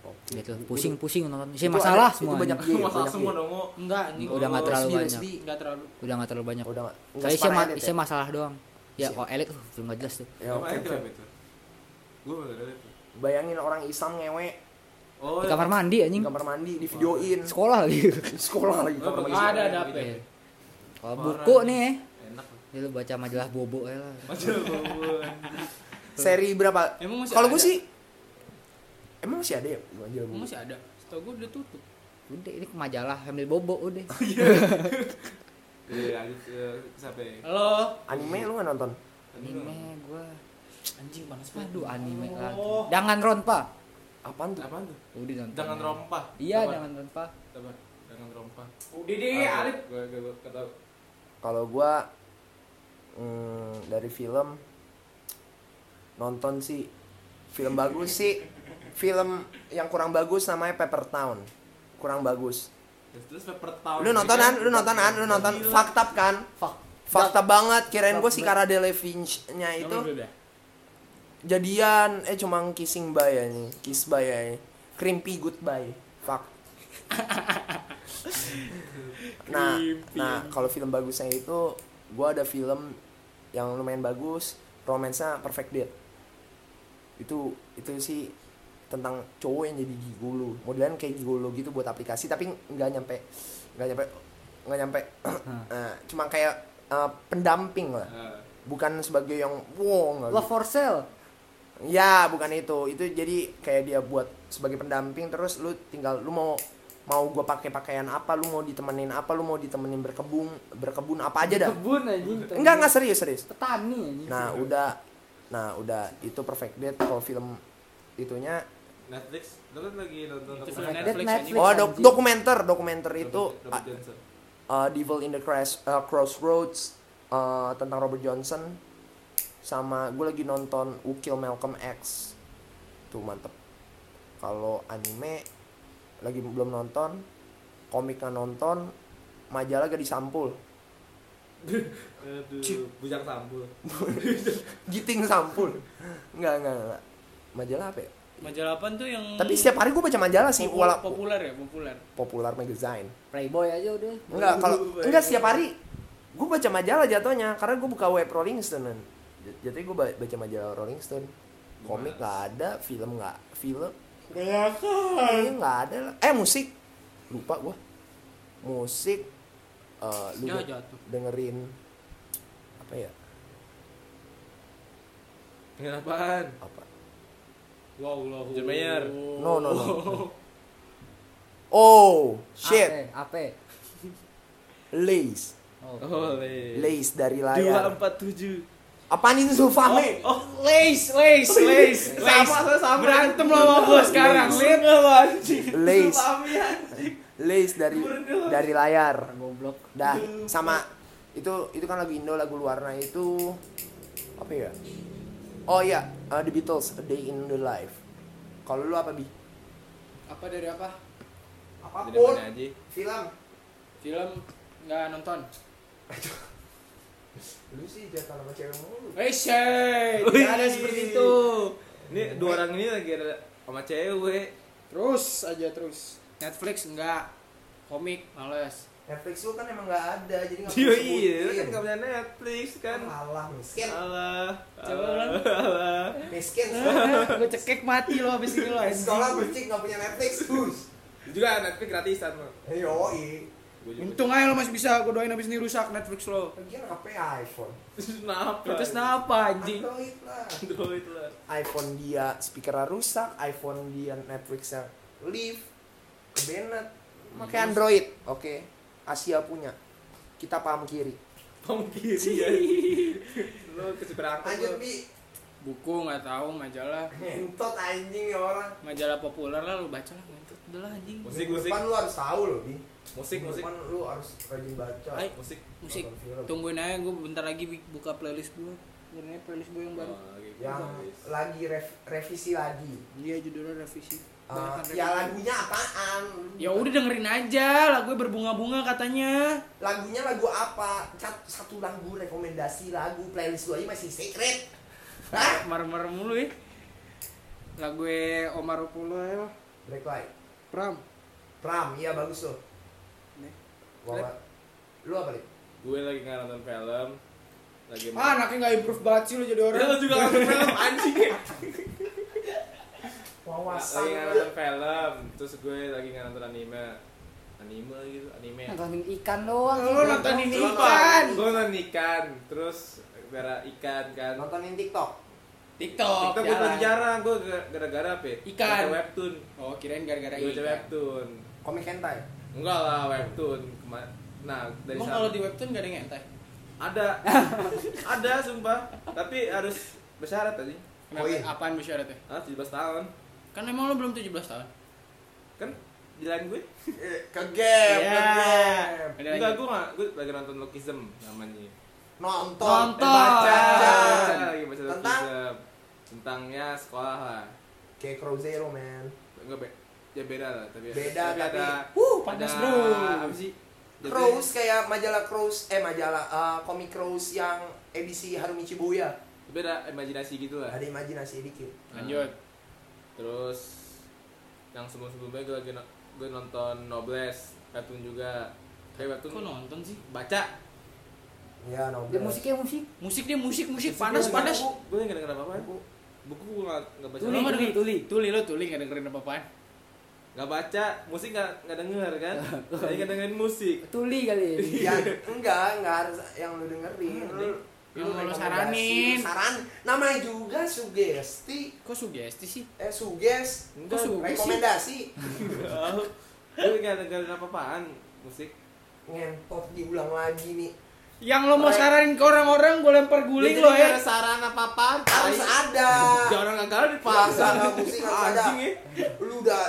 [SPEAKER 3] Oke.
[SPEAKER 1] Gitu, pusing-pusing nonton. Sih
[SPEAKER 3] Oh, Itu
[SPEAKER 1] masalah
[SPEAKER 3] ada-
[SPEAKER 1] semua.
[SPEAKER 3] Itu banyak
[SPEAKER 1] ini.
[SPEAKER 3] game,
[SPEAKER 5] masalah
[SPEAKER 3] Iya, banyak
[SPEAKER 5] semua
[SPEAKER 3] game.
[SPEAKER 5] dong. Ngo.
[SPEAKER 4] Enggak, ini
[SPEAKER 1] Udah nggak terlalu
[SPEAKER 3] Lesbi,
[SPEAKER 1] banyak.
[SPEAKER 3] lesbi.
[SPEAKER 4] enggak terlalu.
[SPEAKER 1] Udah nggak terlalu banyak.
[SPEAKER 3] Udah nggak- nggak
[SPEAKER 1] Saya sih
[SPEAKER 3] separah
[SPEAKER 1] ma-
[SPEAKER 3] edit ya?
[SPEAKER 1] saya masalah doang. Ya, oh
[SPEAKER 3] Siap.
[SPEAKER 1] elit uh, belum nggak jelas tuh.
[SPEAKER 3] Ya,
[SPEAKER 5] Sama
[SPEAKER 3] oke,
[SPEAKER 5] Edric
[SPEAKER 3] oke.
[SPEAKER 5] apa itu? Gua baru lihat.
[SPEAKER 3] Bayangin orang Islam ngewe
[SPEAKER 5] Oh,
[SPEAKER 1] Di kamar mandi
[SPEAKER 3] di
[SPEAKER 1] anjing.
[SPEAKER 3] kamar mandi, di videoin.
[SPEAKER 1] Sekolah lagi.
[SPEAKER 3] <laughs> Sekolah lagi
[SPEAKER 5] Oh,
[SPEAKER 3] kamar
[SPEAKER 5] bagus.
[SPEAKER 3] mandi.
[SPEAKER 4] Ada, ada apa?
[SPEAKER 1] Iya. Kalau
[SPEAKER 5] Parah.
[SPEAKER 1] buku nih ya.
[SPEAKER 5] enak.
[SPEAKER 1] Ya lu baca majalah bobo ya lah.
[SPEAKER 5] Macam
[SPEAKER 3] Seri berapa?
[SPEAKER 4] Emang masih
[SPEAKER 3] Kalau
[SPEAKER 4] ada?
[SPEAKER 3] gue sih Emang masih ada ya? Majalah
[SPEAKER 4] Emang
[SPEAKER 3] buku?
[SPEAKER 4] masih ada. Setahu gue udah tutup.
[SPEAKER 1] Udah ini ke majalah ambil bobo udah.
[SPEAKER 5] Iya, lanjut eh, sampai.
[SPEAKER 4] Halo.
[SPEAKER 3] Anime lu nggak nonton?
[SPEAKER 1] Anime gua.
[SPEAKER 4] Anjing panas banget.
[SPEAKER 1] Aduh anime lagi.
[SPEAKER 5] Oh.
[SPEAKER 1] Jangan rompa.
[SPEAKER 3] Apaan tuh?
[SPEAKER 5] Apaan tuh?
[SPEAKER 1] Udah nonton.
[SPEAKER 5] Jangan rompah.
[SPEAKER 1] Iya,
[SPEAKER 5] Coba,
[SPEAKER 1] jangan rompa.
[SPEAKER 5] coba. Jangan rompah.
[SPEAKER 4] Udah deh,
[SPEAKER 5] Ah,
[SPEAKER 4] Alif.
[SPEAKER 5] Gua gua gua kata
[SPEAKER 3] Kalau gua mm, dari film nonton sih film bagus sih. Film yang kurang bagus namanya Paper Town. Kurang bagus.
[SPEAKER 5] terus- terus paper town.
[SPEAKER 3] Lu nontonan, lu nontonan, lu nonton fucked up kan? Fakta banget, kirain gue si Cara Delevingne-nya Nah, itu
[SPEAKER 4] Udah, udah.
[SPEAKER 3] jadian eh cuma kissing bye ya nih kiss bye ya nih. crimpy goodbye fuck nah nah kalau film bagusnya itu gua ada film yang lumayan bagus romansnya perfect date itu itu sih tentang cowok yang jadi gigolo modelan kayak gigolo gitu buat aplikasi tapi nggak nyampe nggak nyampe nggak nyampe <clears throat> Eh, cuma kayak eh, pendamping lah
[SPEAKER 5] Ah,
[SPEAKER 3] bukan sebagai yang wow nggak
[SPEAKER 1] Love for sale.
[SPEAKER 3] Ya, bukan itu. Itu jadi kayak dia buat sebagai pendamping terus lu tinggal lu mau mau gue pakai pakaian apa, lu mau ditemenin apa, lu mau ditemenin berkebun, berkebun apa aja dah.
[SPEAKER 1] Kebun anjing.
[SPEAKER 3] Enggak, enggak serius, serius.
[SPEAKER 1] Petani anjing.
[SPEAKER 3] Nah, udah nah udah itu perfect date kalau film itunya
[SPEAKER 5] Netflix. Lu kan lagi nonton
[SPEAKER 4] Itu
[SPEAKER 5] apa?
[SPEAKER 4] film
[SPEAKER 1] Netflix,
[SPEAKER 4] Netflix
[SPEAKER 1] Netflix.
[SPEAKER 4] anjing.
[SPEAKER 3] oh dok-
[SPEAKER 1] anjing.
[SPEAKER 3] dokumenter dokumenter
[SPEAKER 5] Robert-
[SPEAKER 3] itu ah.
[SPEAKER 5] Robert Johnson.
[SPEAKER 3] uh, Devil in the Crash, uh, Crossroads uh, tentang Robert Johnson sama gue lagi nonton Ukil Malcolm X tuh mantep kalau anime lagi belum nonton komik nggak nonton majalah gak disampul <laughs>
[SPEAKER 5] Aduh,
[SPEAKER 3] Cik.
[SPEAKER 5] bujang sambul.
[SPEAKER 3] giting sampul nggak nggak nggak majalah apa ya?
[SPEAKER 4] Majalah apa tuh yang
[SPEAKER 3] tapi setiap hari gue baca majalah sih
[SPEAKER 4] Popul-
[SPEAKER 3] wala
[SPEAKER 4] populer ya, populer.
[SPEAKER 3] popular magazine
[SPEAKER 1] Playboy aja udah.
[SPEAKER 3] Enggak, kalau enggak setiap hari gue baca majalah jatuhnya karena gue buka web Rolling Stone. Nan. J- Jatuhnya gue baca majalah Rolling Stone. Komik nggak ada, film nggak, film
[SPEAKER 4] Gak
[SPEAKER 3] eh, nggak ada. lah. Eh musik, lupa gua musik eh, lu
[SPEAKER 4] Ya,
[SPEAKER 3] de-
[SPEAKER 4] jatuh.
[SPEAKER 3] dengerin apa ya
[SPEAKER 5] Apaan?
[SPEAKER 3] apa
[SPEAKER 4] Wow, wow.
[SPEAKER 5] John Mayer.
[SPEAKER 3] no no
[SPEAKER 4] <laughs>
[SPEAKER 3] no
[SPEAKER 1] Ah, eh.
[SPEAKER 3] oh shit
[SPEAKER 1] Ape.
[SPEAKER 3] lace
[SPEAKER 5] Oh, Lays.
[SPEAKER 3] lace dari
[SPEAKER 5] Dua
[SPEAKER 3] layar
[SPEAKER 5] empat tujuh.
[SPEAKER 3] apaan itu Zulfahmi
[SPEAKER 5] Oh,
[SPEAKER 4] Lace, lace, lace,
[SPEAKER 5] Sama,
[SPEAKER 4] lace.
[SPEAKER 5] saya sama.
[SPEAKER 4] Berantem lo sama gua sekarang.
[SPEAKER 5] lihat nggak lo anjing?
[SPEAKER 3] Lays.
[SPEAKER 5] Sumpah, anjing.
[SPEAKER 3] lace dari dari layar
[SPEAKER 1] Goblok.
[SPEAKER 3] Dah, sama itu itu kan lagu Indo, lagu luarnya itu apa ya? Oh iya, uh, The Beatles, A Day in the Life. Kalau lu apa bi?
[SPEAKER 4] Apa dari apa?
[SPEAKER 5] Jadi mana aja?
[SPEAKER 3] Film.
[SPEAKER 4] Film nggak nonton.
[SPEAKER 3] Lu sih jatah sama cewek mulu.
[SPEAKER 4] Eh, shit. Nggak ada seperti itu.
[SPEAKER 5] Ini dua orang ini lagi ada sama cewek.
[SPEAKER 4] Terus aja terus. Netflix enggak. Komik males.
[SPEAKER 3] Netflix lu kan emang nggak ada, jadi nggak
[SPEAKER 5] Iya, iya, lu kan nggak punya Netflix kan?
[SPEAKER 3] Alah, miskin,
[SPEAKER 5] Allah,
[SPEAKER 4] Coba
[SPEAKER 5] Allah,
[SPEAKER 4] ulang.
[SPEAKER 5] Allah. <laughs>
[SPEAKER 3] miskin.
[SPEAKER 4] Gua cekek mati lo habis ini lo. anjing.
[SPEAKER 3] kucing nggak punya Netflix,
[SPEAKER 5] <laughs>
[SPEAKER 3] bus.
[SPEAKER 5] Juga Netflix gratisan lo.
[SPEAKER 3] Yoi.
[SPEAKER 4] Untung aja lo masih bisa gua doain habis ini rusak Netflix lo.
[SPEAKER 3] Lagian HP iPhone.
[SPEAKER 5] Kenapa?
[SPEAKER 4] Terus kenapa anjing?
[SPEAKER 3] Android lah.
[SPEAKER 5] Android lah.
[SPEAKER 3] iPhone dia speakernya rusak, iPhone dia Netflixnya leave, kebenet, pakai
[SPEAKER 4] Iya.
[SPEAKER 3] Android, oke, Asia punya, kita paham kiri.
[SPEAKER 5] Pom kiri ya. Lo ke seberangkat lo.
[SPEAKER 3] bi,
[SPEAKER 4] Buku nggak tahu majalah.
[SPEAKER 3] entot anjing ya orang.
[SPEAKER 4] Majalah populer lah lo baca lah. Ngentut udah lah anjing.
[SPEAKER 5] Musik, musik,
[SPEAKER 3] lu harus tahu loh bi.
[SPEAKER 5] musik, musik,
[SPEAKER 3] lu harus rajin baca.
[SPEAKER 4] Ay,
[SPEAKER 5] musik.
[SPEAKER 4] musik. Tungguin aja gue bentar lagi bi- buka playlist gue. Dengarnya playlist gue yang baru.
[SPEAKER 5] Oh, lagi bagus.
[SPEAKER 3] lagi rev- revisi lagi.
[SPEAKER 4] Iya judulnya revisi.
[SPEAKER 3] Eh,
[SPEAKER 4] Banyak kan
[SPEAKER 3] ya
[SPEAKER 4] revisi.
[SPEAKER 3] lagunya apaan?
[SPEAKER 4] Ya udah dengerin aja, lagu berbunga-bunga katanya.
[SPEAKER 3] Lagunya lagu apa? Sat- Satu lagu rekomendasi lagu playlist lu aja masih
[SPEAKER 4] <laughs>
[SPEAKER 3] secret. Hah?
[SPEAKER 4] Marah-marah mulu ya. Lagu gue Omar Pulo ya.
[SPEAKER 3] Black Light.
[SPEAKER 4] Pram.
[SPEAKER 3] Pram, iya bagus tuh.
[SPEAKER 4] Nih.
[SPEAKER 3] Gua apa? Lu apa <laughs> nih?
[SPEAKER 5] Gue lagi nggak nonton film. Lagi
[SPEAKER 4] Ah, anaknya nggak improve banget sih lo jadi orang.
[SPEAKER 5] Ya, lo juga nggak nonton film anjing.
[SPEAKER 3] Wawasan.
[SPEAKER 5] Lagi nggak
[SPEAKER 3] iya.
[SPEAKER 5] nonton film. Terus gue lagi nggak nonton anime. Anime gitu, anime.
[SPEAKER 1] Nontonin ikan doang.
[SPEAKER 4] Lu nonton ini
[SPEAKER 5] Gua
[SPEAKER 4] ikan.
[SPEAKER 5] Gue nonton ikan. Terus gara ikan kan.
[SPEAKER 3] Nontonin TikTok.
[SPEAKER 4] <laughs> TikTok.
[SPEAKER 5] Kita gue
[SPEAKER 4] jalan.
[SPEAKER 5] lagi jarang, gue gara-gara apa? ya?
[SPEAKER 4] Ikan.
[SPEAKER 5] Baca webtoon.
[SPEAKER 4] Oh, kirain gara-gara
[SPEAKER 5] Gue
[SPEAKER 4] ini.
[SPEAKER 5] baca webtoon.
[SPEAKER 3] Komik hentai.
[SPEAKER 5] Enggak lah webtoon. Kema- Nah, dari
[SPEAKER 4] Emang
[SPEAKER 5] sana-
[SPEAKER 4] kalau di webtoon gak ada yang entai? <laughs>
[SPEAKER 5] ada ada sumpah tapi harus bersyarat tadi
[SPEAKER 4] Kenapa?
[SPEAKER 3] Oh, iya.
[SPEAKER 4] Apaan bersyaratnya?
[SPEAKER 5] ah 17 tahun
[SPEAKER 4] Kan emang lo belum 17 tahun.
[SPEAKER 5] kan bilang gue
[SPEAKER 3] Ke game,
[SPEAKER 4] Iya. Ada lagi.
[SPEAKER 5] enggak gue nggak gue lagi nonton lokism namanya Eh,
[SPEAKER 3] Nonton. Eh,
[SPEAKER 4] Nonton. Iya.
[SPEAKER 3] Baca.
[SPEAKER 5] baca lagi baca
[SPEAKER 3] Tentang?
[SPEAKER 5] lokism tentangnya sekolah lah
[SPEAKER 3] Kayak Crozero, man.
[SPEAKER 5] enggak be ya beda lah tapi
[SPEAKER 3] Beda,
[SPEAKER 5] tapi
[SPEAKER 3] tapi-
[SPEAKER 5] ada
[SPEAKER 4] Wuh, Uh, panas
[SPEAKER 5] ada-
[SPEAKER 4] bro.
[SPEAKER 5] apa sih Jadi-
[SPEAKER 3] Crows kayak majalah Crows, eh majalah eh, komik Crows yang edisi Harumi Shibuya.
[SPEAKER 5] tapi ada imajinasi gitu lah Nah.
[SPEAKER 3] Ada imajinasi dikit.
[SPEAKER 4] Lanjut.
[SPEAKER 5] terus yang sebelum sebelumnya gue lagi no- gue nonton Nobles webtoon juga kayak
[SPEAKER 4] Kok
[SPEAKER 5] webtoon
[SPEAKER 4] nonton sih?
[SPEAKER 5] baca
[SPEAKER 3] Ya, no.
[SPEAKER 1] Ya musiknya musik.
[SPEAKER 4] Musik deh, musik, musik. Panas, panas.
[SPEAKER 5] Gue nggak denger apa-apa. Buku, buku gue nggak nggak baca.
[SPEAKER 4] Tuli,
[SPEAKER 5] Nggak
[SPEAKER 4] tuli,
[SPEAKER 5] denger.
[SPEAKER 4] tuli. Tuli lo, tuli gak dengerin apa-apaan.
[SPEAKER 5] Nggak baca, musik nggak nggak denger
[SPEAKER 4] <laughs>
[SPEAKER 5] kan? Jadi nggak dengerin musik.
[SPEAKER 1] Tuli kali.
[SPEAKER 3] Ya, enggak, enggak harus yang lu dengerin. Lu-
[SPEAKER 4] Yang lu
[SPEAKER 5] Iya,
[SPEAKER 3] Ah, rekomendasi.
[SPEAKER 4] saranin.
[SPEAKER 3] Saran. Namanya juga sugesti.
[SPEAKER 4] Kok sugesti sih?
[SPEAKER 3] Eh, suges.
[SPEAKER 5] Enggak,
[SPEAKER 4] Kok suka?
[SPEAKER 3] rekomendasi
[SPEAKER 5] gue nggak dengerin apa-apaan musik.
[SPEAKER 3] ngentot diulang lagi nih
[SPEAKER 4] Yang lo mau saranin ke orang-orang, gue lempar guling
[SPEAKER 5] Jadi
[SPEAKER 4] lo
[SPEAKER 5] nggak
[SPEAKER 4] ya.
[SPEAKER 5] ada saran apa-apaan.
[SPEAKER 3] harus
[SPEAKER 5] Tai.
[SPEAKER 3] ada
[SPEAKER 5] Jangan nggak ada dipaksa.
[SPEAKER 3] paksa nggak musik harus ada
[SPEAKER 5] Anjing ya.
[SPEAKER 3] lu udah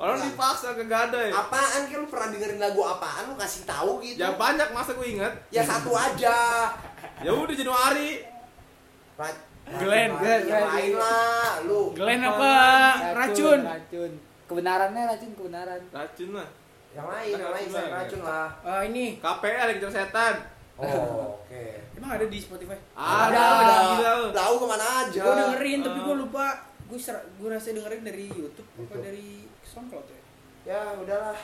[SPEAKER 5] Orang dipaksa nggak ada ya.
[SPEAKER 3] apaan kan lu pernah dengerin lagu apaan lu kasih tahu gitu
[SPEAKER 5] Ya banyak masa gue inget.
[SPEAKER 3] ya satu aja
[SPEAKER 5] Ya udah Januari.
[SPEAKER 3] Ra-
[SPEAKER 4] Glenn,
[SPEAKER 3] Ra-
[SPEAKER 4] Glenn,
[SPEAKER 3] yang
[SPEAKER 4] Glenn.
[SPEAKER 3] lain lah lu
[SPEAKER 4] Glenn apa? Racun.
[SPEAKER 1] Racun. Kebenarannya racun kebenaran.
[SPEAKER 5] Racun lah.
[SPEAKER 3] yang lain yang lain saya racun
[SPEAKER 5] <laughs>
[SPEAKER 3] lah
[SPEAKER 4] Ah, ini.
[SPEAKER 5] KPR yang kejar setan.
[SPEAKER 3] oh, oke
[SPEAKER 4] Emang ada di Spotify? Iya.
[SPEAKER 5] Ada,
[SPEAKER 3] ada.
[SPEAKER 5] gila lu.
[SPEAKER 3] tahu kemana aja
[SPEAKER 4] Gue dengerin, tapi
[SPEAKER 5] Eh.
[SPEAKER 4] gue lupa. Gue ser- gue rasa dengerin dari YouTube apa
[SPEAKER 3] YouTube.
[SPEAKER 4] dari SoundCloud ya.
[SPEAKER 3] ya udahlah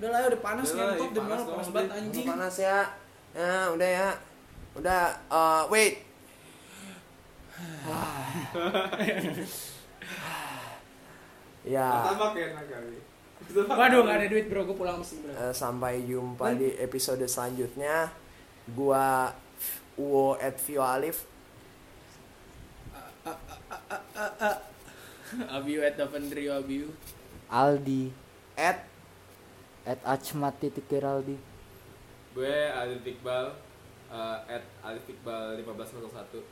[SPEAKER 4] Udah lah, ya, udah panas
[SPEAKER 5] Udah lah,
[SPEAKER 4] ngentot
[SPEAKER 5] ih,
[SPEAKER 4] demi
[SPEAKER 5] panas
[SPEAKER 4] Allah panas
[SPEAKER 5] banget,
[SPEAKER 4] banget
[SPEAKER 5] ih.
[SPEAKER 4] anjing.
[SPEAKER 3] panas ya ya udah ya udah eh, wait <sighs> ya Ya,
[SPEAKER 5] Pertama kayak kali.
[SPEAKER 4] Waduh nggak ada duit bro, gue pulang mesti bro.
[SPEAKER 3] Eh, sampai jumpa di episode selanjutnya. Gua Uwo at Vio Alif.
[SPEAKER 4] Abiu at Davendrio Abiu.
[SPEAKER 1] Aldi
[SPEAKER 3] At
[SPEAKER 1] at Achmat titik Geraldi
[SPEAKER 5] Gue Alif Iqbal eh, at Alif Iqbal 1501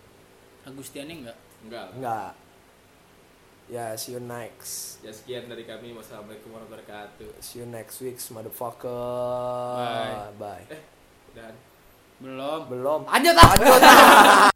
[SPEAKER 4] Agustiannya enggak.
[SPEAKER 5] Enggak
[SPEAKER 3] enggak. Ya, see you next.
[SPEAKER 5] Ya sekian dari kami Wassalamualaikum warahmatullahi wabarakatuh
[SPEAKER 3] See you next week, motherfucker. Bye.
[SPEAKER 5] Dan
[SPEAKER 4] Belum.
[SPEAKER 3] Belum.
[SPEAKER 1] lanjut ah